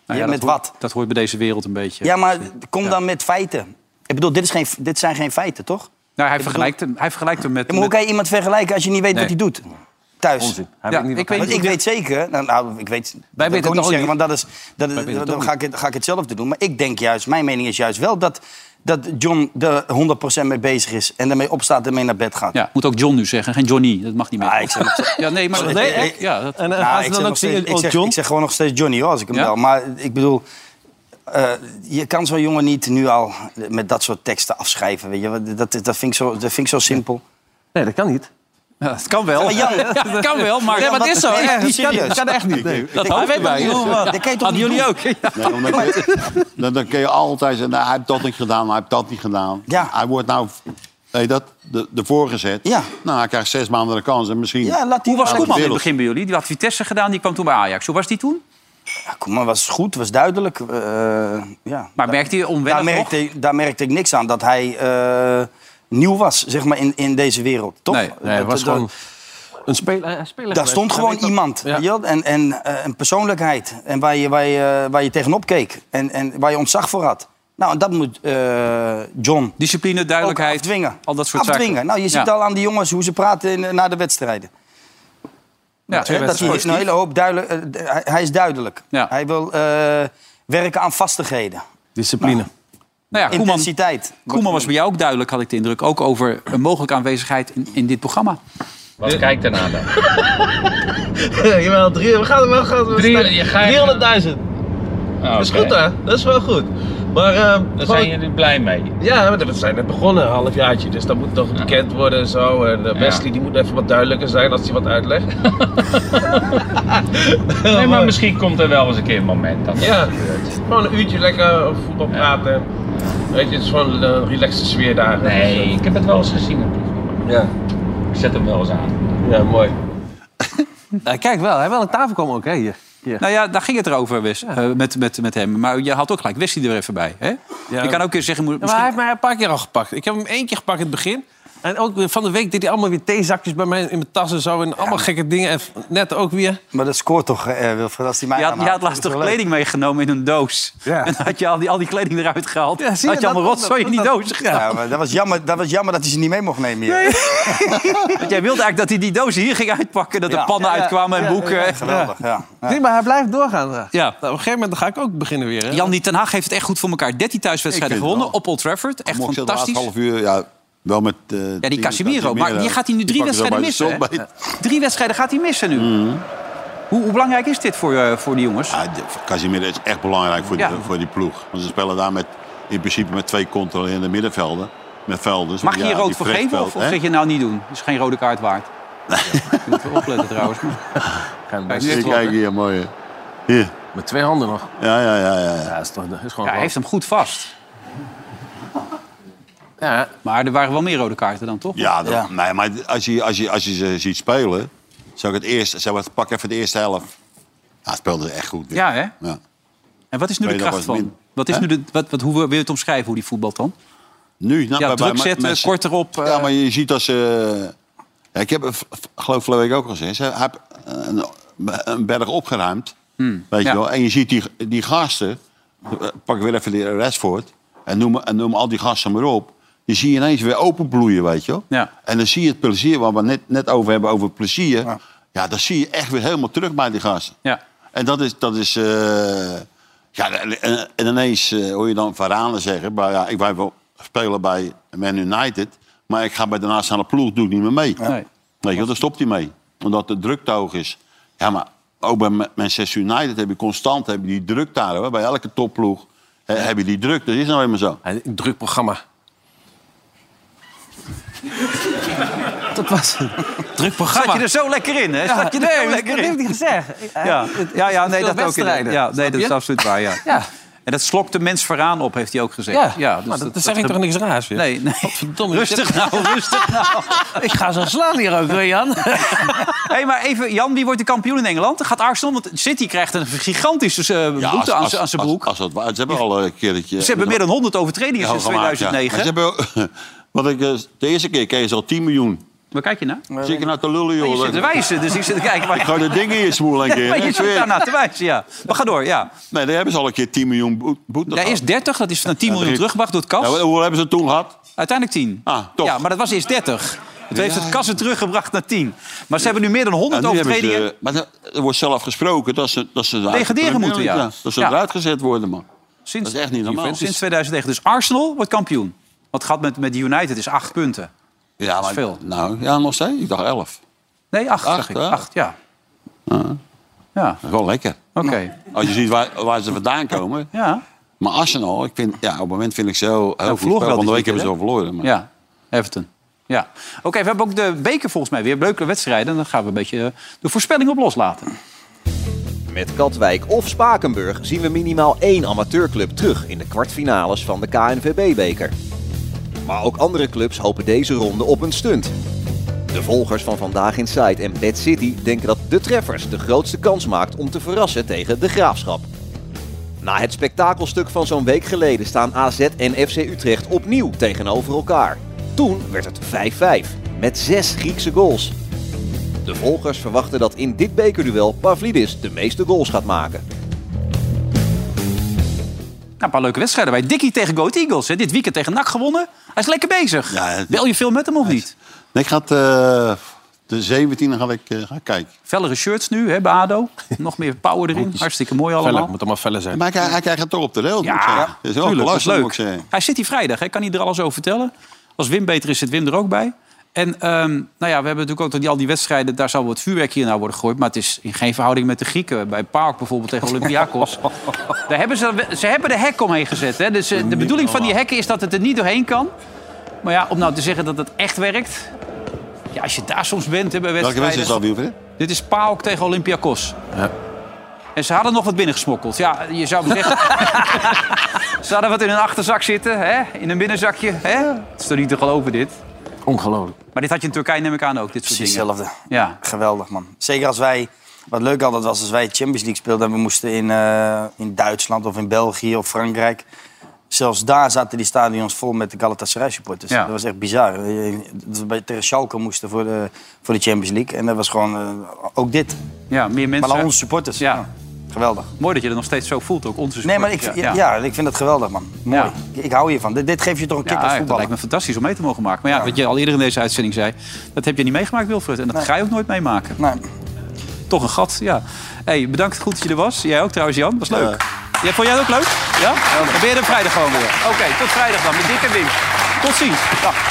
[SPEAKER 4] ja,
[SPEAKER 2] ja, dat
[SPEAKER 4] met
[SPEAKER 2] hoort-
[SPEAKER 4] wat?
[SPEAKER 2] Dat hoort bij deze wereld een beetje.
[SPEAKER 4] Ja, maar kom dan met feiten. Ik bedoel, dit, is geen, dit zijn geen feiten, toch?
[SPEAKER 2] Nou, hij, vergelijkt hem, hij vergelijkt hem met...
[SPEAKER 4] Ja, maar hoe
[SPEAKER 2] met-
[SPEAKER 4] kan je iemand vergelijken als je niet weet
[SPEAKER 2] Nee.
[SPEAKER 4] wat hij doet? Thuis.
[SPEAKER 2] Onzin. Hij weet niet wat hij
[SPEAKER 4] Want
[SPEAKER 2] doet.
[SPEAKER 4] ik weet zeker, nou, nou, ik weet,
[SPEAKER 17] weten
[SPEAKER 4] Wij
[SPEAKER 17] het
[SPEAKER 4] dat kan ik ook
[SPEAKER 17] ook
[SPEAKER 4] niet zeggen,
[SPEAKER 17] niet.
[SPEAKER 4] want dat is, dat,
[SPEAKER 17] Wij weten
[SPEAKER 4] dan
[SPEAKER 17] het ook
[SPEAKER 4] ga, ik, het- ga ik hetzelfde doen. Maar ik denk juist, mijn mening is juist wel dat, dat John er 100% mee bezig is en daarmee opstaat en mee naar bed gaat.
[SPEAKER 2] Ja, moet ook John nu zeggen, geen Johnny. Dat mag niet meer.
[SPEAKER 4] Ah, ik zeg nog steeds-
[SPEAKER 2] ja, nee, maar
[SPEAKER 4] Sorry,
[SPEAKER 2] nee,
[SPEAKER 4] ik-
[SPEAKER 2] echt, ja, dat,
[SPEAKER 4] Nou, ik zeg nog steeds-
[SPEAKER 2] oh,
[SPEAKER 4] ik zeg- Ik zeg gewoon nog steeds Johnny hoor, als ik hem
[SPEAKER 2] Ja?
[SPEAKER 4] bel. Maar ik bedoel, eh, je kan zo'n jongen niet nu al met dat soort teksten afschrijven. Weet je? want Dat, dat, vind ik zo, dat vind ik zo simpel.
[SPEAKER 17] Nee, dat kan niet.
[SPEAKER 2] Ja, het kan wel.
[SPEAKER 4] Ja, maar Jan-
[SPEAKER 2] Ja, het kan wel, maar...
[SPEAKER 4] Nee, maar het is zo,
[SPEAKER 2] Nee,
[SPEAKER 4] echt
[SPEAKER 2] het
[SPEAKER 4] niet
[SPEAKER 2] kan-
[SPEAKER 4] serieus.
[SPEAKER 2] het kan echt niet. Nee.
[SPEAKER 5] Ik-
[SPEAKER 2] Dat
[SPEAKER 5] ik-
[SPEAKER 2] hoofd
[SPEAKER 5] ik-
[SPEAKER 2] erbij.
[SPEAKER 5] ik-
[SPEAKER 2] Heel,
[SPEAKER 5] ik-
[SPEAKER 2] eh,
[SPEAKER 5] dat kan je toch
[SPEAKER 2] Hadden
[SPEAKER 5] niet
[SPEAKER 2] jullie ook?
[SPEAKER 5] Nee, omdat je- dan, dan kun je altijd zeggen, nou, hij heeft dat niet gedaan, hij heeft dat niet gedaan. Hij wordt nou nee, dat, de, ervoor gezet. Nou, hij krijgt zes maanden de kans en misschien...
[SPEAKER 4] Ja, laat die
[SPEAKER 2] Hoe was
[SPEAKER 4] Ja,
[SPEAKER 2] Koeman in het
[SPEAKER 4] wereld.
[SPEAKER 2] begin bij jullie? Die had Vitesse gedaan, die kwam toen bij Ajax. Hoe was die toen?
[SPEAKER 4] Ja, Koeman was goed, was duidelijk. eh, ja.
[SPEAKER 2] Maar merkte je
[SPEAKER 4] Daar
[SPEAKER 2] onwennig nog?
[SPEAKER 4] merkte, ik- daar merkte ik niks aan, dat hij eh, nieuw was, zeg maar, in, in deze wereld. Toch?
[SPEAKER 2] Nee, nee, hij was
[SPEAKER 4] Dat- dat-
[SPEAKER 2] gewoon-
[SPEAKER 17] Een speler, een speler
[SPEAKER 4] Daar stond gewoon iemand. weet je wel? En, en eh, een persoonlijkheid. En waar je, waar je, eh, waar je tegenop keek. En, en waar je ontzag voor had. Nou, en dat moet eh, John.
[SPEAKER 2] Discipline, duidelijkheid.
[SPEAKER 4] afdwingen.
[SPEAKER 2] Al dat soort
[SPEAKER 4] afdwingen.
[SPEAKER 2] zaken.
[SPEAKER 4] Nou, je ziet
[SPEAKER 2] Ja.
[SPEAKER 4] al aan die jongens hoe ze praten in- eh, na de wedstrijden.
[SPEAKER 2] Ja,
[SPEAKER 4] Hè, dat hij
[SPEAKER 2] positief.
[SPEAKER 4] een hele hoop duidelijk. eh, d- hij, hij is duidelijk.
[SPEAKER 2] Ja.
[SPEAKER 4] Hij wil eh, werken aan vastigheden.
[SPEAKER 17] Discipline.
[SPEAKER 2] Nou ja, Koeman-
[SPEAKER 4] Intensiteit.
[SPEAKER 2] Koeman was bij jou ook duidelijk, had ik de indruk. Ook over een mogelijke aanwezigheid in, in dit programma.
[SPEAKER 6] Wat kijkt daarna dan?
[SPEAKER 21] Jawel, drie, we gaan er wel gaan.
[SPEAKER 6] Drie- je gaat-
[SPEAKER 21] 300.000. Dat is goed hè, dat is wel goed. Maar, ehm
[SPEAKER 6] Daar zijn jullie blij mee.
[SPEAKER 21] Ja, maar we zijn net begonnen, een halfjaartje. Dus dat moet nog bekend worden en zo. En eh, Wesley die moet even wat duidelijker zijn als hij wat uitlegt.
[SPEAKER 6] Nee, maar misschien komt er wel eens een keer een moment dat dat
[SPEAKER 21] Ja.
[SPEAKER 6] gebeurt.
[SPEAKER 21] Gewoon een uurtje lekker over voetbal praten. Weet je, het is gewoon een relaxte sfeer daar.
[SPEAKER 6] Nee, ik heb het wel eens
[SPEAKER 21] gezien. Ja.
[SPEAKER 6] Ik zet hem wel eens aan.
[SPEAKER 21] Ja, mooi.
[SPEAKER 17] Eh,
[SPEAKER 2] kijk wel, hij wel een tafel kwam ook hè, hier. Nou ja, daar ging het erover, Wes, eh, met, met, met hem. Maar je had ook gelijk Wesley er even bij. Hè? Je kan ook eens zeggen... moet-
[SPEAKER 17] Ja, maar hij heeft mij een paar keer al gepakt. Ik heb hem één keer gepakt in het begin. En ook weer van de week deed hij allemaal weer theezakjes bij mij in mijn tas en zo. En allemaal gekke dingen. En net ook weer.
[SPEAKER 4] Maar dat scoort toch, eh Wilfred, als die mij
[SPEAKER 2] Je had, je
[SPEAKER 4] aanhaalt.
[SPEAKER 2] had laatst
[SPEAKER 4] Dat
[SPEAKER 2] toch
[SPEAKER 4] is wel leuk.
[SPEAKER 2] kleding meegenomen in een doos. En dan had je al die, al die kleding eruit gehaald.
[SPEAKER 4] Ja, zie je,
[SPEAKER 2] had je
[SPEAKER 4] dat-
[SPEAKER 2] allemaal rotzooi in die
[SPEAKER 4] dat-
[SPEAKER 2] doos gedaan.
[SPEAKER 4] Ja, maar dat, was jammer, dat was jammer dat hij ze niet mee mocht nemen hier.
[SPEAKER 2] Want jij wilde eigenlijk dat hij die doos hier ging uitpakken. Dat
[SPEAKER 4] Ja.
[SPEAKER 2] er pannen
[SPEAKER 4] Ja, ja.
[SPEAKER 2] uitkwamen en
[SPEAKER 4] Ja,
[SPEAKER 2] boeken.
[SPEAKER 4] ja, geweldig, ja.
[SPEAKER 17] Nee, maar hij blijft doorgaan.
[SPEAKER 2] Ja.
[SPEAKER 17] Nou, Op een gegeven moment ga ik ook beginnen weer. Hè?
[SPEAKER 2] Jan die Ten Haag heeft het echt goed voor elkaar. 13 thuiswedstrijden
[SPEAKER 17] Ik vind het
[SPEAKER 2] gewonnen op Old Trafford. Echt
[SPEAKER 5] Mocht je het laatste
[SPEAKER 2] fantastisch.
[SPEAKER 5] half uur, ja, wel met... eh,
[SPEAKER 2] Ja, die
[SPEAKER 5] Timo
[SPEAKER 2] Casimiro. Maar die gaat hij nu drie
[SPEAKER 5] pakken ze bij
[SPEAKER 2] wedstrijden
[SPEAKER 5] de
[SPEAKER 2] missen.
[SPEAKER 5] strot
[SPEAKER 2] hè?
[SPEAKER 5] bij.
[SPEAKER 2] Drie wedstrijden gaat hij missen nu. Hoe, hoe belangrijk is dit voor, eh, voor die jongens?
[SPEAKER 5] Casimiro is echt belangrijk voor,
[SPEAKER 2] Ja.
[SPEAKER 5] die, voor die ploeg. Want ze spelen daar met, in principe met twee controlerende middenvelden. Met velders.
[SPEAKER 2] Mag je hier
[SPEAKER 5] Ja,
[SPEAKER 2] rood
[SPEAKER 5] die
[SPEAKER 2] voor geven of,
[SPEAKER 5] Vrechtveldt,
[SPEAKER 2] of
[SPEAKER 5] hè?
[SPEAKER 2] zeg je nou niet doen? Dat is geen rode kaart waard. Je moet wel opletten trouwens. maar- Kijk, dit
[SPEAKER 5] Kijk,
[SPEAKER 2] wel, hè?
[SPEAKER 5] kijk hier, mooi. hè. Hier.
[SPEAKER 17] Met twee handen nog.
[SPEAKER 5] Ja, ja, ja. ja, ja.
[SPEAKER 17] is toch, is gewoon
[SPEAKER 2] Ja, hij heeft hem goed vast. Maar er waren wel meer rode kaarten dan, toch?
[SPEAKER 5] Ja, dat- Nee, maar als je, als, je, als je ze ziet spelen, zou ik het eerst, zou ik het pak even de eerste helft. Ja, speelde echt goed.
[SPEAKER 2] Ja, hè?
[SPEAKER 5] Ja.
[SPEAKER 2] En wat is nu de
[SPEAKER 5] Tweede
[SPEAKER 2] kracht
[SPEAKER 5] was
[SPEAKER 2] van?
[SPEAKER 5] min.
[SPEAKER 2] Wat is
[SPEAKER 5] Hè?
[SPEAKER 2] nu de, wat, wat, hoe wil je het omschrijven, hoe die voetbalt dan?
[SPEAKER 5] Nu, nou,
[SPEAKER 2] Ja,
[SPEAKER 5] bij- bij
[SPEAKER 2] druk
[SPEAKER 5] Ma-
[SPEAKER 2] zetten,
[SPEAKER 5] Messi-
[SPEAKER 2] kort erop. eh.
[SPEAKER 5] Ja, maar je ziet dat ze... Ja, ik heb, het v- v- geloof vorige week ook al gezegd, ze hebben een, een berg opgeruimd. Weet
[SPEAKER 2] Hmm, ja.
[SPEAKER 5] je wel? En je ziet die, die gasten, eh, pak weer even de Rashford... En noem, en noem al die gasten maar op. Die zie je ineens weer openbloeien, weet je wel.
[SPEAKER 2] Ja.
[SPEAKER 5] En dan zie je het plezier, waar we net, net over hebben, over plezier. Ja. dat zie je echt weer helemaal terug bij die gasten.
[SPEAKER 2] Ja.
[SPEAKER 5] En dat is... Dat is eh, ja, en, en- en ineens eh, hoor je dan Varane zeggen... Maar, ja, ik wou wel spelen bij Man United... maar ik ga bij de nationale ploeg doe ik niet meer mee.
[SPEAKER 2] Nee.
[SPEAKER 5] Weet je, wel, daar stopt hij mee. Omdat de druk te hoog is. Ja, maar ook bij Ma- Manchester United heb je constant heb je die druk daar. Hoor. Bij elke topploeg eh, heb je die druk. Dat is nou helemaal zo.
[SPEAKER 17] Een druk programma.
[SPEAKER 2] Dat was het.
[SPEAKER 17] Druk programma.
[SPEAKER 2] Zat je er zo lekker in, hè?
[SPEAKER 17] Ja,
[SPEAKER 2] Zat je er
[SPEAKER 17] nee,
[SPEAKER 2] zo
[SPEAKER 17] maar
[SPEAKER 2] lekker
[SPEAKER 17] dat
[SPEAKER 2] in?
[SPEAKER 17] heeft hij gezegd. Hij-
[SPEAKER 2] Ja,
[SPEAKER 17] het-
[SPEAKER 2] ja, ja
[SPEAKER 17] het
[SPEAKER 2] nee,
[SPEAKER 17] is
[SPEAKER 2] dat
[SPEAKER 17] veel
[SPEAKER 2] ook. inderdaad.
[SPEAKER 17] wedstrijden.
[SPEAKER 2] Ja, nee,
[SPEAKER 17] Snap
[SPEAKER 2] dat is
[SPEAKER 17] je?
[SPEAKER 2] absoluut waar, ja.
[SPEAKER 17] Ja.
[SPEAKER 2] En dat slokt de mens Varaan op, heeft hij ook gezegd. dus
[SPEAKER 17] Ja, maar dat- dat zeg ik toch niks raars weer?
[SPEAKER 2] Nee, nee. Oh, Rustig nou, rustig nou.
[SPEAKER 17] Ik ga zo slaan hier ook, hoor, Jan.
[SPEAKER 2] Hé, hey, maar even, Jan, wie wordt de kampioen in Engeland? Dan gaat Arsenal, want City krijgt een gigantische eh, boete
[SPEAKER 5] Ja, als-
[SPEAKER 2] aan
[SPEAKER 5] als-
[SPEAKER 2] z'n- aan zijn
[SPEAKER 5] als-
[SPEAKER 2] broek.
[SPEAKER 5] Als, dat waar- ze hebben al een keertje...
[SPEAKER 2] Ze hebben meer dan 100 overtredingen
[SPEAKER 5] Ja,
[SPEAKER 2] sinds
[SPEAKER 5] gemaakt, ja.
[SPEAKER 2] 2009.
[SPEAKER 5] Maar ze hebben, wat ik, eh, de eerste keer kreeg ze al 10 miljoen.
[SPEAKER 2] Waar kijk je naar?
[SPEAKER 5] Zit je nou te lullen, joh?
[SPEAKER 2] Je zit te wijzen, dus ik zit te kijken. Maar...
[SPEAKER 5] Ik ga de dingen in je smoel een keer.
[SPEAKER 2] Ja, je
[SPEAKER 5] Ik
[SPEAKER 2] zit
[SPEAKER 5] zweer.
[SPEAKER 2] daarna te wijzen, ja. Maar ga door, ja.
[SPEAKER 5] Nee, daar hebben ze al een keer 10 miljoen boe- boete
[SPEAKER 2] Ja,
[SPEAKER 5] gehad.
[SPEAKER 2] eerst 30, dat is van 10
[SPEAKER 5] Ja,
[SPEAKER 2] miljoen
[SPEAKER 5] drie-
[SPEAKER 2] teruggebracht door het kas.
[SPEAKER 5] Ja, hoeveel hebben ze toen gehad?
[SPEAKER 2] Uiteindelijk 10.
[SPEAKER 5] Ah, toch.
[SPEAKER 2] Ja, maar dat was eerst 30. Het heeft het kassen teruggebracht naar 10. Maar ze hebben nu meer dan 100
[SPEAKER 5] Ja, Nou, nu hebben
[SPEAKER 2] overtredingen.
[SPEAKER 5] ze- eh, maar er- er wordt zelf gesproken dat ze... Dat ze eruit-
[SPEAKER 2] Degraderen moeten, ja.
[SPEAKER 5] Dat ze
[SPEAKER 2] Ja.
[SPEAKER 5] eruit gezet worden, man.
[SPEAKER 2] Sinds,
[SPEAKER 5] dat is echt niet normaal.
[SPEAKER 2] Sinds 2009. Dus Arsenal wordt kampioen. Wat gaat met, met United is 8 punten.
[SPEAKER 5] Ja, maar,
[SPEAKER 2] is veel.
[SPEAKER 5] Nou, ja, nog steeds. Ik dacht 11.
[SPEAKER 2] Nee, 8
[SPEAKER 5] Acht,
[SPEAKER 2] zag ik.
[SPEAKER 5] hè?
[SPEAKER 2] 8, ja. Ja.
[SPEAKER 5] Wel lekker.
[SPEAKER 2] Oké.
[SPEAKER 5] Als je ziet waar, waar ze vandaan komen.
[SPEAKER 2] Ja. Nou,
[SPEAKER 5] Maar Arsenal, ik vind, ja, op het moment vind ik zo... Heel goed
[SPEAKER 2] verloren
[SPEAKER 5] spel.
[SPEAKER 2] wel
[SPEAKER 5] Van de week
[SPEAKER 2] dit
[SPEAKER 5] hebben ze
[SPEAKER 2] weekend,
[SPEAKER 5] al verloren. Maar...
[SPEAKER 2] Ja, Everton. Ja. Oké, we hebben ook de beker volgens mij weer. Leuke wedstrijden. En dan gaan we een beetje eh, de voorspelling op loslaten. Nou,
[SPEAKER 22] Met Katwijk of Spakenburg zien we minimaal één amateurclub terug in de kwartfinales van de KNVB-beker. Maar ook andere clubs hopen deze ronde op een stunt. De volgers van Vandaag in Site en Bad City denken dat de treffers de grootste kans maakt om te verrassen tegen de graafschap. Na het spektakelstuk van zo'n week geleden staan AZ en FC Utrecht opnieuw tegenover elkaar. Toen werd het 5-5 met zes Griekse goals. De volgers verwachten dat in dit bekerduel Pavlidis de meeste goals gaat maken.
[SPEAKER 2] Nou, een paar leuke wedstrijden bij Dickie tegen Goat Eagles. Hè. Dit weekend tegen NAC gewonnen. Hij is lekker bezig. Bel je veel met hem of niet?
[SPEAKER 5] Nee, ik ga het, eh, de 17 ga ik eh, ga ik kijken.
[SPEAKER 2] Vellere shirts nu hè, bij ADO. Nog meer power erin. Hartstikke mooi allemaal.
[SPEAKER 5] Feller,
[SPEAKER 2] moet allemaal feller zijn.
[SPEAKER 5] Maar hij, hij krijgt het toch op de rail. moet ik zeggen.
[SPEAKER 2] Ja,
[SPEAKER 5] Dat is wel
[SPEAKER 2] tuurlijk, dat is
[SPEAKER 5] belasting, moet ik
[SPEAKER 2] leuk.
[SPEAKER 5] zeggen.
[SPEAKER 2] Hij zit hier vrijdag, hè? kan hij er alles over vertellen. Als Wim beter is, zit Wim er ook bij. En ehm, nou ja, we hebben natuurlijk ook dat die, al die wedstrijden... daar zal wat vuurwerk hier nou worden gegooid... maar het is in geen verhouding met de Grieken. Bij Park bijvoorbeeld tegen Olympiakos. daar hebben ze, ze hebben de hek omheen gezet. Hè? Dus eh, de bedoeling van die hekken is dat het er niet doorheen kan. Maar ja, om nou te zeggen dat het echt werkt... Ja, als je daar soms bent hè, bij
[SPEAKER 5] Welke
[SPEAKER 2] wedstrijden...
[SPEAKER 5] wedstrijd is dat, Wilfred?
[SPEAKER 2] Dit is PAOK tegen Olympiakos. En ze hadden nog wat binnengesmokkeld. Ja, je zou maar zeggen... Ze hadden wat in een achterzak zitten, hè? in een binnenzakje. Hè? Het is toch niet te geloven, dit?
[SPEAKER 4] Ongelooflijk.
[SPEAKER 2] Maar dit had je in Turkije, neem ik aan, ook, dit soort
[SPEAKER 4] Precies
[SPEAKER 2] dingen.
[SPEAKER 4] hetzelfde.
[SPEAKER 2] Ja.
[SPEAKER 4] Geweldig, man. Zeker als wij... Wat leuk altijd was, als wij Champions League speelden... en we moesten in, eh, in Duitsland of in België of Frankrijk... Zelfs daar zaten die stadions vol met de Galatasaray-supporters.
[SPEAKER 2] Ja.
[SPEAKER 4] Dat was echt bizar. Eh, dat we bij- Tegen Schalke moesten voor de, voor de Champions League. En dat was gewoon eh, ook dit.
[SPEAKER 2] Ja, meer mensen.
[SPEAKER 4] Maar dan onze supporters. Ja. Geweldig.
[SPEAKER 2] Mooi dat je dat nog steeds zo voelt, ook onze
[SPEAKER 4] Nee, maar ik,
[SPEAKER 2] supporters,
[SPEAKER 4] ja, ja, ik vind dat geweldig, man. Mooi. Ik, ik hou hiervan. Dit, dit geeft je toch een kick
[SPEAKER 2] Ja,
[SPEAKER 4] als
[SPEAKER 2] dat
[SPEAKER 4] voetballer.
[SPEAKER 2] lijkt me fantastisch om mee te mogen maken. Maar ja, wat je al eerder in deze uitzending zei... dat heb je niet meegemaakt, Wilfred. En dat ga je ook nooit meemaken. Toch een gat, ja. hey, bedankt goed dat je er was. Jij ook trouwens, Jan. Was leuk. Ja, vond jij het ook leuk? Ja? Dan ben je er vrijdag gewoon weer. Oké, tot vrijdag dan met Dick en Wim. Tot ziens. Dag.